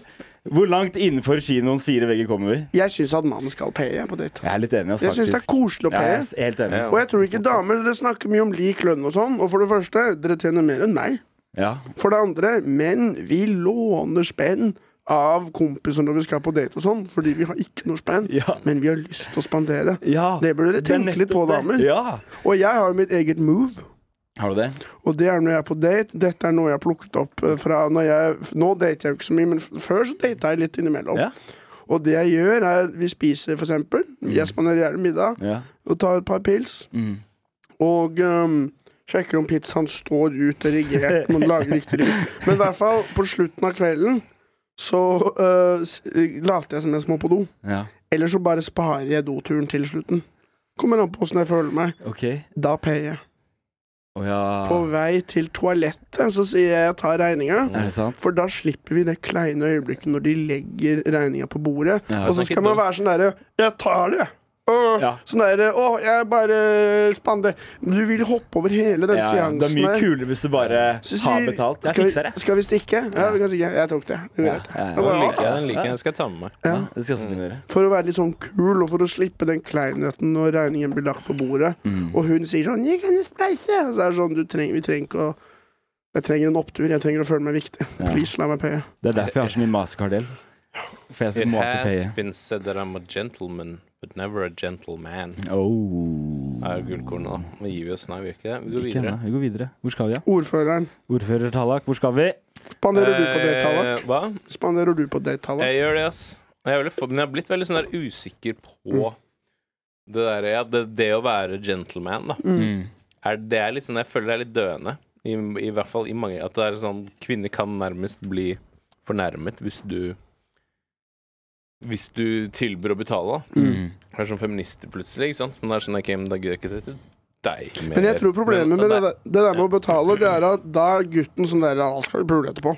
[SPEAKER 2] Hvor langt innenfor kinoens fire vegger kommer vi.
[SPEAKER 3] Jeg syns at mannen skal paye på date.
[SPEAKER 2] Jeg er litt enig, ass,
[SPEAKER 3] Jeg syns det er
[SPEAKER 2] faktisk.
[SPEAKER 3] koselig å
[SPEAKER 2] Ja, jeg
[SPEAKER 3] paye.
[SPEAKER 2] er helt enig.
[SPEAKER 1] Ja.
[SPEAKER 3] Og jeg tror ikke damer Dere snakker mye om lik lønn og sånn. Og for det første, dere tjener mer enn meg.
[SPEAKER 2] Ja.
[SPEAKER 3] For det andre, menn, vi låner spenn av kompiser når vi skal på date og sånn, fordi vi har ikke noe spenn.
[SPEAKER 2] Ja.
[SPEAKER 3] Men vi har lyst til å spandere.
[SPEAKER 2] ja.
[SPEAKER 3] Det burde dere
[SPEAKER 2] er
[SPEAKER 3] tenke litt på,
[SPEAKER 2] nettopp
[SPEAKER 3] damer.
[SPEAKER 2] det. Ja.
[SPEAKER 3] Og jeg har jo mitt eget move.
[SPEAKER 2] Har du det?
[SPEAKER 3] Og det er når jeg er på date. Dette er noe jeg har plukket opp eh, fra når jeg Nå dater jeg jo ikke så mye, men f- før så data jeg litt innimellom.
[SPEAKER 2] Ja.
[SPEAKER 3] Og det jeg gjør, er vi spiser, for eksempel. Jeg spanderer gjerne middag
[SPEAKER 2] Ja.
[SPEAKER 3] og tar et par pils.
[SPEAKER 2] Mm.
[SPEAKER 3] Og ehm, sjekker om pizzaen står ut erigert, man lager riktig rygg. Men i hvert fall, på slutten av kvelden så eh, s- later jeg som jeg må på do.
[SPEAKER 2] ja.
[SPEAKER 3] Eller så bare sparer jeg doturen til slutten. Kommer an på åssen jeg føler meg.
[SPEAKER 2] OK.
[SPEAKER 3] Da payer jeg.
[SPEAKER 2] Å ja.
[SPEAKER 3] På vei til toalettet så sier jeg jeg tar regninga.
[SPEAKER 2] Er det sant?
[SPEAKER 3] For da slipper vi det kleine øyeblikket når de legger regninga på bordet.
[SPEAKER 2] Ja.
[SPEAKER 3] og så skal man være sånn derre Jeg tar det! Øh,
[SPEAKER 2] Ja.
[SPEAKER 3] Sånn derre Å, jeg bare spander Du vil hoppe over hele den
[SPEAKER 2] Ja, ja.
[SPEAKER 3] seansen
[SPEAKER 2] Det er mye
[SPEAKER 3] der.
[SPEAKER 2] kulere hvis du bare
[SPEAKER 3] Så
[SPEAKER 2] har
[SPEAKER 3] sier-
[SPEAKER 2] betalt. Jeg
[SPEAKER 3] skal, vi-
[SPEAKER 2] fikser det.
[SPEAKER 3] Skal vi stikke? Ja, vi kan stikke. Jeg tok det. det er
[SPEAKER 2] Ja,
[SPEAKER 3] greit.
[SPEAKER 2] ja,
[SPEAKER 3] Det var
[SPEAKER 1] Den
[SPEAKER 3] alt.
[SPEAKER 1] liker jeg. Den liker jeg. Den skal jeg ta med meg.
[SPEAKER 2] ja. Det skal jeg også begynne å gjøre.
[SPEAKER 3] For å være litt sånn kul, og for å slippe den kleinheten når regningen blir lagt på bordet. Og hun sier sånn 'Jeg kan jo spleise'. Og så er det sånn du trenger, Vi trenger ikke å Jeg trenger en opptur. Jeg trenger å føle meg viktig.
[SPEAKER 2] Ja.
[SPEAKER 3] Please, la meg paye.
[SPEAKER 2] Det er derfor jeg har så mye masekardel. For jeg
[SPEAKER 1] It
[SPEAKER 2] må alltid
[SPEAKER 1] has
[SPEAKER 2] paye.
[SPEAKER 1] been said that I'm a gentleman, but never a gentleman.
[SPEAKER 2] Oh.
[SPEAKER 1] Det er jo gullkornet, da. Nå gir vi oss. Nei, vi gjør Mm. ikke det. Vi går
[SPEAKER 2] Ikke ennå.
[SPEAKER 1] videre.
[SPEAKER 2] Vi går videre. Hvor skal vi, da?
[SPEAKER 3] Ordføreren.
[SPEAKER 2] Ordfører Tallak, hvor skal vi?
[SPEAKER 3] Spanderer du på det
[SPEAKER 1] Eh,
[SPEAKER 3] tallet?
[SPEAKER 1] Hva?
[SPEAKER 3] Spanderer du på det tallet?
[SPEAKER 1] Jeg gjør det, ass. Jeg er veldig for, men jeg har blitt veldig sånn der usikker på
[SPEAKER 3] Mm.
[SPEAKER 1] det der ja, det, det å være gentleman, da.
[SPEAKER 2] Mm.
[SPEAKER 1] Er, det er litt sånn Jeg føler det er litt døende. I, I hvert fall i mange At det er sånn kvinner kan nærmest bli fornærmet hvis du Hvis du tilbyr å betale, da.
[SPEAKER 2] Mm.
[SPEAKER 1] Det er sånn feminister plutselig, ikke sant? Men det er sånn ok, men da gidder jeg ikke det til deg mer.
[SPEAKER 3] Men jeg tror problemet
[SPEAKER 1] Men-
[SPEAKER 3] med det
[SPEAKER 1] Nei.
[SPEAKER 3] der, det der med å betale, det er at da er gutten sånn der Han skal jo pule etterpå.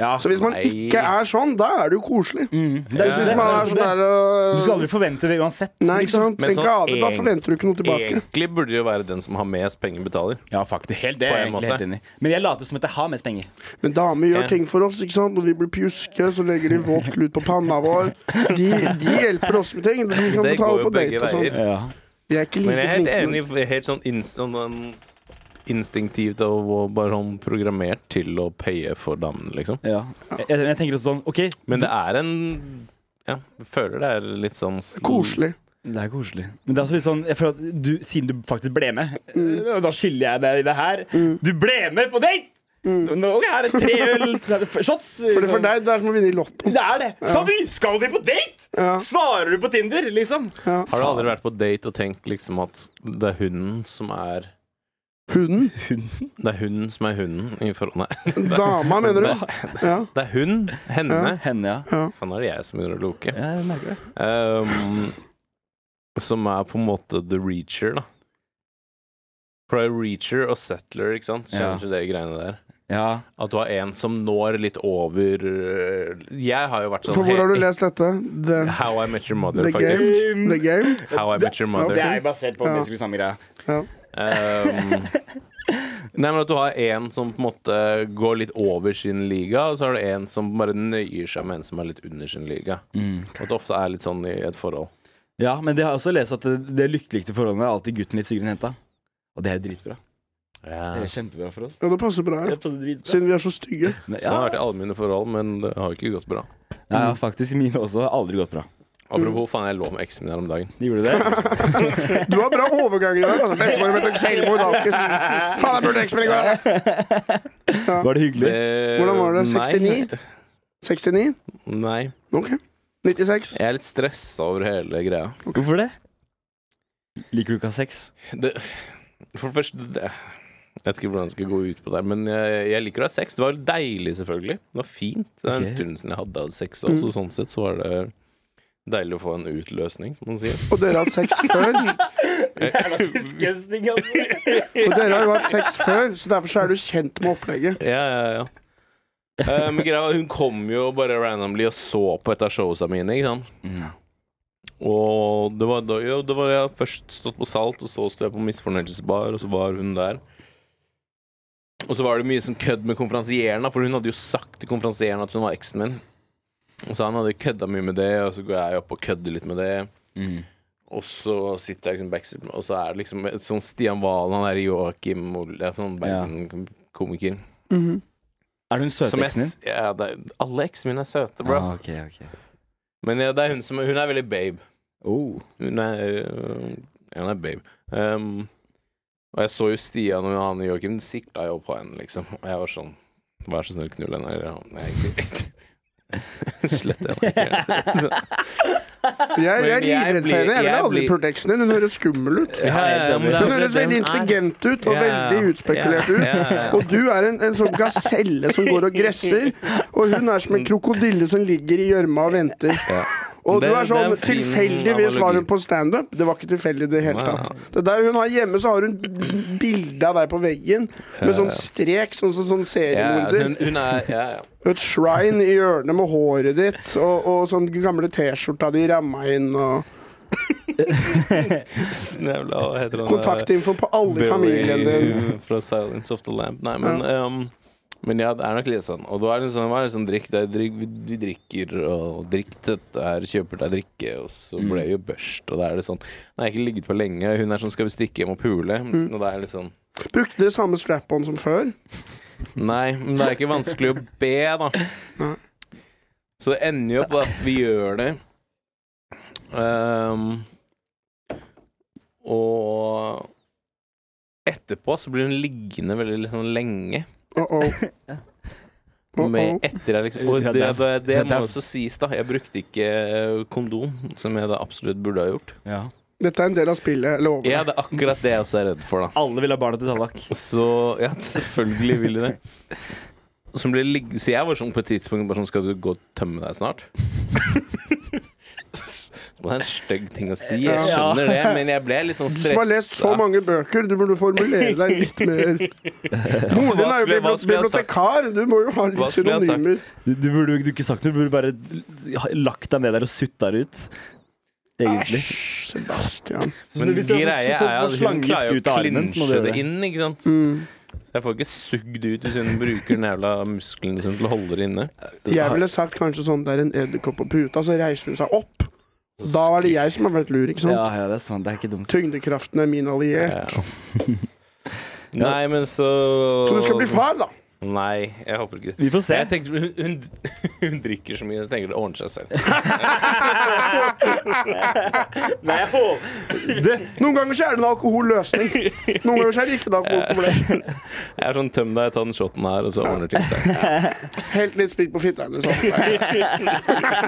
[SPEAKER 2] Ja.
[SPEAKER 3] Så hvis man
[SPEAKER 1] Ah, Nei.
[SPEAKER 3] ikke er sånn, da er det jo koselig.
[SPEAKER 2] Mm. Det er
[SPEAKER 1] Ja,
[SPEAKER 2] jo
[SPEAKER 3] Hvis
[SPEAKER 1] ja,
[SPEAKER 2] det.
[SPEAKER 3] man
[SPEAKER 1] ja.
[SPEAKER 3] er sånn der
[SPEAKER 2] Du skal
[SPEAKER 3] øh,
[SPEAKER 2] aldri forvente det uansett.
[SPEAKER 3] Nei, ikke
[SPEAKER 2] liksom.
[SPEAKER 3] sant?
[SPEAKER 1] Men
[SPEAKER 3] Tenk
[SPEAKER 1] sånn
[SPEAKER 3] gave, da
[SPEAKER 1] eng-
[SPEAKER 3] forventer du ikke noe tilbake.
[SPEAKER 1] Egentlig burde det jo være den som har mest penger, betaler.
[SPEAKER 2] Ja, faktisk. Helt, det
[SPEAKER 1] På
[SPEAKER 2] er
[SPEAKER 1] en
[SPEAKER 2] jeg egentlig
[SPEAKER 1] måte.
[SPEAKER 2] helt enig i. Men jeg later som at jeg har mest penger.
[SPEAKER 3] Men damer gjør
[SPEAKER 1] Ja.
[SPEAKER 3] ting for oss. ikke sant? Når vi blir pjuske, så legger de våt klut på panna vår. De, de hjelper oss med ting. De kan
[SPEAKER 1] Det går
[SPEAKER 3] betale
[SPEAKER 1] jo
[SPEAKER 3] på date
[SPEAKER 1] begge
[SPEAKER 3] og sånn.
[SPEAKER 1] veier.
[SPEAKER 2] Ja.
[SPEAKER 3] De er
[SPEAKER 1] Men
[SPEAKER 3] ikke like
[SPEAKER 1] jeg er helt
[SPEAKER 3] flinke.
[SPEAKER 1] enig, jeg er helt sånn, inst sånn um, instinktivt og og bare sånn programmert til å paye for damene, liksom.
[SPEAKER 2] ja. Jeg, jeg, jeg tenker også sånn OK,
[SPEAKER 1] Men det er en Ja, jeg føler det er litt sånn
[SPEAKER 3] Koselig.
[SPEAKER 2] Det er koselig. Men det er også litt sånn, jeg føler at du, siden du faktisk ble med,
[SPEAKER 3] Mm.
[SPEAKER 2] eh, da skylder jeg deg det her. Du ble med på date! Nå er det tre øl, shots.
[SPEAKER 3] mm. For, det-
[SPEAKER 2] liksom.
[SPEAKER 3] for deg, det er som å vinne i Lotto.
[SPEAKER 2] Det er det. Skal, du, skal vi på date?
[SPEAKER 3] Ja.
[SPEAKER 2] Svarer du på Tinder, liksom?
[SPEAKER 1] Har du aldri vært på date og tenkt liksom at det er hunden som er
[SPEAKER 3] Hunden.
[SPEAKER 1] Det er hunden som er hunden i forhold Nei.
[SPEAKER 3] Dama, mener du? Ja.
[SPEAKER 1] Det er hun, henne
[SPEAKER 2] Henne, ja.
[SPEAKER 1] Faen, nå er det jeg som begynner å loke.
[SPEAKER 2] ja jeg merker det.
[SPEAKER 1] Ehm, som er på en måte the reacher, da. For det er reacher og settler, ikke sant? Kjenner
[SPEAKER 2] Ja.
[SPEAKER 1] ikke det greiene der?
[SPEAKER 2] Ja.
[SPEAKER 1] At du har en som når litt over øh, Jeg har jo vært
[SPEAKER 3] For
[SPEAKER 1] sånn
[SPEAKER 3] hvor har du
[SPEAKER 1] hey,
[SPEAKER 3] lest dette? The,
[SPEAKER 1] How I Met Your Mother,
[SPEAKER 3] the
[SPEAKER 1] faktisk.
[SPEAKER 3] Game? The game?
[SPEAKER 1] How I Met Your Mother.
[SPEAKER 2] Um, Det er jo basert på
[SPEAKER 3] Ja.
[SPEAKER 2] menneskelig samme greia.
[SPEAKER 1] Ehm, nei, men at du har en som på en måte går litt over sin liga, og så har du en som bare nøyer seg med en som er litt under sin liga.
[SPEAKER 3] Mm.
[SPEAKER 1] Og at det ofte er litt sånn i et forhold.
[SPEAKER 2] Ja, men det har jeg også lest at det, det lykkeligste forholdet er alltid gutten litt sykere enn jenta. Og det er dritbra. Det
[SPEAKER 1] Ja.
[SPEAKER 2] er kjempebra for oss.
[SPEAKER 3] Ja, det passer bra,
[SPEAKER 2] Det
[SPEAKER 3] ja.
[SPEAKER 2] er på dritbra.
[SPEAKER 3] siden vi er så stygge.
[SPEAKER 2] Nei,
[SPEAKER 1] Sånn har det
[SPEAKER 2] Ja,
[SPEAKER 1] vært i alle mine forhold, men det har ikke gått bra.
[SPEAKER 2] ja, faktisk. Mine også har aldri gått bra.
[SPEAKER 1] Apropos,
[SPEAKER 3] Mm.
[SPEAKER 1] faen, jeg lå med eksen min her om dagen.
[SPEAKER 2] De gjorde det.
[SPEAKER 3] Du har bra overganger i dag. Altså. Bestemor vet ikke selvmord, alkis. Faen, jeg burde eksmenn i går!
[SPEAKER 2] Var det hyggelig?
[SPEAKER 3] Hvordan var det? 69? 69?
[SPEAKER 1] Nei, nei.
[SPEAKER 3] OK. 96?
[SPEAKER 1] Jeg er litt stressa over hele greia.
[SPEAKER 2] Hvorfor det? Liker du ikke å ha sex?
[SPEAKER 1] Det, for det første det, Jeg vet ikke hvordan jeg skal gå ut på det, men jeg, jeg liker å ha sex. Det var deilig, selvfølgelig. Det var fint. Det er en
[SPEAKER 2] Ok.
[SPEAKER 1] stund siden jeg hadde hatt sex, og så sånn sett så var det deilig å få en utløsning, som man sier.
[SPEAKER 3] Og dere har hatt sex før?
[SPEAKER 2] Disgusting, altså.
[SPEAKER 3] Og dere har jo hatt sex før, så derfor så er du kjent med opplegget.
[SPEAKER 1] Ja, ja, ja. Eh, men greia var, hun kom jo bare randomly og så på et av showsa mine, ikke sant. Og det var da jo, det var jeg hadde først stått på Salt, og så sto jeg på Misfornøyelsesbar, og så var hun der. Og så var det mye sånn kødd med konferansieren, da, for hun hadde jo sagt til konferansieren at hun var eksen min. Og så han hadde jo kødda mye med det, og så går jeg opp og kødder litt med det. Mm. Og så sitter jeg liksom backstage, og så er det liksom et sånn Stian Valen, han er Joakim Ole, sånn
[SPEAKER 2] Ja.
[SPEAKER 1] Bergen-komiker.
[SPEAKER 3] Mhm.
[SPEAKER 2] Er hun
[SPEAKER 1] Som jeg
[SPEAKER 2] søteksen din?
[SPEAKER 1] s- Ja, det er, alle eksene mine er søte, bro.
[SPEAKER 2] Ah, ok, ok.
[SPEAKER 1] Men ja, det er hun som Hun er veldig babe.
[SPEAKER 2] Oh.
[SPEAKER 1] Hun er, øh, ja, hun er babe. Um, og jeg så jo Stian og han Joakim sikta jo på henne, liksom. Og jeg var sånn Vær så snill, knull henne. Eller, ja, nei, ikke- Slett henne. ikke. Så-
[SPEAKER 3] Jeg, jeg er
[SPEAKER 1] Men jeg
[SPEAKER 3] livredd for henne. Jeg
[SPEAKER 1] blir-
[SPEAKER 3] ville
[SPEAKER 1] jeg
[SPEAKER 3] aldri
[SPEAKER 1] blir-
[SPEAKER 3] pult eksen din. Hun høres skummel ut.
[SPEAKER 1] Ja, ja, ja, men det er
[SPEAKER 3] Hun
[SPEAKER 1] fordi
[SPEAKER 3] høres veldig
[SPEAKER 1] den er-
[SPEAKER 3] intelligent ut
[SPEAKER 1] Ja,
[SPEAKER 3] og
[SPEAKER 1] ja, ja.
[SPEAKER 3] veldig utspekulert
[SPEAKER 1] Ja,
[SPEAKER 3] ut.
[SPEAKER 1] ja, ja, ja.
[SPEAKER 3] Og du er en, en sånn gaselle som går og gresser, og hun er som en krokodille som ligger i gjørma og venter.
[SPEAKER 1] Ja.
[SPEAKER 3] Og du
[SPEAKER 1] Det-
[SPEAKER 3] er sånn
[SPEAKER 1] det er en fin
[SPEAKER 3] Tilfeldigvis var hun
[SPEAKER 1] analogi.
[SPEAKER 3] på standup. Det var ikke tilfeldig i det hele
[SPEAKER 1] Wow.
[SPEAKER 3] tatt. Det der hun har hjemme, så har hun bilde av deg på veggen med sånn strek, sånn som sånn
[SPEAKER 1] Ja,
[SPEAKER 3] seriemorder.
[SPEAKER 1] hun, hun er Ja, ja.
[SPEAKER 3] Et shrine i hjørnet med håret ditt og, og sånn gamle T-skjorta di ramma inn og
[SPEAKER 1] Snevla, hva heter han?
[SPEAKER 3] Kontaktinfo på alle i familien din.
[SPEAKER 1] Fra Silence of the Lamp. Nei, men ja. men ja, det er nok litt sånn. Og da er det sånn, hva er det sånn drikk, det er drikk Vi vi drikker og drikk dette her, kjøper deg drikke, og så ble jeg jo børst, og da er det sånn Nei, jeg har ikke ligget på lenge, hun er sånn skal vi stikke hjem og pule?
[SPEAKER 3] Mm.
[SPEAKER 1] Og da er jeg litt sånn
[SPEAKER 3] Brukte det samme strap-on som før.
[SPEAKER 1] Nei, men det er ikke vanskelig å be, da. Så det ender jo opp at vi gjør det. Ehm, og etterpå så blir hun liggende veldig liksom lenge.
[SPEAKER 3] Uh -oh.
[SPEAKER 1] Med etter jeg liksom, og
[SPEAKER 2] Ja,
[SPEAKER 1] det,
[SPEAKER 2] det er-
[SPEAKER 1] det, det
[SPEAKER 2] det er-
[SPEAKER 1] må også sies, da. Jeg brukte ikke eh, kondom, som jeg da absolutt burde ha gjort.
[SPEAKER 2] Ja.
[SPEAKER 3] Dette er en del av spillet. Jeg lover.
[SPEAKER 1] Ja, det er akkurat det jeg også er redd for, da.
[SPEAKER 2] Alle vil ha barna til Tallak.
[SPEAKER 1] Så ja, selvfølgelig vil de det. Som ble ligg- så jeg var sånn på et tidspunkt bare sånn Skal du gå og tømme deg snart? Så Det er en stygg ting å si, jeg
[SPEAKER 2] Ja.
[SPEAKER 1] skjønner det, men jeg ble litt sånn
[SPEAKER 3] Du som har lest så
[SPEAKER 1] stressa.
[SPEAKER 3] mange bøker, du burde formulere deg litt mer. Moren din er
[SPEAKER 1] skulle-
[SPEAKER 3] jo
[SPEAKER 1] hva
[SPEAKER 3] bibli-
[SPEAKER 1] skulle jeg sagt?
[SPEAKER 3] bibliotekar, du må jo ha
[SPEAKER 1] Hva
[SPEAKER 3] litt
[SPEAKER 1] skulle jeg sagt?
[SPEAKER 3] synonymer.
[SPEAKER 2] Du, du burde jo ikke sagt det, du burde bare l- lagt deg ned der og sutta det ut. Egentlig.
[SPEAKER 3] Sebastian.
[SPEAKER 1] Men
[SPEAKER 2] Hvis du har
[SPEAKER 1] greia
[SPEAKER 2] fått-
[SPEAKER 1] er
[SPEAKER 2] fått
[SPEAKER 1] at hun
[SPEAKER 2] slangegift
[SPEAKER 1] klarer jo
[SPEAKER 2] ut
[SPEAKER 1] å
[SPEAKER 2] av armen, så må du
[SPEAKER 1] klinsje
[SPEAKER 2] gjøre
[SPEAKER 1] det
[SPEAKER 2] det.
[SPEAKER 1] inn, ikke sant?
[SPEAKER 3] Mm.
[SPEAKER 1] Så jeg får ikke sugd ut hvis hun bruker den jævla muskelen sin til å holde det inne.
[SPEAKER 3] Jeg ville sagt kanskje sånn det er en edderkopp på puta, så reiser hun seg opp. Da er det jeg som har vært lur, ikke sant?
[SPEAKER 2] Ja, ja, det er sant. Det er ikke dumt.
[SPEAKER 3] Tyngdekraften er min alliert.
[SPEAKER 1] Ja. Nei, men så
[SPEAKER 3] Så du skal bli far, da!
[SPEAKER 1] Nei, jeg håper ikke det.
[SPEAKER 2] Vi får se.
[SPEAKER 1] Jeg tenkte, hun, hun, hun drikker så mye, så tenker det ordner seg selv.
[SPEAKER 2] Nei, jeg håper
[SPEAKER 3] Noen ganger så er det en alkoholløsning. Noen ganger så er det ikke et alkoholproblem.
[SPEAKER 1] Jeg er sånn tøm deg, ta den shoten her, og så ordner ting seg.
[SPEAKER 3] Helt litt sprit på fitta eller sånn. Nei,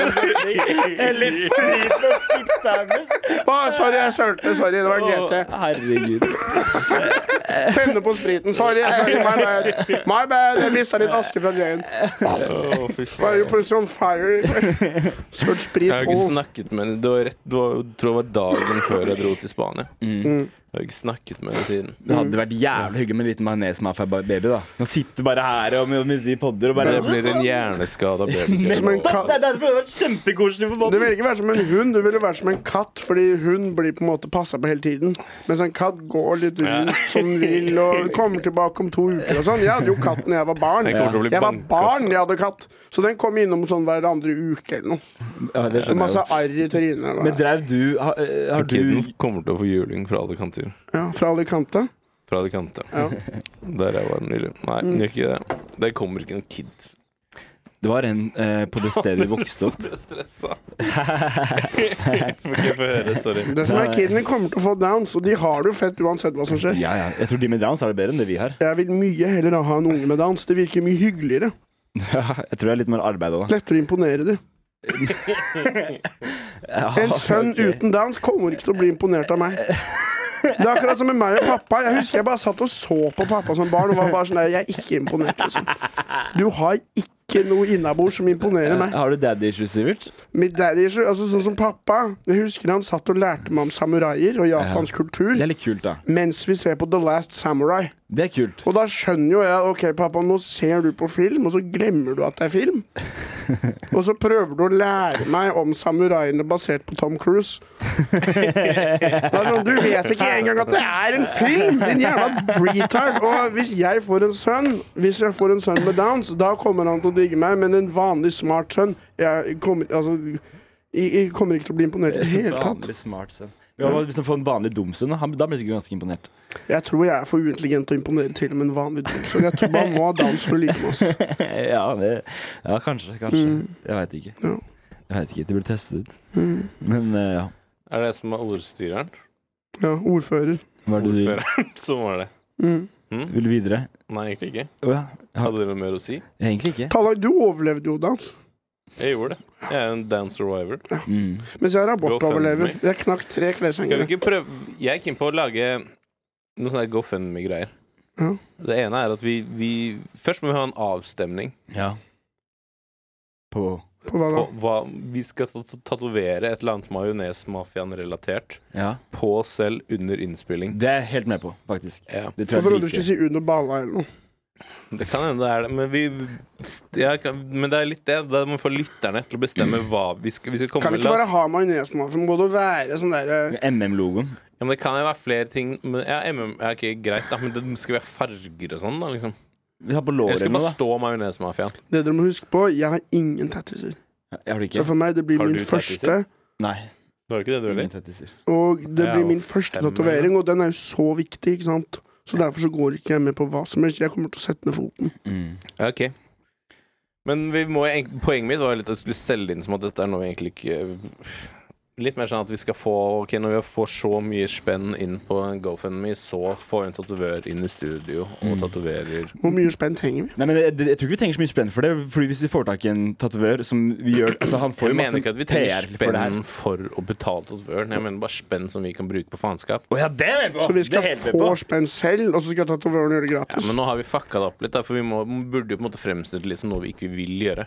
[SPEAKER 2] Litt sprit med fitta hennes.
[SPEAKER 3] Å, sorry, jeg sølte. Sorry, det var GT.
[SPEAKER 2] Herregud.
[SPEAKER 3] Tenne på spriten. Sorry, sorry, my bad. My bad. Jeg mista litt aske fra Jane. Var jo plutselig on fire. Sølt sprit
[SPEAKER 1] Jeg har ikke
[SPEAKER 3] og
[SPEAKER 1] snakket med henne. Det var rett, det var, jeg tror det var dagen før jeg dro til Spania.
[SPEAKER 2] Mm.
[SPEAKER 1] Jeg har ikke snakket med henne siden.
[SPEAKER 2] Det hadde vært jævlig hyggelig med en liten majones-mafia-baby, da. Nå sitter bare her og mens vi podder og bare
[SPEAKER 1] Det blir en hjerneskada
[SPEAKER 3] Som en
[SPEAKER 1] baby.
[SPEAKER 3] katt.
[SPEAKER 2] Det er derfor det har vært kjempekoselig på
[SPEAKER 3] Du
[SPEAKER 2] podden.
[SPEAKER 3] vil ikke være som en hund, du vil være som en katt, fordi hund blir på en måte passa på hele tiden. Mens en katt går litt rundt som den vil og kommer tilbake om to uker og sånn. Jeg hadde jo katt da jeg var barn.
[SPEAKER 1] Jeg kommer til å bli altså.
[SPEAKER 3] Jeg var
[SPEAKER 1] banka,
[SPEAKER 3] barn da jeg hadde katt, så den kom innom sånn hver andre uke eller noe.
[SPEAKER 2] Ja, det
[SPEAKER 3] Så
[SPEAKER 2] skjønner jeg
[SPEAKER 3] masse
[SPEAKER 2] jo.
[SPEAKER 3] arr i trynet.
[SPEAKER 2] Men
[SPEAKER 3] da.
[SPEAKER 2] drev du Har, eh, har
[SPEAKER 1] Kidden
[SPEAKER 2] du
[SPEAKER 1] kommer til å få juling fra alle kanter.
[SPEAKER 3] Ja, fra Alicante.
[SPEAKER 1] Fra alle kanter.
[SPEAKER 3] Ja.
[SPEAKER 1] Der jeg var nylig. Nei, det gjør ikke det. Det kommer ikke noen kid.
[SPEAKER 2] Det var en eh, på det stedet vi vokste opp.
[SPEAKER 1] Jeg ble stressa. Får ikke få høre, sorry.
[SPEAKER 3] Det som er kiden din kommer til å få downs, og de har det jo fett uansett hva som skjer.
[SPEAKER 2] Ja, ja. Jeg tror de med downs har det bedre enn det vi har.
[SPEAKER 3] Jeg vil mye heller ha en unge med downs. Det virker mye hyggeligere.
[SPEAKER 2] Jeg tror det er litt mer arbeid òg, da.
[SPEAKER 3] Lettere å imponere dem. En
[SPEAKER 2] Ah,
[SPEAKER 3] sønn uten downs kommer ikke til å bli imponert av meg. Det er akkurat som med meg og pappa. Jeg husker jeg bare satt og så på pappa som barn og var bare sånn Nei, jeg er ikke imponert, liksom. Du har ikke noe innabords som imponerer meg.
[SPEAKER 2] Har du daddy issues, Sivert?
[SPEAKER 3] Mitt daddy issue, altså Sånn som pappa. Jeg husker han satt og lærte meg om samuraier og japansk
[SPEAKER 2] Det
[SPEAKER 3] kultur
[SPEAKER 2] er litt kult, da.
[SPEAKER 3] mens vi ser på The Last Samurai.
[SPEAKER 2] Det er kult.
[SPEAKER 3] Og da skjønner jo jeg OK, pappa, nå ser du på film, og så glemmer du at det er film. Og så prøver du å lære meg om samuraiene basert på Tom Cruise. Det er sånn, Du vet ikke engang at det er en film, din jævla retard. Og hvis jeg får en sønn Hvis jeg får en sønn med downs, da kommer han til å digge meg, men en vanlig smart sønn Jeg kommer, altså, jeg, jeg kommer ikke til å bli imponert i det hele tatt.
[SPEAKER 2] Vanlig smart sønn. Ja, hva Hvis han får en vanlig dum sønn, da Han- da blir han sikkert ganske imponert.
[SPEAKER 3] Jeg tror jeg er for uintelligent til å imponere til med en vanlig dum, så jeg tror man må ha downs for å like meg. Mm. ass.
[SPEAKER 2] ja, det, ja, kanskje. Kanskje. Jeg veit ikke.
[SPEAKER 3] Ja.
[SPEAKER 2] Jeg vet ikke, De burde teste det ut.
[SPEAKER 3] Mm.
[SPEAKER 2] Men eh, ja.
[SPEAKER 1] Er det som er ordstyreren?
[SPEAKER 3] Ja, ordfører.
[SPEAKER 2] Hva er det du vil?
[SPEAKER 1] Ordføreren, som var det.
[SPEAKER 3] Mm.
[SPEAKER 1] Mm?
[SPEAKER 2] Vil du videre?
[SPEAKER 1] Nei, egentlig ikke.
[SPEAKER 2] Å ja. ja.
[SPEAKER 1] Hadde dere noe mer å si?
[SPEAKER 2] Egentlig ikke.
[SPEAKER 3] Tallak, du overlevde jo dans.
[SPEAKER 1] Jeg gjorde det. Jeg er en dance survivor.
[SPEAKER 2] Mm.
[SPEAKER 3] Mens jeg er
[SPEAKER 1] Go
[SPEAKER 3] abortoverlever.
[SPEAKER 1] fund
[SPEAKER 3] Jeg knakk tre
[SPEAKER 1] Skal vi
[SPEAKER 3] kleshenger.
[SPEAKER 1] ikke prøve Jeg er keen på å lage noe sånn GoFundMe-greier.
[SPEAKER 3] Ja.
[SPEAKER 1] Det ene er at vi, vi Først må vi ha en avstemning
[SPEAKER 2] Ja. På
[SPEAKER 3] På hva da?
[SPEAKER 1] på hva vi skal ta- tatovere et eller annet majones-mafiaen-relatert
[SPEAKER 2] Ja.
[SPEAKER 1] på oss selv under innspilling.
[SPEAKER 2] Det er jeg helt med på, faktisk.
[SPEAKER 1] Ja.
[SPEAKER 2] Det tror
[SPEAKER 3] Jeg trodde
[SPEAKER 2] jeg
[SPEAKER 3] du
[SPEAKER 2] er
[SPEAKER 3] skulle
[SPEAKER 2] dritgøy.
[SPEAKER 3] si under balla eller noe.
[SPEAKER 1] Det kan hende det er det, men vi ja, kan- Men det er litt det. Da må vi få lytterne til å bestemme hva vi skal, vi skal komme
[SPEAKER 3] Kan
[SPEAKER 1] med.
[SPEAKER 3] ikke
[SPEAKER 1] La oss-
[SPEAKER 3] bare ha majonesmafiaen. Må det være sånn derre
[SPEAKER 2] MM-logoen.
[SPEAKER 1] Ja, men det kan jo være flere ting men, ja, MM, ja, ok, Greit, da, men det skal vi ha farger og sånn, da? liksom
[SPEAKER 2] Vi tar på
[SPEAKER 1] Eller
[SPEAKER 2] låret
[SPEAKER 1] skal det
[SPEAKER 2] nå,
[SPEAKER 1] bare
[SPEAKER 2] da.
[SPEAKER 1] stå majonesmafiaen?
[SPEAKER 3] Det dere må huske på, jeg har ingen tattiser.
[SPEAKER 2] Ja, Har du ikke?
[SPEAKER 3] Så for meg, det blir
[SPEAKER 1] Har du
[SPEAKER 3] min
[SPEAKER 1] tattiser?
[SPEAKER 3] første.
[SPEAKER 2] Nei.
[SPEAKER 1] Du har ikke det, du
[SPEAKER 2] Ingen
[SPEAKER 1] heller?
[SPEAKER 2] tettiser.
[SPEAKER 3] Og det
[SPEAKER 1] Ja,
[SPEAKER 3] blir min
[SPEAKER 1] og
[SPEAKER 3] første
[SPEAKER 1] fem,
[SPEAKER 3] tatovering, og den er jo så viktig, ikke sant? Så derfor så går ikke jeg med på hva som helst. Jeg kommer til å sette ned foten.
[SPEAKER 2] Mm.
[SPEAKER 1] Ja, Ok, Men vi må, egentlig- poenget mitt var litt at jeg skulle selge inn som at dette er noe vi egentlig ikke Litt mer sånn at vi skal få Ok, når vi får så mye spenn inn på en GoFundMe, så får vi en tatovør inn i studio og tatoverer
[SPEAKER 3] Hvor mye spenn trenger vi?
[SPEAKER 2] Nei, men jeg, jeg tror ikke vi trenger så mye spenn for det. Fordi Hvis vi får tak i en tatovør som vi gjør altså Han får
[SPEAKER 1] Jeg
[SPEAKER 2] jo
[SPEAKER 1] mener
[SPEAKER 2] masse
[SPEAKER 1] ikke at vi
[SPEAKER 2] PR
[SPEAKER 1] trenger
[SPEAKER 2] for det her.
[SPEAKER 1] spenn for å betale tatovøren. Jeg mener bare spenn som vi kan bruke på faenskap.
[SPEAKER 2] Å ja, det er vi på!
[SPEAKER 3] Så vi
[SPEAKER 2] Det
[SPEAKER 3] skal
[SPEAKER 2] er helt med
[SPEAKER 3] få
[SPEAKER 2] på.
[SPEAKER 3] spenn selv, og så skal tatovøren gjøre det
[SPEAKER 1] Ja,
[SPEAKER 3] gratis?
[SPEAKER 1] men nå har vi fucka det opp litt, da, for vi må, burde jo på en måte fremstille det som noe vi ikke vil gjøre.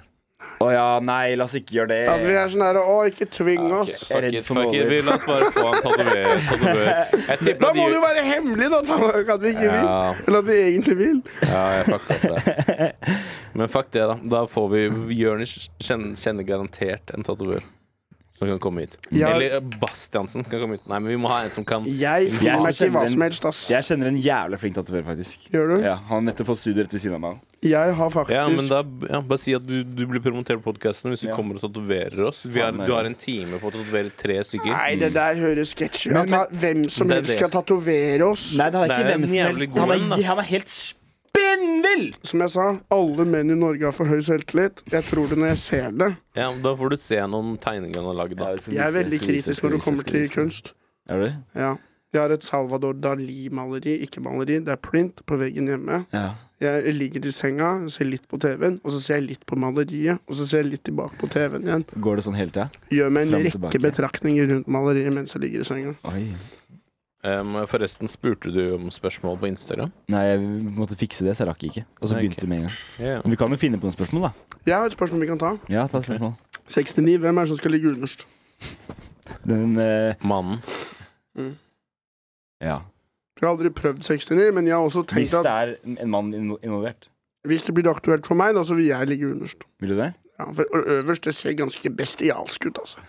[SPEAKER 2] Å ja, nei, la oss ikke gjøre det.
[SPEAKER 3] At vi er sånn her Å, ikke tving
[SPEAKER 1] Ok,
[SPEAKER 3] oss.
[SPEAKER 1] Fuck
[SPEAKER 2] redd
[SPEAKER 1] it,
[SPEAKER 2] for
[SPEAKER 1] fuck it.
[SPEAKER 2] måler.
[SPEAKER 1] Vi, la oss bare få en tatovør. tatovør. Jeg tipper
[SPEAKER 3] Da
[SPEAKER 1] at
[SPEAKER 3] må
[SPEAKER 1] de-
[SPEAKER 3] det jo være hemmelig, da! Tatovøren kan vi ikke vil.
[SPEAKER 1] Ja.
[SPEAKER 3] Eller at vi egentlig vil.
[SPEAKER 1] Ja, jeg fucka opp det. Men fuck det, da. Da får vi Jonis kjenner, kjenner garantert en tatovør som kan komme hit.
[SPEAKER 3] Ja.
[SPEAKER 1] Eller eh, Bastiansen kan komme hit. Nei, men vi må ha en som kan
[SPEAKER 3] Jeg
[SPEAKER 2] Jeg
[SPEAKER 3] finner meg ikke i hva
[SPEAKER 2] kjenner en-
[SPEAKER 3] som helst, ass.
[SPEAKER 2] Jeg kjenner en jævlig flink tatovør, faktisk.
[SPEAKER 3] Gjør du?
[SPEAKER 2] Ja, Han har nettopp fått studier rett ved siden av meg.
[SPEAKER 3] Jeg har
[SPEAKER 1] ja, men
[SPEAKER 3] faktisk
[SPEAKER 1] da ja, Bare si at du, du blir promotert på podkasten hvis du
[SPEAKER 2] Ja.
[SPEAKER 1] kommer og tatoverer oss. Vi har, du har en time på å tatovere tre stykker.
[SPEAKER 3] Nei, det der høres sketsj ut.
[SPEAKER 2] Men-
[SPEAKER 3] At ta- Hvem som
[SPEAKER 1] Det er det.
[SPEAKER 3] helst skal tatovere oss.
[SPEAKER 2] Nei, det er
[SPEAKER 1] Det er
[SPEAKER 2] ikke
[SPEAKER 1] en
[SPEAKER 2] hvem som
[SPEAKER 1] jævlig
[SPEAKER 2] helst.
[SPEAKER 1] god
[SPEAKER 2] Han
[SPEAKER 1] en,
[SPEAKER 2] er,
[SPEAKER 1] da.
[SPEAKER 2] han er helt spinnvill!
[SPEAKER 3] Som jeg sa, alle menn i Norge har for høy selvtillit. Jeg tror det når jeg ser det.
[SPEAKER 1] Ja, da får du se noen tegninger han har lagd, da.
[SPEAKER 3] Jeg er veldig kritisk når det kommer til kunst.
[SPEAKER 2] Er du?
[SPEAKER 3] Ja. Jeg har et Salvador Dali-maleri, ikke maleri, det er print, på veggen hjemme.
[SPEAKER 2] Ja.
[SPEAKER 3] Jeg ligger i senga, ser litt på TV-en, og så ser jeg litt på maleriet, og så ser jeg litt tilbake på TV-en igjen.
[SPEAKER 2] Går det sånn hele tida?
[SPEAKER 3] Gjør meg en
[SPEAKER 2] Frem og
[SPEAKER 3] rekke
[SPEAKER 2] tilbake.
[SPEAKER 3] betraktninger rundt maleriet mens jeg ligger i senga.
[SPEAKER 2] Oi.
[SPEAKER 1] Um, forresten, spurte du om spørsmål på Instagram?
[SPEAKER 2] Nei, jeg måtte fikse det, så jeg rakk ikke. Og så
[SPEAKER 1] Nei, ok.
[SPEAKER 2] begynte vi med en gang.
[SPEAKER 1] Ja.
[SPEAKER 2] Men Vi kan jo finne på noen spørsmål, da.
[SPEAKER 3] Jeg har et spørsmål vi kan ta.
[SPEAKER 2] Ja, ta et spørsmål.
[SPEAKER 3] 69, hvem er det som skal ligge underst?
[SPEAKER 2] Den eh,
[SPEAKER 1] Mannen.
[SPEAKER 2] Ja.
[SPEAKER 3] Mm. Jeg har aldri prøvd 69, men jeg har også
[SPEAKER 2] Hvis
[SPEAKER 3] tenkt
[SPEAKER 2] det
[SPEAKER 3] at
[SPEAKER 2] er en mann invo- involvert.
[SPEAKER 3] hvis det blir aktuelt for meg, da, så vil jeg ligge underst.
[SPEAKER 2] Vil du det?
[SPEAKER 3] Ja, for ø- øverst, det ser ganske bestialsk ut, altså.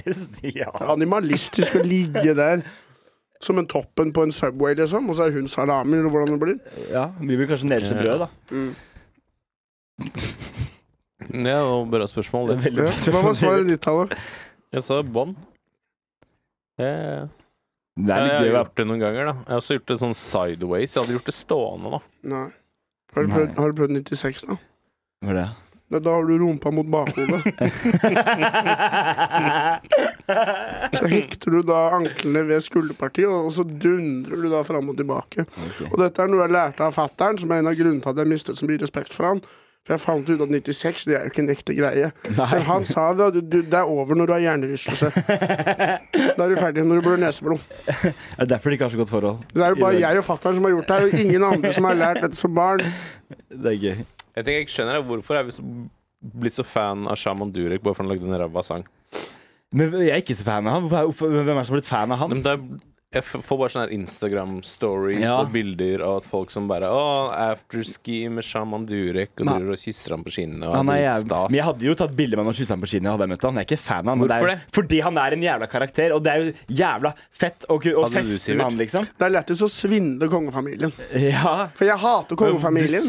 [SPEAKER 2] Best, ja.
[SPEAKER 3] Det er Animalistisk å ligge der som en toppen på en Subway, liksom, og så er hun salami, eller hvordan det blir.
[SPEAKER 2] ja. Vi blir kanskje nederste brød, da.
[SPEAKER 3] Mm.
[SPEAKER 1] Ja, det var bra spørsmål,
[SPEAKER 2] Det er
[SPEAKER 1] det.
[SPEAKER 2] veldig
[SPEAKER 3] Ja.
[SPEAKER 2] bra
[SPEAKER 3] Hva var
[SPEAKER 2] spørsmål.
[SPEAKER 3] svaret ditt, Tallef?
[SPEAKER 1] Jeg sa bånd. Yeah.
[SPEAKER 2] Det er
[SPEAKER 1] jeg
[SPEAKER 2] litt
[SPEAKER 1] har
[SPEAKER 2] gøy, da.
[SPEAKER 1] gjort det noen ganger, da. Jeg har også gjort det sånn sideways. Jeg hadde gjort det stående, da.
[SPEAKER 3] Nei. Har du, prøvd,
[SPEAKER 2] Nei.
[SPEAKER 3] har du prøvd 96, da?
[SPEAKER 2] Hva er det?
[SPEAKER 3] Nei, da har du rumpa mot bakhodet. Så hekter du da anklene ved skulderpartiet, og og så dundrer du da fram og tilbake.
[SPEAKER 2] Ok.
[SPEAKER 3] Og dette er noe jeg lærte av fattern, som er en av grunnene til at jeg mistet så mye respekt for han. For jeg fant ut at 96 det er jo ikke en ekte greie. Men han sa det, at du, det er over når du har hjernerystelse. Da er du ferdig når du blør neseblod.
[SPEAKER 2] Det er derfor de ikke har så godt forhold.
[SPEAKER 3] Det er jo bare
[SPEAKER 2] I dag.
[SPEAKER 3] jeg og fattern som har gjort det her, og ingen andre som har lært dette som barn.
[SPEAKER 2] Det er gøy.
[SPEAKER 1] Jeg tenker jeg ikke skjønner det. Hvorfor er vi så blitt så fan av Shaman Durek bare for han lagde en ræva sang?
[SPEAKER 2] Men jeg er ikke så fan av han. Hvorfor- hvorfor- Hvem er det som har blitt fan av han?
[SPEAKER 1] Men det er, jeg f- får bare sånne her Instagram-stories
[SPEAKER 2] Ja.
[SPEAKER 1] og bilder av at folk som bare Å, afterski med Shaman Durek, og
[SPEAKER 2] Men-
[SPEAKER 1] driver og kysser ham på kinnet, og
[SPEAKER 2] Han
[SPEAKER 1] han
[SPEAKER 2] er
[SPEAKER 1] er
[SPEAKER 2] jæv...
[SPEAKER 1] dritstas.
[SPEAKER 2] Men jeg hadde jo tatt bilde med han og kyssa han på kinnet. Hadde jeg møtt han. Jeg er ikke fan av han. men
[SPEAKER 1] Hvorfor
[SPEAKER 2] er, jo- Fordi han er en jævla karakter, og det er jo jævla fett å, ku- å
[SPEAKER 1] Hadde du,
[SPEAKER 2] feste med han, liksom.
[SPEAKER 3] Det er lettest å svindle kongefamilien.
[SPEAKER 2] Ja.
[SPEAKER 3] For jeg hater kongefamilien.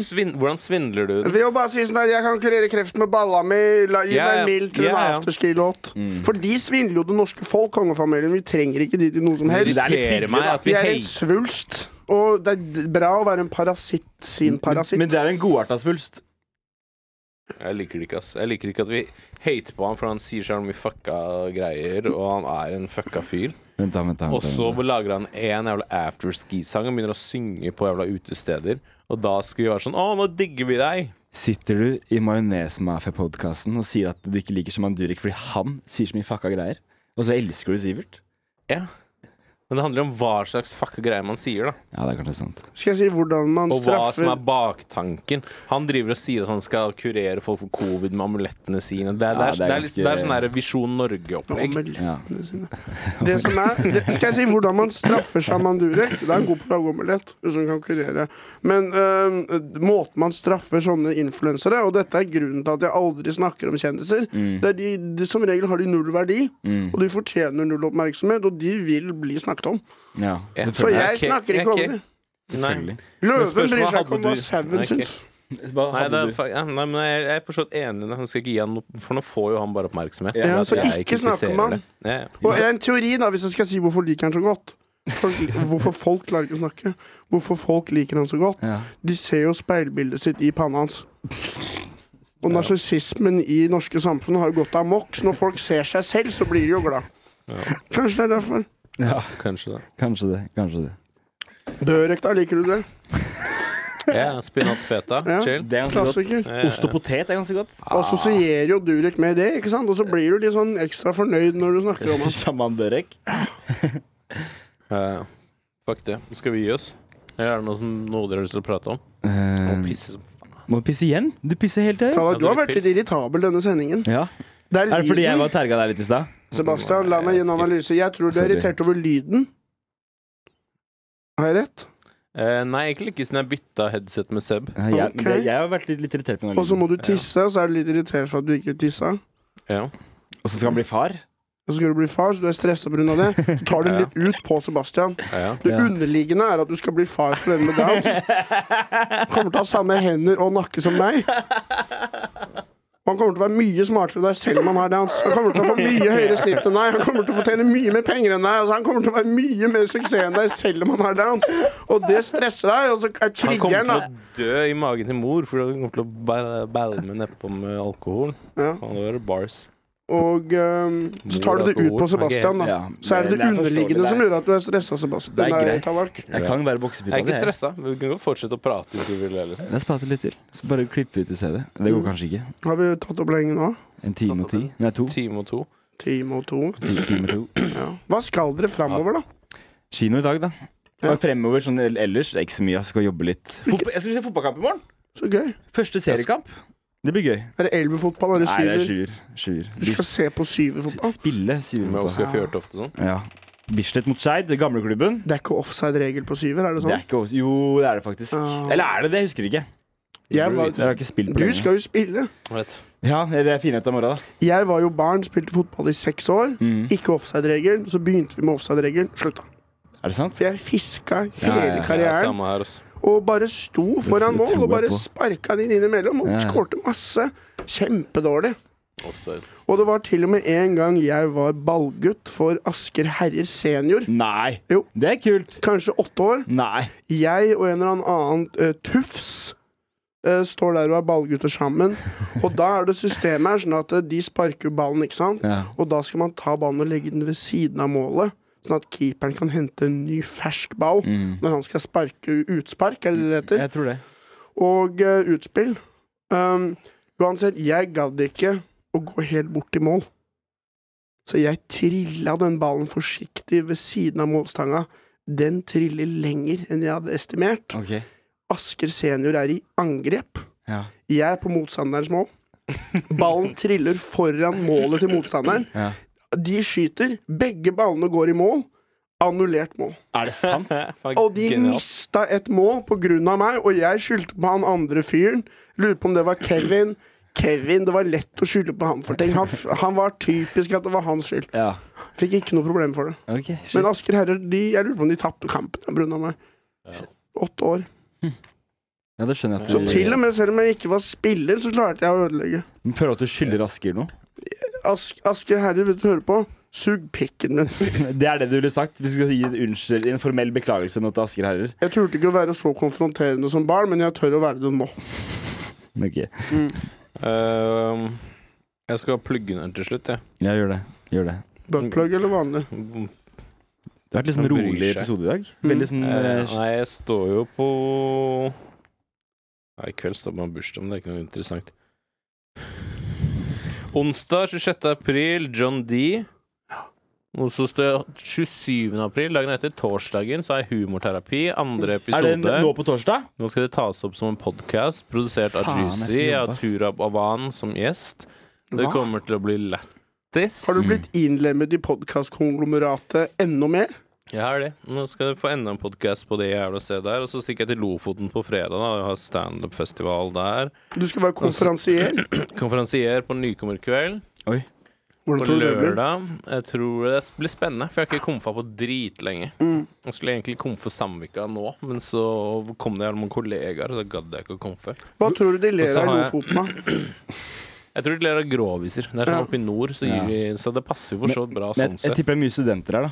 [SPEAKER 1] Du svin hvordan svindler du det?
[SPEAKER 3] Ved å bare si sånn der, jeg kan kurere kreft med balla mi, la, gi
[SPEAKER 1] Ja,
[SPEAKER 3] meg
[SPEAKER 1] ja.
[SPEAKER 3] en mild
[SPEAKER 1] Ja,
[SPEAKER 3] til
[SPEAKER 1] ja. Mm.
[SPEAKER 3] en afterski-låt. For de svindler jo det norske folk, kongefamilien. Vi trenger ikke de til noe som
[SPEAKER 1] Det
[SPEAKER 3] helst.
[SPEAKER 2] Det er litt
[SPEAKER 1] irriterer
[SPEAKER 2] hyggelig,
[SPEAKER 1] meg
[SPEAKER 2] da.
[SPEAKER 1] at
[SPEAKER 3] Vi
[SPEAKER 1] vi
[SPEAKER 3] er en
[SPEAKER 1] hater
[SPEAKER 3] svulst. Og det er d- bra å være en parasitt sin parasitt.
[SPEAKER 2] Men det er jo en godarta svulst.
[SPEAKER 1] Jeg liker det ikke, ass. Jeg liker ikke at vi hater på ham, for han sier så mye fucka greier, og han er en fucka fyr.
[SPEAKER 2] Vent, da, vent, da,
[SPEAKER 1] Og
[SPEAKER 2] vent,
[SPEAKER 1] så
[SPEAKER 2] da.
[SPEAKER 1] lager han en jævla afterski-sang og begynner å synge på jævla utesteder. Og da skal vi være sånn Å, nå digger vi deg!
[SPEAKER 2] Sitter du i Majones-mafia-podkasten og sier at du ikke liker Shaman Durek fordi han sier så mye fucka greier, og så elsker du Sivert?
[SPEAKER 1] Ja. Men det handler om hva slags fucka greier man sier, da.
[SPEAKER 2] Ja, det er kanskje sant.
[SPEAKER 3] Skal jeg si hvordan man
[SPEAKER 1] Og hva som
[SPEAKER 3] straffer
[SPEAKER 1] er baktanken. Han driver og sier at han skal kurere folk for covid med amulettene sine. Det er, det er,
[SPEAKER 2] Ja, det er
[SPEAKER 1] det er, litt-
[SPEAKER 2] ganske-
[SPEAKER 1] det er sånn her Visjon Norge-opplegg.
[SPEAKER 3] Omelettene sine. Det som er, det, skal jeg si hvordan man straffer Shaman Durek? Det er en god plaggeomelett som kan kurere. Men øhm, måten man straffer sånne influensere Og dette er grunnen til at jeg aldri snakker om kjendiser.
[SPEAKER 1] Mm.
[SPEAKER 3] Det er de, de, som regel har de null verdi, og de fortjener null oppmerksomhet, og de vil bli snakket om.
[SPEAKER 2] Ja,
[SPEAKER 1] Ja.
[SPEAKER 2] selvfølgelig.
[SPEAKER 3] Så jeg
[SPEAKER 1] Ok,
[SPEAKER 3] snakker ikke
[SPEAKER 1] ok.
[SPEAKER 3] om det.
[SPEAKER 1] Nei.
[SPEAKER 2] Selvfølgelig.
[SPEAKER 3] Løven bryr
[SPEAKER 1] spørsmålet hadde
[SPEAKER 3] seg ikke om hva
[SPEAKER 1] du- Nei,
[SPEAKER 3] sauen
[SPEAKER 1] ok.
[SPEAKER 3] syns.
[SPEAKER 2] Hva
[SPEAKER 1] Nei, det
[SPEAKER 2] hadde
[SPEAKER 1] er,
[SPEAKER 2] du?
[SPEAKER 1] fa- ja, nei, men jeg, jeg er for så vidt enig. i det. Han skal ikke gi han noe, for nå får jo han bare oppmerksomhet.
[SPEAKER 2] Ja,
[SPEAKER 1] for at
[SPEAKER 3] så
[SPEAKER 1] jeg
[SPEAKER 3] ikke snakk om
[SPEAKER 1] kritiserer
[SPEAKER 3] han.
[SPEAKER 1] det. Ja, ja.
[SPEAKER 3] Og en teori, da, hvis jeg skal si hvorfor liker han så godt folk, Hvorfor folk klarer ikke å snakke. Hvorfor folk liker han så godt.
[SPEAKER 2] Ja.
[SPEAKER 3] De ser jo speilbildet sitt i panna hans. Og narsissismen i norske samfunn har jo gått amok. Så når folk ser seg selv, så blir de jo glad. Kanskje det er derfor.
[SPEAKER 2] Ja,
[SPEAKER 1] Kanskje det.
[SPEAKER 2] kanskje det. Kanskje det.
[SPEAKER 3] Dørøkta, liker du det?
[SPEAKER 1] Ja, Spinat feta.
[SPEAKER 3] Ja.
[SPEAKER 1] Chill.
[SPEAKER 2] Det er ganske godt.
[SPEAKER 3] Klassiker.
[SPEAKER 1] Eh,
[SPEAKER 2] Ost og potet er ganske godt.
[SPEAKER 3] Assosierer jo Durek med det, ikke sant? Og så blir du litt sånn ekstra fornøyd når du snakker om han.
[SPEAKER 2] Sjaman Børek.
[SPEAKER 1] eh, Fuck det. Skal vi gi oss? Eller er det noe, som, noe dere har lyst til å prate om? Å
[SPEAKER 2] Eh,
[SPEAKER 1] pisse som
[SPEAKER 2] må du pisse igjen? Du pisser helt til.
[SPEAKER 3] Tala,
[SPEAKER 1] Ja,
[SPEAKER 3] du har
[SPEAKER 1] Durek
[SPEAKER 3] vært litt
[SPEAKER 1] Pils.
[SPEAKER 3] irritabel denne sendingen.
[SPEAKER 2] Ja.
[SPEAKER 3] Det
[SPEAKER 2] Er det fordi jeg
[SPEAKER 3] lyden.
[SPEAKER 2] var terga deg litt i stad?
[SPEAKER 3] Sebastian, la meg gi en analyse. Jeg tror du er
[SPEAKER 2] Sorry.
[SPEAKER 3] irritert over lyden. Har jeg rett?
[SPEAKER 1] Eh, Nei, egentlig ikke siden jeg bytta headset med Seb.
[SPEAKER 2] Ja, Jeg,
[SPEAKER 3] Ok.
[SPEAKER 2] det- jeg har vært litt, litt irritert på den
[SPEAKER 3] Og så
[SPEAKER 2] lyden.
[SPEAKER 3] må du tisse, og så er du litt irritert for at du ikke tissa.
[SPEAKER 1] Ja.
[SPEAKER 2] Og så skal han bli far?
[SPEAKER 3] Og så skal du bli far, så du er stressa pga. det. Så tar du
[SPEAKER 1] Ja.
[SPEAKER 3] litt ut på Sebastian.
[SPEAKER 1] ja.
[SPEAKER 3] Det
[SPEAKER 2] Ja.
[SPEAKER 3] underliggende er at du skal bli far for denne med Downs. Kommer til å ha samme hender og nakke som meg. Og han kommer til å være mye smartere enn deg selv om han har Downs. Han kommer til å få mye høyere snitt enn deg. Han kommer til å fortjene mye mer penger enn deg. Altså, han kommer til å være mye mer suksess enn deg selv om han har Downs. Og det stresser deg. Og så er
[SPEAKER 1] Han kommer til
[SPEAKER 3] triggeren, da.
[SPEAKER 1] å dø i magen til mor fordi han kommer til å ba- balme nedpå med alkohol.
[SPEAKER 3] Ja.
[SPEAKER 1] Han var bars.
[SPEAKER 3] Og ehm, så tar du det ut på Sebastian, da.
[SPEAKER 2] Ja,
[SPEAKER 3] Så er det
[SPEAKER 2] men
[SPEAKER 3] det
[SPEAKER 2] forståelig,
[SPEAKER 3] underliggende
[SPEAKER 2] det er-
[SPEAKER 3] som gjør at du er stressa, Sebastian.
[SPEAKER 2] Det er
[SPEAKER 3] Nei,
[SPEAKER 2] greit.
[SPEAKER 3] Tallak.
[SPEAKER 2] Jeg kan være boksepute.
[SPEAKER 1] sånn, Jeg er ikke stressa. Vi kan godt fortsette å prate hvis du vil. Eller. sånn.
[SPEAKER 2] Jeg sparer litt til. Så bare klippe ut i stedet. Det går kanskje ikke.
[SPEAKER 3] Har vi tatt opp lenge nå?
[SPEAKER 2] En time og ti. Nei, to.
[SPEAKER 1] Time og to.
[SPEAKER 3] Time og to.
[SPEAKER 2] Ti timer og to.
[SPEAKER 3] Ja. Hva skal dere framover, da?
[SPEAKER 2] Kino i dag, da.
[SPEAKER 3] Ja.
[SPEAKER 2] Og fremover sånn el- ellers. Det er ikke så mye. Jeg skal jobbe litt. Fotball- jeg skal se fotballkamp i morgen.
[SPEAKER 3] Så gøy.
[SPEAKER 2] Første seriekamp. Det blir gøy.
[SPEAKER 3] Er det elvefotball? Er det
[SPEAKER 2] Nei, det er
[SPEAKER 3] syver?
[SPEAKER 2] sjuer. Sjuer.
[SPEAKER 3] Du skal se på syverfotball?
[SPEAKER 2] Spille syver
[SPEAKER 1] Med
[SPEAKER 2] på.
[SPEAKER 1] Oskar Fjørtoft og sånn.
[SPEAKER 2] Ja. Bislett mot Skeid, gamleklubben.
[SPEAKER 3] Det er ikke offside-regel på syver, er det
[SPEAKER 2] Det er
[SPEAKER 3] sånn?
[SPEAKER 2] ikke over- Jo, det er det faktisk.
[SPEAKER 3] Ah.
[SPEAKER 2] Eller er det det? Jeg husker ikke.
[SPEAKER 3] Jeg
[SPEAKER 2] Jeg har
[SPEAKER 3] var,
[SPEAKER 2] ikke spilt på
[SPEAKER 3] du
[SPEAKER 2] lenge.
[SPEAKER 3] skal jo spille.
[SPEAKER 1] Vet.
[SPEAKER 2] Ja, det er finhet av morgenen, da.
[SPEAKER 3] Jeg var jo barn, spilte fotball i seks år.
[SPEAKER 2] Mm.
[SPEAKER 3] Ikke offside-regel. Så begynte vi med offside-regel. Slutta.
[SPEAKER 2] Er det sant?
[SPEAKER 3] For jeg fiska
[SPEAKER 2] Ja, ja,
[SPEAKER 3] hele
[SPEAKER 2] ja,
[SPEAKER 1] Ja,
[SPEAKER 3] karrieren.
[SPEAKER 1] Eh, samme her, altså.
[SPEAKER 3] Og bare sto foran
[SPEAKER 2] Det- det
[SPEAKER 3] mål
[SPEAKER 2] tror
[SPEAKER 3] og bare
[SPEAKER 2] jeg på.
[SPEAKER 3] sparka den inn innimellom. Og
[SPEAKER 2] Ja, ja.
[SPEAKER 3] skårte masse. Kjempedårlig.
[SPEAKER 1] Offside.
[SPEAKER 3] Og det var til og med en gang jeg var ballgutt for Asker herrer senior.
[SPEAKER 2] Nei.
[SPEAKER 3] Jo.
[SPEAKER 2] Det er kult.
[SPEAKER 3] Kanskje åtte år.
[SPEAKER 2] Nei.
[SPEAKER 3] Jeg og en eller annen annen eh, tufs eh, står der og er ballgutter sammen. Og da er det systemet her sånn at eh, de sparker ballen, ikke sant?
[SPEAKER 2] Ja.
[SPEAKER 3] Og da skal man ta ballen og legge den ved siden av målet. Sånn at keeperen kan hente en ny, fersk ball
[SPEAKER 2] Mm.
[SPEAKER 3] når han skal sparke utspark, er det det det heter?
[SPEAKER 2] Jeg tror det.
[SPEAKER 3] og eh, utspill. Um, uansett, jeg gadd ikke å gå helt bort til mål. Så jeg trilla den ballen forsiktig ved siden av målstanga. Den triller lenger enn jeg hadde estimert.
[SPEAKER 2] Ok.
[SPEAKER 3] Asker senior er i angrep.
[SPEAKER 2] Ja.
[SPEAKER 3] Jeg er på motstanderens mål. Ballen triller foran målet til motstanderen.
[SPEAKER 2] Ja.
[SPEAKER 3] De skyter. Begge ballene går i mål. Annullert mål.
[SPEAKER 2] Er det sant?
[SPEAKER 3] Og de mista et mål på grunn av meg, og jeg skyldte på han andre fyren. Lurer på om det var Kevin. Kevin, Det var lett å skylde på han for ting. Han, f- han var typisk at det var hans skyld.
[SPEAKER 2] Ja.
[SPEAKER 3] Fikk ikke noe problem for det.
[SPEAKER 2] Ok.
[SPEAKER 3] Men Asker Herrer, de, jeg lurer på om de tapte kampen på grunn av meg.
[SPEAKER 1] Ja.
[SPEAKER 3] Åtte år.
[SPEAKER 2] Ja, det skjønner jeg at
[SPEAKER 3] Så
[SPEAKER 2] du
[SPEAKER 3] til og med selv om jeg ikke var spiller, så klarte jeg å ødelegge.
[SPEAKER 2] Men Føler du at du skylder Asker noe?
[SPEAKER 3] Ask, Asker Herrer, vil du høre på? Sug pikken min.
[SPEAKER 2] Det er det du ville sagt hvis du skulle gi en, unnskyld, en formell beklagelse nå til Asker herrer.
[SPEAKER 3] Jeg turte ikke å være så konfronterende som barn, men jeg tør å være det nå.
[SPEAKER 2] Ok.
[SPEAKER 1] Mm. Ehm, jeg skal plugge den her til slutt, jeg. Eh,
[SPEAKER 2] Ja, gjør det. Gjør det.
[SPEAKER 3] Buttplug eller vanlig?
[SPEAKER 2] Det har vært litt sånn
[SPEAKER 1] Han bryr
[SPEAKER 2] rolig
[SPEAKER 1] seg.
[SPEAKER 2] episode i dag.
[SPEAKER 3] Mm.
[SPEAKER 2] Veldig sånn
[SPEAKER 1] Eh,
[SPEAKER 2] eh,
[SPEAKER 1] nei, jeg står jo på Nei, I kveld står det bare bursdag, men det er ikke noe interessant. Onsdag 26. april, John D. Og så står jeg 27. april, dagen etter, torsdagen, så er humorterapi. Andre
[SPEAKER 2] Er
[SPEAKER 1] episode.
[SPEAKER 2] det nå på torsdag?
[SPEAKER 1] Nå skal det tas opp som en podkast produsert av
[SPEAKER 2] Faen, jeg skal
[SPEAKER 1] Juicy. Jeg har
[SPEAKER 2] jobbe, ass.
[SPEAKER 1] Turab Avan som gjest. Det
[SPEAKER 3] Hva?
[SPEAKER 1] kommer til å bli lættis.
[SPEAKER 3] Har du blitt innlemmet i podkastkonglomeratet enda mer?
[SPEAKER 1] Jeg har det. Nå skal du få enda en podkast på det jævla stedet der. Og så stikker jeg til Lofoten på fredag da, og har standup-festival der.
[SPEAKER 3] Du skal
[SPEAKER 1] Altså-
[SPEAKER 3] være konferansier.
[SPEAKER 1] Konferansier på Nykommerkveld
[SPEAKER 2] Oi.
[SPEAKER 3] Hvordan
[SPEAKER 1] på
[SPEAKER 3] tror du det blir?
[SPEAKER 1] lørdag. Jeg tror det blir spennende, for jeg har ikke komfa på dritlenge.
[SPEAKER 3] Mm.
[SPEAKER 1] Jeg skulle egentlig komfe Samvika nå, men så kom det gjerne noen kollegaer, og da gadd jeg ikke å komfe.
[SPEAKER 3] Hva tror du de
[SPEAKER 1] Og
[SPEAKER 3] ler
[SPEAKER 1] så
[SPEAKER 3] av i
[SPEAKER 1] har jeg-
[SPEAKER 3] Lofoten, da?
[SPEAKER 1] Jeg tror de ler av gråviser. Det er sånn
[SPEAKER 3] Ja.
[SPEAKER 1] oppe i nord, så, gir de, så det passer jo for så vidt bra
[SPEAKER 2] Men
[SPEAKER 1] sånn
[SPEAKER 2] jeg, jeg
[SPEAKER 1] sett.
[SPEAKER 2] tipper det er mye studenter her, da.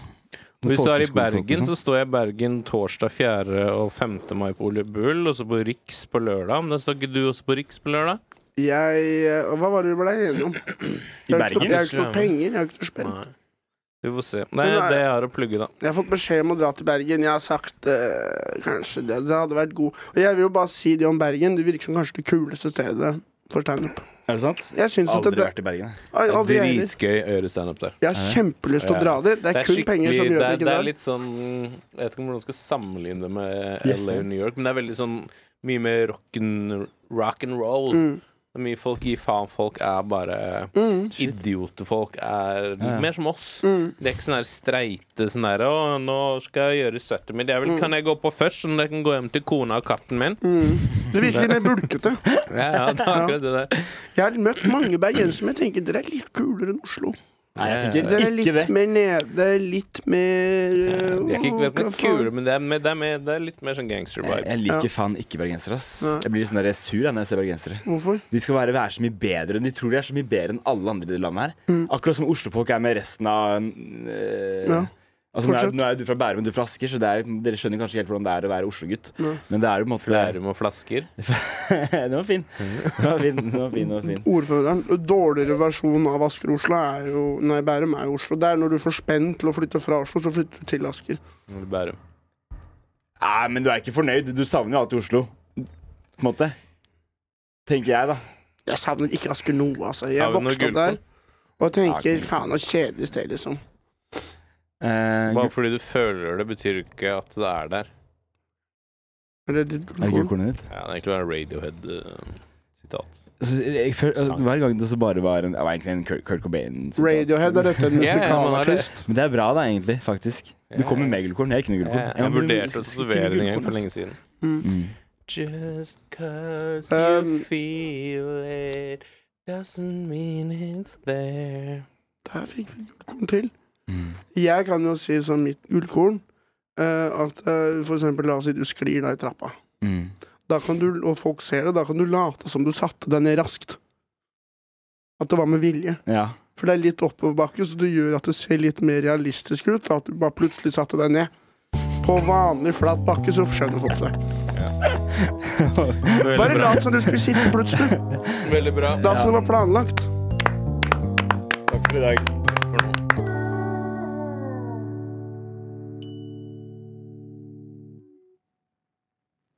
[SPEAKER 1] Hvis du er i
[SPEAKER 2] Folkeskolefolk og
[SPEAKER 1] Bergen,
[SPEAKER 2] sånn.
[SPEAKER 1] så står jeg i Bergen torsdag 4. og 5. mai på Ole Bull, og så på Riks på lørdag. Men da står ikke du også på Riks på lørdag?
[SPEAKER 3] Jeg eh, Hva var det vi ble enige om?
[SPEAKER 2] I
[SPEAKER 3] Jeg har ikke-
[SPEAKER 2] Bergen.
[SPEAKER 3] Jeg har ikke noe penger. Jeg har ikke noe spenn.
[SPEAKER 1] Nei. Vi får se. Nei,
[SPEAKER 3] Men, eh,
[SPEAKER 1] det jeg har å plugge, da.
[SPEAKER 3] Jeg har fått beskjed om å dra til Bergen. Jeg har sagt eh, kanskje det. Det hadde vært god Og jeg vil jo bare si det om Bergen. Det virker som kanskje det kuleste stedet for standup.
[SPEAKER 2] Er det sant?
[SPEAKER 3] Jeg syns at
[SPEAKER 2] Aldri
[SPEAKER 3] det
[SPEAKER 2] vært i Bergen. jeg.
[SPEAKER 3] Ai, aldri jeg heller.
[SPEAKER 1] Dritgøy å gjøre standup der.
[SPEAKER 3] Jeg har kjempelyst til å dra dit. Det er kun penger som gjør
[SPEAKER 1] det
[SPEAKER 3] at
[SPEAKER 1] er,
[SPEAKER 3] jeg ikke
[SPEAKER 1] det er
[SPEAKER 3] drar.
[SPEAKER 1] litt sånn Jeg vet ikke om hvordan man skal sammenligne det med
[SPEAKER 2] Yes,
[SPEAKER 1] LA
[SPEAKER 2] ja.
[SPEAKER 1] og New York, men det er veldig sånn mye mer rock and, rock and roll.
[SPEAKER 3] Mm.
[SPEAKER 1] Mye folk gir faen. Folk er bare
[SPEAKER 3] Mm.
[SPEAKER 1] idioter. Folk er
[SPEAKER 2] Ja.
[SPEAKER 1] mer som oss.
[SPEAKER 3] Mm.
[SPEAKER 1] Det er ikke sånn her streite sånn her Å, nå skal jeg gjøre settet mitt. Jeg vil, Kan jeg gå på først, sånn at jeg kan gå hjem til kona og katten min?
[SPEAKER 3] Mm. Det virker litt mer bulkete.
[SPEAKER 1] Ja, ja, det er akkurat det der.
[SPEAKER 3] Jeg har møtt mange bergensere som jeg tenker dere er litt kulere enn Oslo.
[SPEAKER 2] Nei, jeg
[SPEAKER 1] Ja, ja,
[SPEAKER 2] tenker
[SPEAKER 3] Dere er
[SPEAKER 2] ikke
[SPEAKER 3] litt
[SPEAKER 2] det.
[SPEAKER 3] mer nede, litt mer
[SPEAKER 1] De er ikke
[SPEAKER 3] åh,
[SPEAKER 1] vet,
[SPEAKER 3] hva
[SPEAKER 1] ikke
[SPEAKER 3] faen?
[SPEAKER 1] kule, men det er, mer- det, er mer- det er litt mer sånn
[SPEAKER 2] Jeg
[SPEAKER 1] gangster-vibes.
[SPEAKER 2] liker faen ikke bergensere, ass.
[SPEAKER 3] Nei.
[SPEAKER 2] Jeg blir sånn der sur jeg, når jeg ser bergensere.
[SPEAKER 3] Hvorfor?
[SPEAKER 2] De skal være, være så mye bedre. De tror de er så mye bedre enn alle andre i det landet her. Akkurat som oslofolk er med resten av øh,
[SPEAKER 3] Ja.
[SPEAKER 2] Altså, nå, er,
[SPEAKER 3] Fortsett.
[SPEAKER 2] nå er du fra Bærum, du er fra Asker, så det er, dere skjønner kanskje ikke helt hvordan det er å være Oslo-gutt.
[SPEAKER 3] Nei.
[SPEAKER 2] Men det er jo på en måte
[SPEAKER 1] Lærum og flasker.
[SPEAKER 2] Den var fin. Den var fin, den var fin. Den var fin.
[SPEAKER 3] Ordføreren. Dårligere versjon av Asker og Oslo er jo Nei, Bærum er jo Oslo. Det er når du får spenn til å flytte fra Oslo, så flytter du til Asker.
[SPEAKER 1] når du bærer.
[SPEAKER 2] Nei, Ah, men du er ikke fornøyd. Du savner jo alltid Oslo. På en måte. Tenker jeg, da.
[SPEAKER 3] Jeg savner ikke Asker nå, altså.
[SPEAKER 1] Har
[SPEAKER 3] Jeg
[SPEAKER 1] vi noe
[SPEAKER 3] vokste
[SPEAKER 1] gull på?
[SPEAKER 3] opp der. Og jeg
[SPEAKER 2] Ja,
[SPEAKER 3] tenker
[SPEAKER 2] gull.
[SPEAKER 3] faen, så kjedelig sted, liksom.
[SPEAKER 2] Eh,
[SPEAKER 1] Bare fordi du føler det, betyr ikke at det er der.
[SPEAKER 3] Eller det-
[SPEAKER 2] Er det gullkornet ditt?
[SPEAKER 1] Ja, det er egentlig bare Radiohead-sitat.
[SPEAKER 2] Så jeg føler- altså, Hver gang det så bare var en, det var egentlig en Kurt, Kurt Cobain sitat.
[SPEAKER 3] Radiohead er dette en
[SPEAKER 1] sånn Ja, ja, man har det.
[SPEAKER 3] musikalartist.
[SPEAKER 2] Men det er bra, da, egentlig. Faktisk. Du kommer med gullkorn. Jeg er ikke noe gullkorn.
[SPEAKER 1] Jeg, jeg vurderte å tatovere det en gang for lenge siden.
[SPEAKER 3] Mm.
[SPEAKER 2] Mm.
[SPEAKER 1] Just cause
[SPEAKER 3] you Um,
[SPEAKER 1] feel it doesn't mean it's there.
[SPEAKER 3] Der fikk vi gullkorn til.
[SPEAKER 2] Mm.
[SPEAKER 3] Jeg kan jo si som mitt gullkorn eh, at eh, for eksempel, la oss si du sklir da i trappa.
[SPEAKER 2] Mm.
[SPEAKER 3] Da kan du, og folk ser det, da kan du late som du satte deg ned raskt. At det var med vilje.
[SPEAKER 2] Ja.
[SPEAKER 3] For det er litt oppoverbakke, så det gjør at det ser litt mer realistisk ut. At du bare plutselig satte deg ned. På vanlig flat bakke, så skjønner folk det.
[SPEAKER 1] Veldig
[SPEAKER 3] Bare
[SPEAKER 1] bra.
[SPEAKER 3] lat som du skulle sitte plutselig.
[SPEAKER 1] Veldig bra.
[SPEAKER 3] Lat som det var planlagt.
[SPEAKER 2] Takk for i dag.